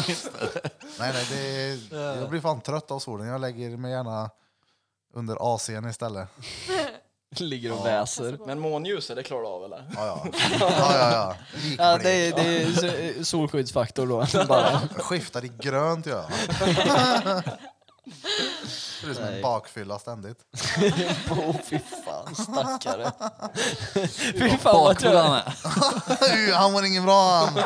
S2: Nej nej, det, jag blir fan trött av solen. Jag lägger mig gärna under AC'n istället.
S1: Ligger och väser.
S4: Men månljuset, det klarar du av eller?
S2: Ja ja. ja, ja, ja.
S1: Ja,
S2: Likblek.
S1: det, är- det är so- solskyddsfaktor då. Bara.
S2: Jag skiftar i grönt gör jag. Det är som en bakfylla ständigt.
S1: Åh fy fan, stackare. fy fan vad
S3: Bakfull
S1: trött.
S3: han är.
S2: Uh, han var ingen bra han.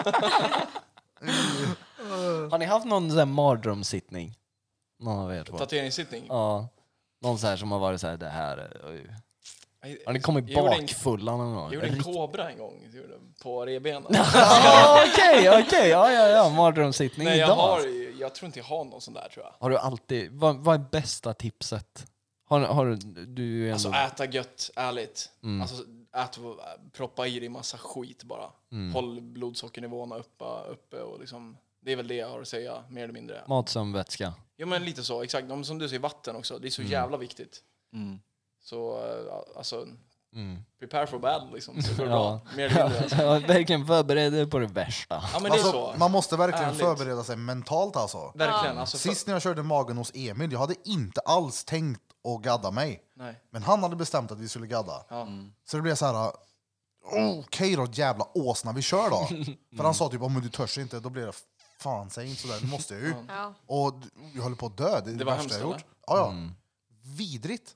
S1: Har ni haft någon sån här mardrömssittning? Någon av er två?
S4: Tatueringssittning?
S1: Ja. Någon så här som har varit så här, det här... oj.
S4: Jag-
S1: Har ni kommit
S4: jag gjorde en-
S1: bakfulla någon gång?
S4: Jag gjorde en
S1: Rikt-
S4: kobra en gång, jag gjorde den på revbenen.
S1: Ja, Okej, okej, ja, ja, ja, mardrömssittning
S4: Nej, jag,
S1: idag. alltså.
S4: har,
S1: Har...
S4: jag tror inte jag har någon sån där tror jag.
S1: har du alltid, vad, vad är bästa tipset? Har, har du- du, är ju ändå...
S4: Alltså äta gött, ärligt.
S1: Mm.
S4: Alltså, ät, proppa i dig massa skit bara.
S1: Mm.
S4: Håll blodsockernivåerna uppe, uppe och liksom, det är väl det jag har att säga, mer eller mindre.
S1: Mat, sömn, vätska.
S4: Jo men lite så, exakt. Om- Som du säger, vatten också. Det är så jävla viktigt.
S3: Mm.
S4: Så eh, alltså,
S1: Mm.
S4: prepare for battle liksom. Så går det
S1: Ja.
S4: bra. Mer eller mindre. Alltså.
S1: Ja, verkligen förbered dig på det värsta.
S4: Ja men det är
S2: Alltså,
S4: så.
S2: man måste verkligen
S4: Ärligt.
S2: förbereda sig mentalt alltså.
S4: Verkligen. Alltså, för,
S2: Sist när jag körde magen hos Emil, jag hade inte alls tänkt att gadda mig.
S4: nej.
S2: Men han hade bestämt att vi skulle gadda.
S4: Ja.
S1: Mm.
S2: Så det blev så här. Okej då jävla åsna, vi kör då. För han sa typ om du törs inte, då blir det fan säg inte sådär, nu måste jag ju.
S5: Ja.
S2: Och d- jag höll på att dö, det är det,
S4: Det var
S2: värsta jag
S4: hemskt, Mm.
S2: gjort. Ja, ja.
S1: Mm.
S2: Vidrigt.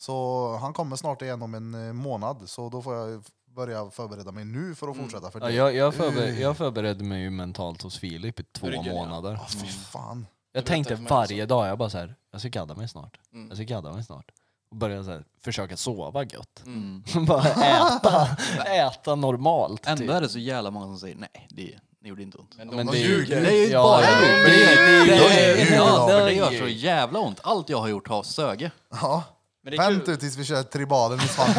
S2: Så han kommer snart igen om en eh, månad, så då får jag f- börja förbereda mig nu för att
S4: Mm.
S2: fortsätta. För
S1: Ja,
S2: det,
S1: jag, jag, förber, jag förberedde mig ju mentalt hos Filip i två
S4: Ryggen, ja.
S1: månader.
S2: Ah, fy fan.
S1: Jag
S4: berättade
S1: tänkte
S4: för mig Mm.
S1: varje dag, jag bara så här, jag ska gadda mig snart. Jag ska gadda mig snart. Och började så här, försöka sova gött.
S4: Mm.
S1: bara äta, äta normalt.
S3: Ändå
S1: typ.
S3: är det så jävla många som säger nej, det, det gjorde inte ont.
S4: Men
S1: Men
S4: de,
S1: det är ju-
S4: ljuger.
S3: Det är ju
S1: Ja,
S3: bara
S1: ja.
S3: du.
S1: Men
S3: Det,
S1: det- det-
S3: är- det,
S1: det-
S3: är- ja,
S2: det-
S3: det gör så jävla ont. Allt jag har gjort har söge.
S2: Ja.
S4: Men det är kul.
S2: Vänt ut tills vi kör tribalen i Spanien.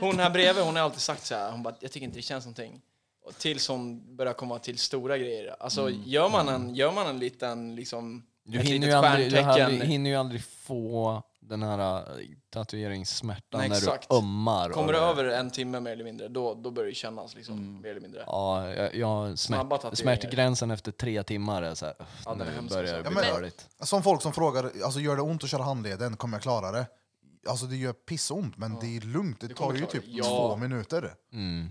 S4: Hon här bredvid hon har alltid sagt så här, hon bara, jag tycker inte det känns någonting. Och tills hon börjar komma till stora grejer. Alltså gör, man en, gör man en liten, liksom,
S1: Mm. Du
S4: ett
S1: hinner
S4: litet
S1: ju, aldrig, du
S4: stjärntecken.
S1: aldrig- hinner ju aldrig få den här äh, tatueringssmärtan
S4: Nej,
S1: när
S4: exakt.
S1: du ömmar.
S4: Kommer
S1: och
S4: du
S1: det- Mm.
S4: över en timme mer eller mindre, då, då börjar det kännas liksom, mer eller mindre.
S1: Ja, jag, jag
S4: Snabba
S1: smärt,
S4: tatueringar.
S1: smärtgränsen efter tre timmar är så här,
S4: Ja, den är
S1: nu
S4: hemsk
S1: börjar det
S4: alltså.
S1: bli
S2: Ja, men-
S1: rörigt.
S2: Som folk som frågar, alltså gör det ont att köra handleden, kommer jag klara det? Alltså det gör pissont, men det är lugnt. Det
S4: Du kommer
S2: tar ju
S4: klara
S2: typ
S4: det. Ja. Mm.
S2: två minuter.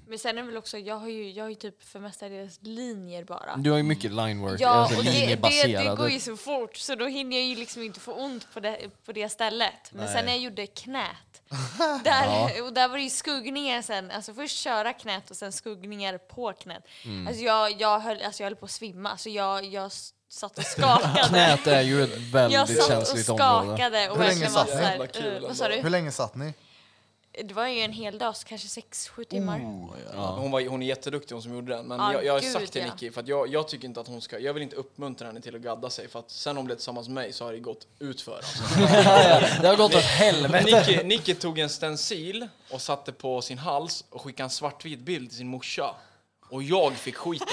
S5: Men sen är det väl också, jag har ju, jag har ju typ för mestadels linjer bara.
S1: Du har ju mycket linework,
S5: Ja,
S1: alltså
S5: och det, det, det
S1: linjebaserade.
S5: går ju så fort så då hinner jag ju liksom inte få ont på det, på det stället. Men sen när jag gjorde knät, där, och där var det ju skuggningar sen. Alltså först köra knät och sen skuggningar på knät.
S1: Mm.
S5: Alltså, jag, jag, höll, alltså jag höll på att svimma, så jag, jag s- satt och skakade.
S1: Knät är ju ett
S5: jag
S1: väldigt
S5: satt och
S1: känsligt område.
S5: skakade och
S2: Hur länge
S5: verkligen var
S2: satt ni?
S4: Jävla kul
S5: såhär, uh,
S4: ändå.
S5: vad sa
S2: Hur
S5: du?
S2: länge satt ni?
S5: Det var ju en hel dag, så kanske sex sju
S1: Mm.
S5: timmar.
S4: Hon, var, hon är jätteduktig hon som gjorde den. Men
S5: Ja,
S4: jag, jag har
S5: gud,
S4: sagt till
S5: ja.
S4: Nicky, för att jag, jag tycker inte att hon ska, jag vill inte uppmuntra henne till att gadda sig. För att sen hon blev tillsammans med mig så har det gått utför. Alltså.
S1: Det har gått åt helvete.
S4: Nicky, Nicky tog en stencil och satte på sin hals och skickade en svartvit bild till sin morsa. Och jag fick skiten.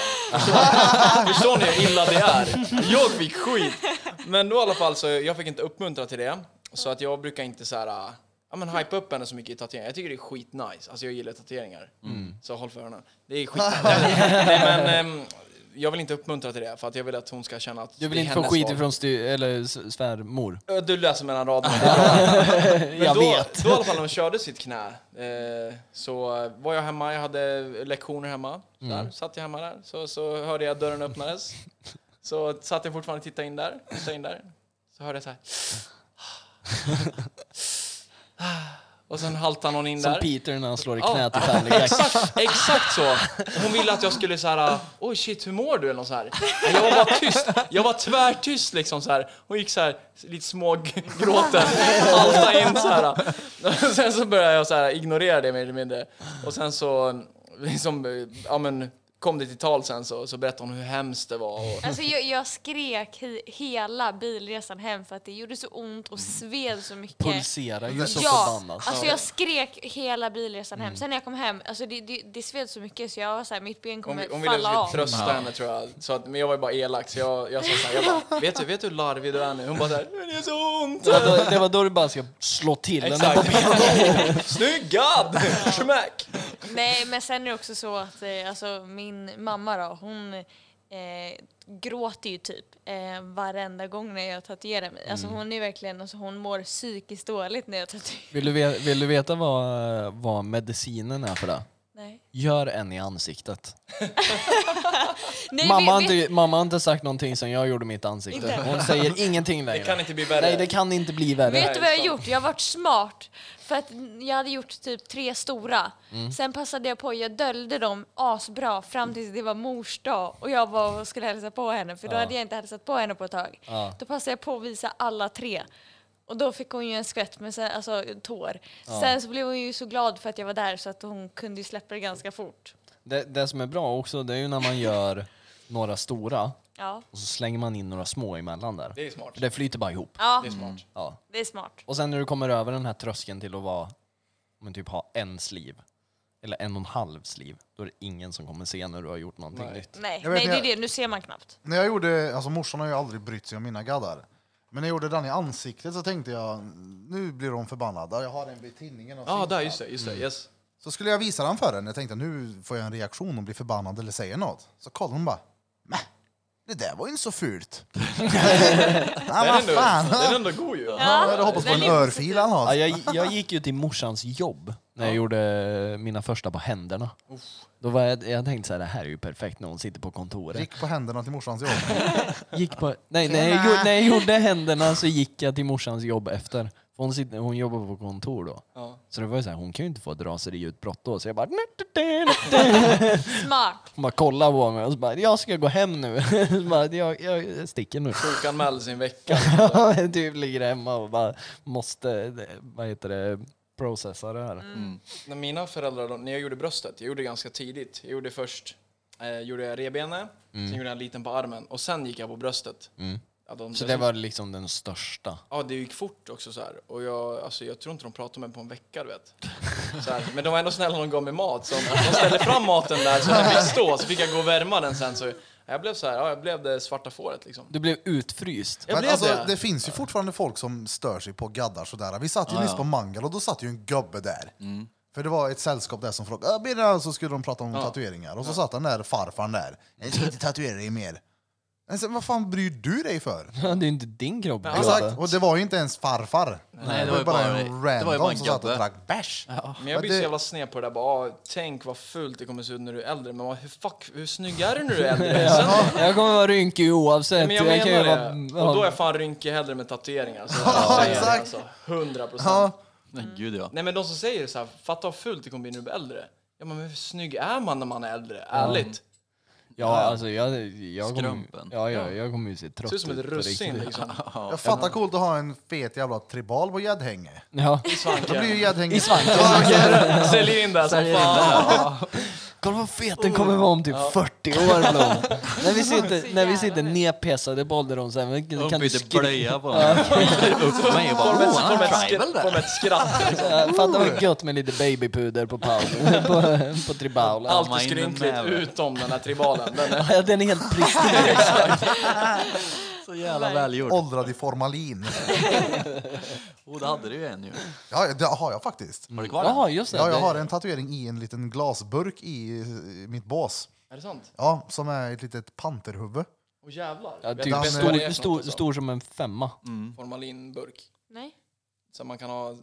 S4: Förstår- Förstår ni hur illa det är? Jag fick skit. Men då i alla fall så jag fick inte uppmuntra till det. Så att jag brukar inte så här, äh, ja men hypa upp henne så mycket i tatueringar. Jag tycker det är skitnice. Alltså jag gillar tatueringar.
S1: Mm.
S4: Så håll för öronen. Det är skit. Nej, men ehm, jag vill inte uppmuntra till det för att jag vill att hon ska känna att
S1: Du vill
S4: det är
S1: inte få
S4: hennes
S1: skit
S4: val.
S1: ifrån sty- eller s- svärmor.
S4: Ö, Du läser mellan raderna. Men
S1: Jag
S4: då,
S1: vet.
S4: Då i alla fall när de körde sitt knä eh, så eh, var jag hemma, jag hade lektioner hemma.
S1: Mm.
S4: Där satt jag hemma där. Så, så hörde jag dörren öppnades. Så satt jag fortfarande och tittade in där. Tittade in där. Så hörde jag så här. Och sen haltade någon in
S1: Som
S4: där.
S1: Peter när han slår i
S4: Ja.
S1: knät i Family Guy.
S4: Exakt, exakt så. Hon ville att jag skulle så här, oj shit hur mår du eller något så här. Men Jag var bara tyst, jag var tvärtyst liksom så här. Hon gick så här lite smågråten, halta in så här. Och Sen så började jag så här ignorera det mer eller mindre. Och sen så liksom, ja men kom det till tal sen så, så berättade hon hur hemskt det var. Och,
S5: Alltså jag, jag skrek he- hela bilresan hem för att det gjorde så ont och sved så mycket.
S1: Pulserar ju så
S5: ja,
S1: förbannat.
S5: alltså jag skrek hela bilresan
S1: Mm.
S5: hem. Sen när jag kom hem, alltså det, det, det sved så mycket så jag var så här, mitt ben
S4: hon,
S5: kommer
S4: hon ville
S5: falla av.
S4: försöka trösta henne tror jag. Så att, men jag var ju bara elak så jag, jag sa så här, jag bara, vet du, vet du hur larvig du är nu? Hon bara där, det är så ont!
S1: Det var, då, det var då du bara ska slå till den där
S4: Exakt. Snygg gadd! Smack!
S5: Nej, men sen är det också så att eh, alltså, min mamma då, hon eh, gråter ju typ eh, varenda gång när jag tatuerar mig. Alltså
S1: Mm.
S5: hon är verkligen, alltså, hon mår psykiskt dåligt när jag tatuerar
S1: Vill du, ve- vill du veta vad, vad medicinen är för det?
S5: Nej.
S1: Gör en i ansiktet.
S5: Nej,
S1: mamma, har
S5: vi-
S1: inte, mamma har inte sagt någonting som jag gjorde i mitt ansikte.
S5: Inte?
S1: Hon säger ingenting längre.
S4: Det kan inte bli värre.
S1: Nej, det kan inte bli värre.
S5: Vet du vad jag har
S4: Nej,
S5: gjort? Jag har varit smart. För att jag hade gjort typ tre stora.
S4: Mm.
S5: Sen passade jag på, jag döljde dem asbra fram tills det var mors dag och jag var och skulle hälsa på henne för då hade jag inte hälsat på henne på ett tag.
S1: Ja.
S5: Då passade jag på att visa alla tre. Och då fick hon ju en skvätt med sen, alltså, tår. Sen så blev hon ju så glad för att jag var där så att hon kunde ju släppa det ganska fort.
S1: Det, det som är bra också, det är ju när man gör några stora
S5: Ja,
S1: och så slänger man in några små emellan där.
S4: Det är smart.
S1: För det flyter bara ihop.
S5: ja
S4: Det är smart.
S1: Ja.
S5: det är smart.
S1: Och sen när du kommer över den här tröskeln till att vara, men typ ha en sliv, eller en och en halv sliv, då är det ingen som kommer se när du har gjort någonting
S4: Nej.
S1: nytt.
S5: Nej,
S2: Jag vet
S5: nej det är
S2: jag-
S5: det, nu ser man knappt.
S2: När jag gjorde, alltså morsan har ju aldrig brytt sig om mina gaddar. Men när jag gjorde den i ansiktet så tänkte jag, nu blir hon förbannad. Jag har den vid tinningen. och
S4: Ja,
S2: finkan.
S4: där, just det. Just det yes.
S2: Så skulle jag visa den för henne. Jag tänkte, nu får jag en reaktion. Hon blir förbannad eller säger något. Så kollar hon bara, Mäh, det där var ju inte så fult.
S4: Den,
S2: Nej,
S4: är
S2: vad
S4: ändå,
S2: fan.
S4: den är ändå god ju.
S2: Jag hade hoppats på en
S5: väldigt
S2: örfil han
S1: Ja,
S2: har.
S1: jag, jag gick ju till morsans jobb när jag gjorde mina första på händerna. Då var jag, jag tänkte så här, det här är ju perfekt när hon sitter på kontoret.
S2: Gick på händerna till morsans jobb.
S1: Gick på, nej, när, jag, gjorde- när jag gjorde händerna så gick jag till morsans jobb efter. För Hon, sitter, hon jobbar på kontor då.
S4: Ja.
S1: Så det var ju så här, hon kan ju inte få ett raseriutbrott då. Så jag bara...
S5: Smart.
S1: Hon bara kollar på mig och så bara, jag ska gå hem nu. Så bara, jag, jag sticker nu.
S4: Sjukanmäld sin vecka.
S1: typ ligger hemma och bara måste, vad heter det, processa det här.
S4: När mina föräldrar, de- när jag gjorde bröstet, jag gjorde det ganska tidigt. Jag gjorde först eh, gjorde jag revbenet,
S1: Mm.
S4: sen gjorde jag en liten på armen och sen gick jag på bröstet. Ja, de,
S1: Så det var liksom den största.
S4: Ja, det gick fort också så här. Och jag, alltså, jag tror inte de pratade med mig på en vecka, du vet. Så här. Men de var ändå snälla, de gav mig mat. Så de ställde fram maten där så den fick stå, så fick jag gå och värma den sen. Så jag blev så här, ja, jag blev det svarta fåret liksom.
S1: Du blev utfryst.
S4: Jag
S2: Men
S4: blev
S2: alltså,
S4: det.
S2: det. finns ju fortfarande folk som stör sig på gaddar sådär. Vi satt ju nyss på Mangal och då satt ju en gubbe där.
S3: Mm.
S2: För det var ett sällskap där som frågade, "Ah, blir det här?" så skulle de prata om tatueringar. Och så satt den där farfaren där. Jag ska inte tatuera dig mer. Men sen, vad fan bryr du dig för?
S1: Det är ju inte din kropp. Gudde.
S2: Exakt, och det var ju inte ens farfar.
S3: Nej, det var ju bara- det var ju
S2: random
S3: bara en
S2: som satt och
S3: gubbe.
S2: drack bärs.
S4: Men jag blir
S2: det-
S4: så jävla sned på det där bara, "Ah, tänk vad fult det kommer se ut när du är äldre. Men vad- hur, fuck, hur snygg är du när du är äldre? Sen,
S1: Jag kommer vara rynkig oavsett.
S4: men jag menar
S1: kan ju vara-
S4: det. Och då är jag fan rynkig hellre med tatueringar. Så jag säger det,
S2: exakt.
S4: alltså. 100 procent.
S2: Ja,
S3: Nej, gud ja.
S4: Nej men de som säger så här, fatta vad fult det kommer bli när du blir äldre. Ja men hur snygg är man när man är äldre? Ärligt.
S1: Ja, alltså jag, jag kommer
S3: Skrumpen.
S1: ja, ja, jag kommer ju se trött
S4: Ser ut som ett
S1: på
S4: russin
S1: riktigt.
S4: liksom.
S2: jag fattar coolt att ha en fet jävla tribal på gäddhänge.
S1: Ja.
S2: Då blir ju
S4: Svanken.
S2: gäddhänge...
S1: I svanken.
S4: Sälj in det som fan.
S1: Kolla vad fet
S2: Oh.
S1: den kommer vara om typ 40 år Blom. när vi sitter, när vi sitter nedpessade på ålderdomshemmet
S3: Hon
S1: kan du
S2: typ
S3: bytte
S1: skriva
S3: blöja på mig. Upp mig och bara
S4: Får de ett-
S3: åh,
S4: får de
S3: han
S4: ett
S3: har tribal
S4: skra- får de
S3: där.
S4: ett skratt. liksom.
S1: Ja, Fatta
S2: Oh.
S1: vad gött med lite babypuder på Paul, på, på tribalen.
S4: Allt är
S3: in den
S4: skrynkligt
S3: näven.
S4: utom den här tribalen. Den är,
S1: Ja, den är helt pristig.
S3: Så jävla välgjord.
S2: Åldrad i formalin.
S3: Och det hade du ju en ju.
S2: Ja, det har jag
S4: Mm.
S2: faktiskt.
S3: Har du kvar den?
S1: Ja, just det.
S2: Ja, jag har
S1: Det-
S2: en tatuering i en liten glasburk i eh, mitt bås.
S4: är det sant?
S2: Ja, som är ett litet panterhuvud.
S4: Åh jävlar.
S1: Ja,
S4: Vet
S1: typ
S4: du vad det är
S1: stor,
S4: för
S1: stor,
S4: något, alltså?
S1: stor som en femma.
S2: Mm.
S4: Formalinburk.
S5: Nej.
S4: Så man kan ha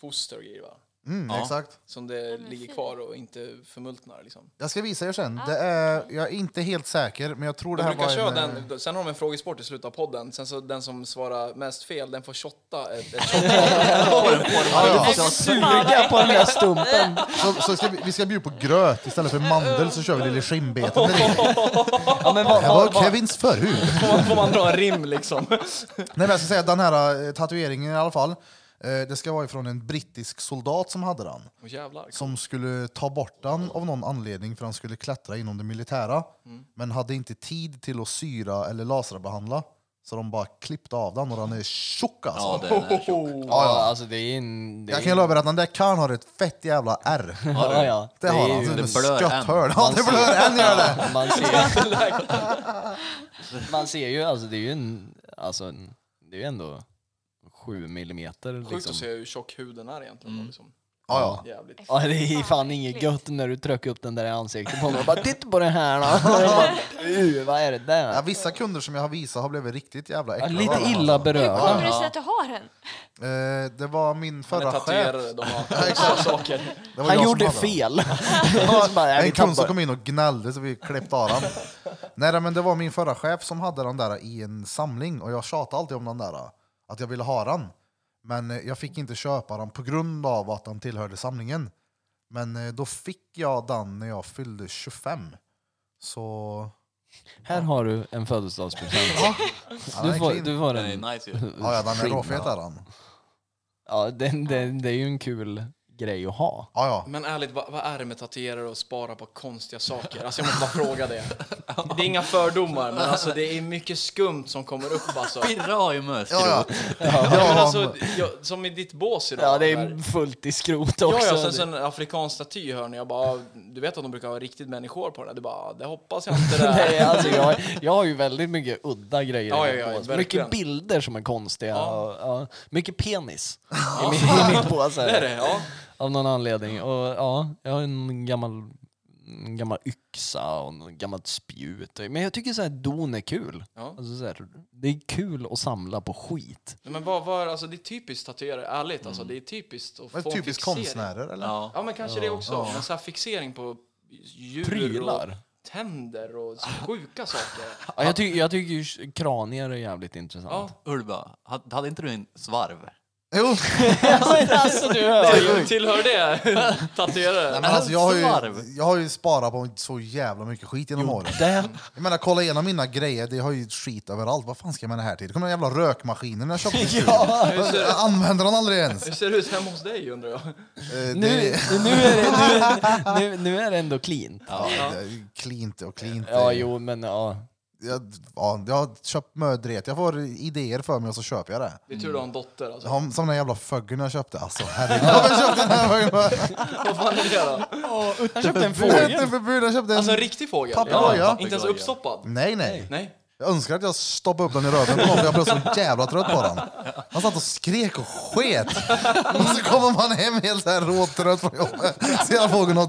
S4: foster och grejer va?
S2: Mm,
S3: Ja.
S2: Exakt.
S4: Som det ligger kvar och inte förmultnar liksom.
S2: Jag ska visa er sen. Det är, jag är inte helt säker, men jag tror det
S4: De
S2: här
S4: brukar
S2: var
S4: köra
S2: en... eh,
S4: den, sen har de en frågesport i slutet av podden. Sen så den som svarar mest fel, den får shotta ett, ett shotglas.
S2: Ja, ja.
S1: Suga på den där stumpen.
S2: Så, så ska vi, vi ska bjuda på gröt istället för mandel så kör vi lite skinnbeten direkt.
S1: Ja,
S2: Det här
S1: men vad, vad,
S2: var
S1: vad,
S2: Kevins förhud.
S4: Får man- Får man dra en rim liksom?
S2: Nej men jag ska säga den här eh, tatueringen i alla fall. Eh, Det ska vara ifrån en brittisk soldat som hade den.
S4: Åh jävlar.
S2: Som skulle ta bort den av någon anledning för han skulle klättra inom det militära. Men hade inte tid till att syra eller laserbehandla. Så de bara klippte av den och den är tjock alltså.
S3: Ja, den är tjock.
S1: Ja, alltså det är en... Det är
S2: Jag kan ju lova er att den där karln har ett fett jävla R.
S1: Ja, ja.
S2: Det har
S1: är
S2: han.
S1: ju-
S2: Det, det
S3: blör än.
S2: skotthörn. Ja, det blör än gör det.
S1: Man ser, man ser ju, alltså det är ju en, alltså en, det är ju ändå 7 millimeter
S4: Sjukt att
S1: liksom. Mm.
S4: se hur tjock huden är egentligen. då, Liksom.
S2: Ja, ja.
S4: Jävligt.
S1: Ja, det är fan inget gött när du trycker upp den där i ansiktet på honom och bara titta på det här då. Och bara, "Uh, Vad är det
S2: Ja,
S1: där?
S2: vissa kunder som jag har visat har blivit riktigt jävla
S1: Ja,
S2: äcklade. av
S1: lite
S2: dem,
S1: illa
S2: alltså.
S5: Hur kommer
S1: berörda.
S5: det sig att du har den?
S2: Eh, det var min
S4: Han är
S2: förra chef.
S4: tatuerare, de har sådana saker.
S2: Det var
S1: Han
S2: jag som
S1: gjorde
S2: hade den.
S1: fel. Så bara, "Nej,
S2: en
S1: vi
S2: kund som
S1: tappar."
S2: kom in och gnällde så vi klippte av den. Nej nej, men det var min förra chef som hade den där i en samling och jag tjatade alltid om den där. Att jag ville ha den. Men eh, jag fick inte köpa den på grund av att den tillhörde samlingen. Men eh, då fick jag den när jag fyllde 25. Så...
S1: Här har du en födelsedagspresent.
S2: Ja,
S1: Du
S2: den är
S1: får,
S2: clean.
S1: du får
S3: Den är
S1: en...
S3: nice ju.
S2: ja, ja, den är
S1: skinn,
S2: råfet är den.
S1: Ja, den, den, det är ju en kul grej att ha.
S2: Ja, ja.
S4: Men ärligt, vad, vad är det med tatuerare och spara på konstiga saker? Alltså jag måste bara fråga det. Det är inga fördomar, men alltså det är mycket skumt som kommer upp alltså.
S3: Birra har ju möss.
S2: ja, ja.
S4: Ja, men
S2: Ja,
S4: alltså, jag, som i ditt bås idag.
S1: Ja, det
S4: där.
S1: är fullt i skrot också.
S4: Ja, ja, sen, sen en afrikansk staty hör ni. Jag bara, du vet att de brukar ha riktigt människor på den? där? Du bara, det hoppas jag inte det
S1: Nej,
S4: är.
S1: alltså jag, jag har ju väldigt mycket udda grejer
S4: Ja,
S1: i min
S4: ja, ja,
S1: påse.
S4: verkligen.
S1: Mycket bilder som är konstiga.
S4: Ja.
S1: Och, ja, mycket penis i min, i min påse.
S4: Det är det, ja.
S1: Av någon anledning. Och, ja, jag har en gammal, en gammal yxa och en gammalt spjut. Men jag tycker så här don är kul.
S4: Ja.
S1: Alltså så här, det är kul att samla på skit.
S4: Nej, Men vad, vad, alltså, det är typiskt tatuerare, ärligt. Alltså,
S1: Mm.
S4: det är typiskt att
S2: Men
S4: få en
S2: Typiskt
S4: fixering.
S2: konstnärer eller?
S3: Ja.
S4: Ja, men kanske det också. Men så här fixering på djur
S1: Prylar.
S4: och tänder och så sjuka saker.
S1: Ja, jag, ty, jag tycker ju kranier är jävligt intressant.
S4: Ja.
S3: Ulva, hade hade inte du en svarv?
S2: Jo.
S1: alltså, du hör ju.
S4: Till- Tillhör det tatuerare?
S2: Men alltså, jag, har
S3: Svarv.
S2: ju, jag har ju sparat på så jävla mycket skit genom åren.
S1: Det,
S2: Jag menar, kolla igenom mina grejer, det har ju skit överallt. Vad fan ska jag med det här till? Det kommer den jävla rökmaskinen jag köpte i studion. Jag använder den aldrig ens.
S4: Hur ser det ut hemma hos dig undrar jag?
S2: Eh,
S1: nu,
S2: Det
S1: nu, är det, nu, nu, nu är det ändå clean.
S2: är klint och klint.
S1: Ja, jo, men ja.
S2: Jag, ja, jag har köpt mödret. Jag får idéer för mig och så köper jag det.
S4: Det är tur du har en dotter alltså.
S2: Jag har Som den jävla föggen jag köpte. Alltså herregud. Jag köpte den här föggen.
S4: Vad fan är det då?
S1: Han köpte en
S2: Jag köpte
S1: fågel.
S2: en förbud. Jag köpte en...
S4: Alltså en riktig fågel?
S2: Papegoja.
S4: Inte ens
S3: Papegoja.
S4: uppstoppad?
S2: Nej, nej.
S4: Nej.
S2: Jag önskar att jag stoppade upp den i röven på någon för jag blev så jävla trött på den. Han satt och skrek och sket. Och så kommer man hem helt så här råtrött från jobbet. Ser att fågeln har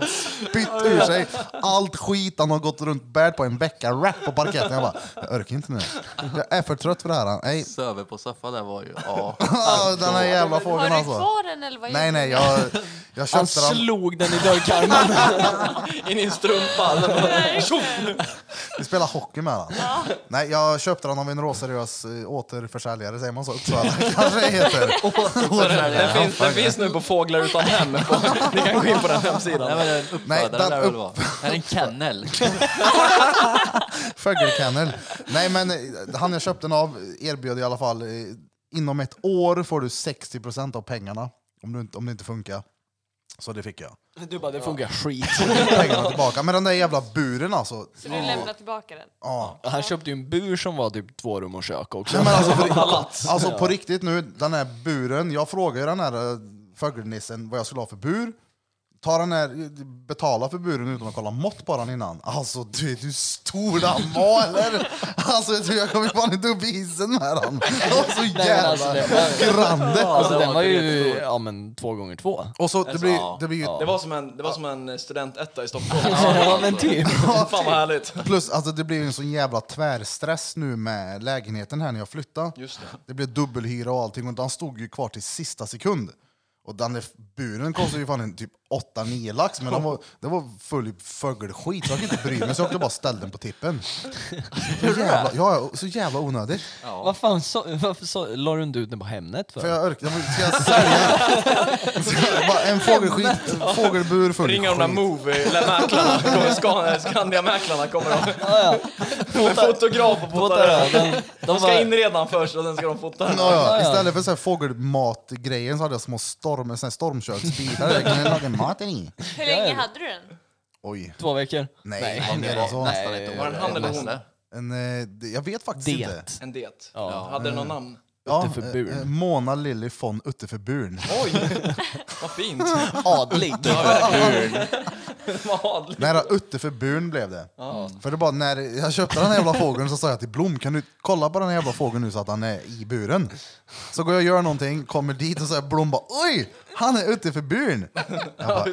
S2: spytt ur sig allt skit han har gått runt bärt på en vecka. Rap på parketten. Jag bara, jag orkar inte nu. Jag är för trött för det här. Nej.
S3: Söver på soffa där var ju... Ja.
S2: Ah, Den här jävla
S5: Har
S2: fågeln
S5: du
S2: alltså.
S5: kvar den eller vad
S2: Nej,
S5: gjorde
S2: nej,
S5: du?
S2: jag, jag
S1: Han
S2: köpte den.
S1: slog den i dörrkarmen.
S4: In i en strumpa. Tjoff!
S2: Vi spelar hockey med den. Nej, jag köpte den av en råseriös eh, återförsäljare, säger man så? Uppsala kanske det heter.
S4: Den finns, den finns nu på Fåglar utan hem. Ni kan gå in på den hemsidan.
S3: Nej, men en
S2: Nej, den
S3: uppfödare lär det väl vara. Är det en kennel?
S2: Fågelkennel. Nej men eh, han jag köpte den av erbjöd i alla fall eh, inom ett år får du 60% av pengarna om, du, inte- om det inte funkar. Så det fick jag.
S1: Du bara, det funkar skit.
S2: Pengarna tillbaka. Men den där jävla buren alltså.
S5: Så du lämnar tillbaka den?
S2: Ja.
S1: Han köpte ju en bur som var typ två rum och kök också.
S2: Nej, men alltså, för, alltså på riktigt nu, den här buren. Jag frågade ju den här eh, fågelnissen vad jag skulle ha för bur. Tar den här, betala för buren utan att kolla mått på den innan. Alltså du vet hur stor den var eller? Alltså jag tror jag kommer fan inte upp i isen med den. Den var så
S1: men
S2: jävla
S1: alltså, det var-
S2: grande.
S1: Alltså den var ju
S3: jättestor.
S1: ja, men, två gånger två.
S2: Och så det
S3: ja.
S2: blir, det blir ju
S4: Det var som en, det var som en studentetta i Stockholm.
S1: Ja men typ.
S4: Fan vad härligt.
S2: plus alltså det blir ju en sån jävla tvärstress nu med lägenheten här när jag flyttade.
S4: Just det.
S2: det blev dubbelhyra och allting och den stod ju kvar till sista sekund. Och den där buren kostade ju fan en typ 8-9 lax, men den var, den var full i fågelskit så jag kunde inte bry mig så jag åkte bara ställde den på tippen. Så jävla, ja, så jävla onödigt.
S1: Vad fan, så, varför så, la du inte ut den på Hemnet för?
S2: För jag orkade, ska jag sälja? Bara en fågelskit, fågelbur full
S4: Ringa de där
S2: skit.
S4: Movie, eller mäklarna, kommer Scan- Skandia-mäklarna kommer de.
S1: Ja,
S4: Med fotograf och
S1: ja.
S4: fotar den.
S1: Den,
S4: De
S1: de
S4: ska
S1: bara,
S4: inreda den först och sen ska de fota den.
S2: Ja, ja.
S1: ja.
S2: Istället för så här fågelmatgrejen så hade jag små storm, såna här stormköksbitar. Jag kunde laga maten i.
S5: Hur länge hade du den?
S2: Oj.
S1: två veckor.
S2: Nej, det var mer än så.
S1: nej.
S4: Var det en han eller hon?
S2: En, eh, det- jag vet faktiskt inte.
S1: Det.
S4: En det.
S1: Ja.
S4: Hade den något namn?
S2: Ja,
S1: Utte för Burn.
S2: eh, eh, Mona Lilly von Utteförburn.
S4: Oj, vad fint.
S1: Adlig.
S4: Vad adligt.
S2: Nära Utteförburn blev det. För det bara när jag köpte den här jävla fågeln så sa jag till Blom, kan du kolla på den här jävla fågeln nu så att han är i buren? Så går jag och gör någonting, kommer dit och så är Blom bara oj, han är Utteförburn. Jag bara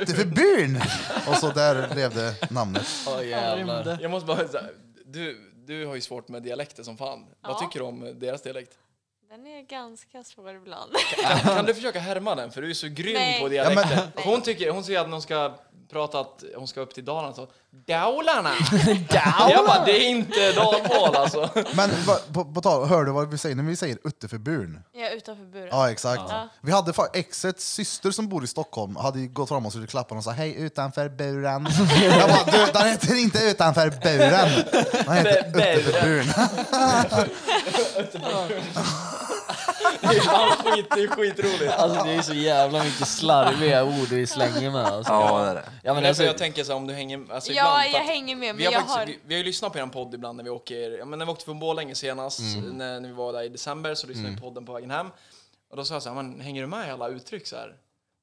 S2: Utteförburn! Och så där blev det namnet.
S1: Åh, jävlar.
S4: Jag måste bara säga, du, du har ju svårt med dialekter som fan. Vad
S5: Ja.
S4: tycker du om deras dialekt?
S5: Den är ganska svår ibland.
S4: Kan, kan du försöka härma den? För du är så grym
S5: Nej.
S4: på
S2: Ja, men-
S4: dialekter. Hon, tycker, hon säger att hon ska prata att hon ska upp till Dalarna. Så, Dalarna! Jag bara, det är inte dalmål alltså.
S2: Men va- på, på tal, hör du vad vi säger när vi säger Utteförburn?
S5: Jag är utanför buren.
S2: Ja, exakt.
S5: Ja.
S2: Vi hade fa- exets syster som bor i Stockholm hade ju gått fram och skulle klappa och sa hej utanför buren. Jag bara, du, den heter inte utanför buren. Den heter
S4: Be- buren.
S2: utanför buren.
S4: Det är fan skit, det är skitroligt.
S1: Alltså det är så jävla mycket slarviga ord vi slänger med. Alltså.
S7: Ja, det är det.
S1: Ja,
S4: Men
S1: men
S4: alltså, jag
S1: alltså,
S4: tänker så här, om du hänger... Alltså, ibland,
S5: Ja,
S4: för
S5: jag
S4: att-
S5: hänger med, men
S4: Vi har,
S5: jag
S4: faktiskt,
S5: har...
S4: Vi, vi har ju lyssnat på er podd ibland när vi åker, ja, men när vi åkte från Borlänge senast,
S1: Mm.
S4: när, när vi var där i december så lyssnade vi på podden på vägen hem. Och då sa jag så här, men hänger du med i alla uttryck så här?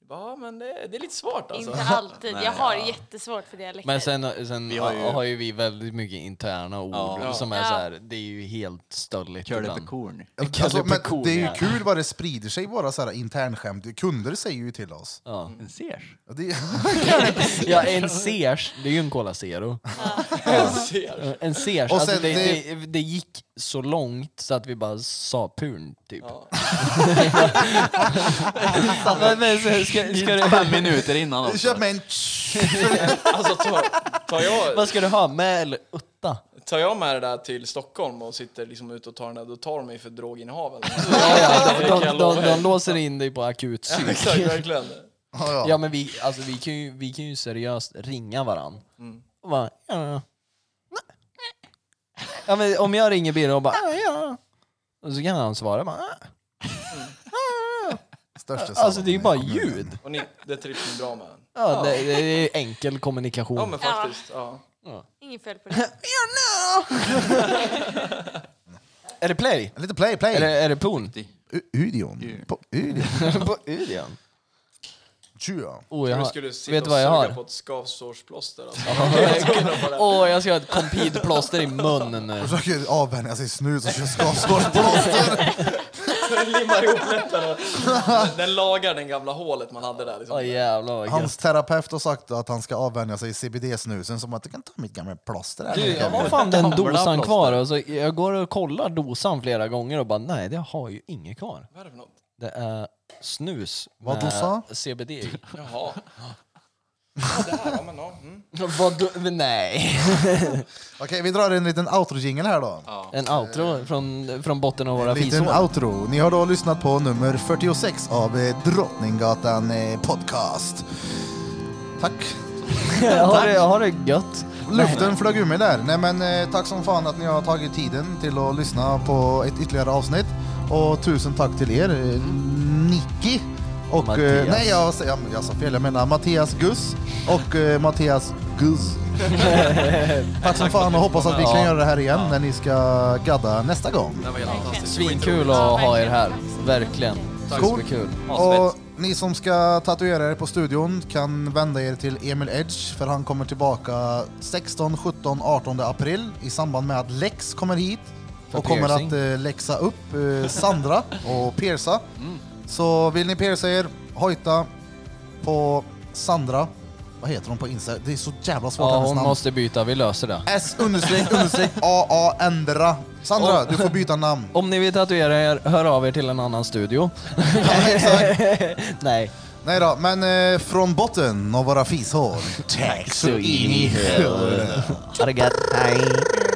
S4: Jag bara, Ja, men det, det är lite svårt alltså.
S5: Inte alltid. jag har jättesvårt för dialekter.
S1: men sen, sen har,
S3: har ju-
S1: ju... vi väldigt mycket interna ord
S3: Ja.
S1: som är
S5: Ja.
S1: så här, det är ju helt stölligt ibland.
S3: Curlypecorn.
S2: Alltså, men
S1: Pecorn,
S2: det är ju
S1: ja.
S2: kul vad det sprider sig, våra så här internskämt. Kunder säger ju till oss.
S1: Ja.
S3: En sers.
S2: Det,
S1: ja, en sers, det är ju en Cola Zero.
S4: Jag ser.
S1: En sers,
S2: Och
S1: alltså,
S2: sen
S1: det,
S2: det-
S1: det... Det, gick så långt så att vi bara sa purn typ.
S4: Ja.
S1: Men, men, så, ska, ska du,
S3: Fem minuter innan också.
S2: köp mig en...
S4: Alltså tar, tar, jag,
S1: vad ska du ha, med eller utta?
S4: tar jag med det där till Stockholm och sitter liksom ute och tar den där, då tar de mig för droginnehav eller något.
S1: Ja,
S4: Det
S1: ja,
S4: kan
S1: de,
S4: jag
S1: de,
S4: lova
S1: de
S4: er.
S1: låser in dig på akut
S4: Exakt, verkligen.
S2: Ja, ja.
S1: Ja men vi, alltså, vi, kan ju, vi kan ju seriöst ringa varann.
S4: Mm.
S1: Och bara, ja, ja. ja men om jag ringer Birre och bara, ja, ja. Och så kan han svara bara, ja.
S4: Mm.
S2: Största
S1: Alltså det är ju bara
S2: sammanhang i kommunen.
S1: ljud.
S4: Och ni, det trivs ni bra med?
S1: Ja, det, det är ju enkel
S4: Ja
S1: kommunikation.
S4: men faktiskt. Ja.
S5: Inget fel på det.
S1: Är det play?
S2: Lite play, play.
S1: Är det, är det porn?
S2: U- Udion. På Udion.
S1: På Udion?
S2: Tja.
S1: Oh, jag
S4: Du
S1: har,
S4: skulle sitta
S1: vet
S4: och
S1: du vad jag
S4: suga
S1: har?
S4: på ett skavsårsplåster alltså.
S1: Åh, jag ska ha ett Compid-plåster i munnen nu.
S2: Försöker avvänja sig snus och kör skavsårsplåster.
S4: limmar ihop läpparna. Den- Den lagar den gamla hålet man hade där. Liksom.
S1: Åh jävlar vad gött.
S2: Hans terapeut har sagt att han ska avvänja sig CBD-snusen som att du kan ta mitt gamla plåster här.
S1: Du, jag har fan den dosan kvar. Alltså, jag går och kollar dosan flera gånger och bara nej, det har ju inget kvar.
S4: Vad är det för något?
S1: Det är snus
S2: Vad
S1: med
S2: dosa?
S1: CBD i.
S4: Jaha. Ja, det här, ja, men, ja. Mm.
S1: Vad do- nej.
S2: Okej, vi drar en liten outro-jingel här då.
S1: En outro från, från botten av våra
S2: En liten
S1: fisor.
S2: outro. Ni har då lyssnat på nummer 46 av eh, Drottninggatan eh, Podcast. Tack.
S1: Har det, har det gött.
S2: Luften flög ur mig där. Nej men eh, tack som fan att ni har tagit tiden till att lyssna på ett ytterligare avsnitt. Och tusen tack till er, eh, Nicky. Och, eh,
S1: Mattias.
S2: nej jag, jag, jag sa fel, jag menar Mattias Guss och eh, Mattias Guss. tack som fan och hoppas att vi kan göra det här igen när ni ska gadda nästa gång.
S4: Det var helt fantastiskt.
S1: Svinkul att ha er här. Verkligen.
S4: Tack.
S1: Superkul.
S2: Och ni som ska tatuera er på studion kan vända er till Emil Edge för han kommer tillbaka 16, 17, 18 april i samband med att Lex kommer hit
S1: För
S2: och kommer
S1: piercing.
S2: att eh, läxa upp eh, Sandra och pierca.
S1: Mm.
S2: Så vill ni pierca er, hojta på Sandra. Vad heter hon på Insta? Det är så jävla svårt
S1: Ja,
S2: hennes
S1: hon
S2: namn.
S1: måste byta. Vi löser det.
S2: S understreck understreck A A ändra. Sandra,
S1: Och-
S2: du får byta namn.
S1: Om ni vill tatuera er, hör av er till en annan studio. Nej.
S2: Nej då, men eh, från botten av våra fishål. Tack så in i helvete.
S1: Ha det gött, hej!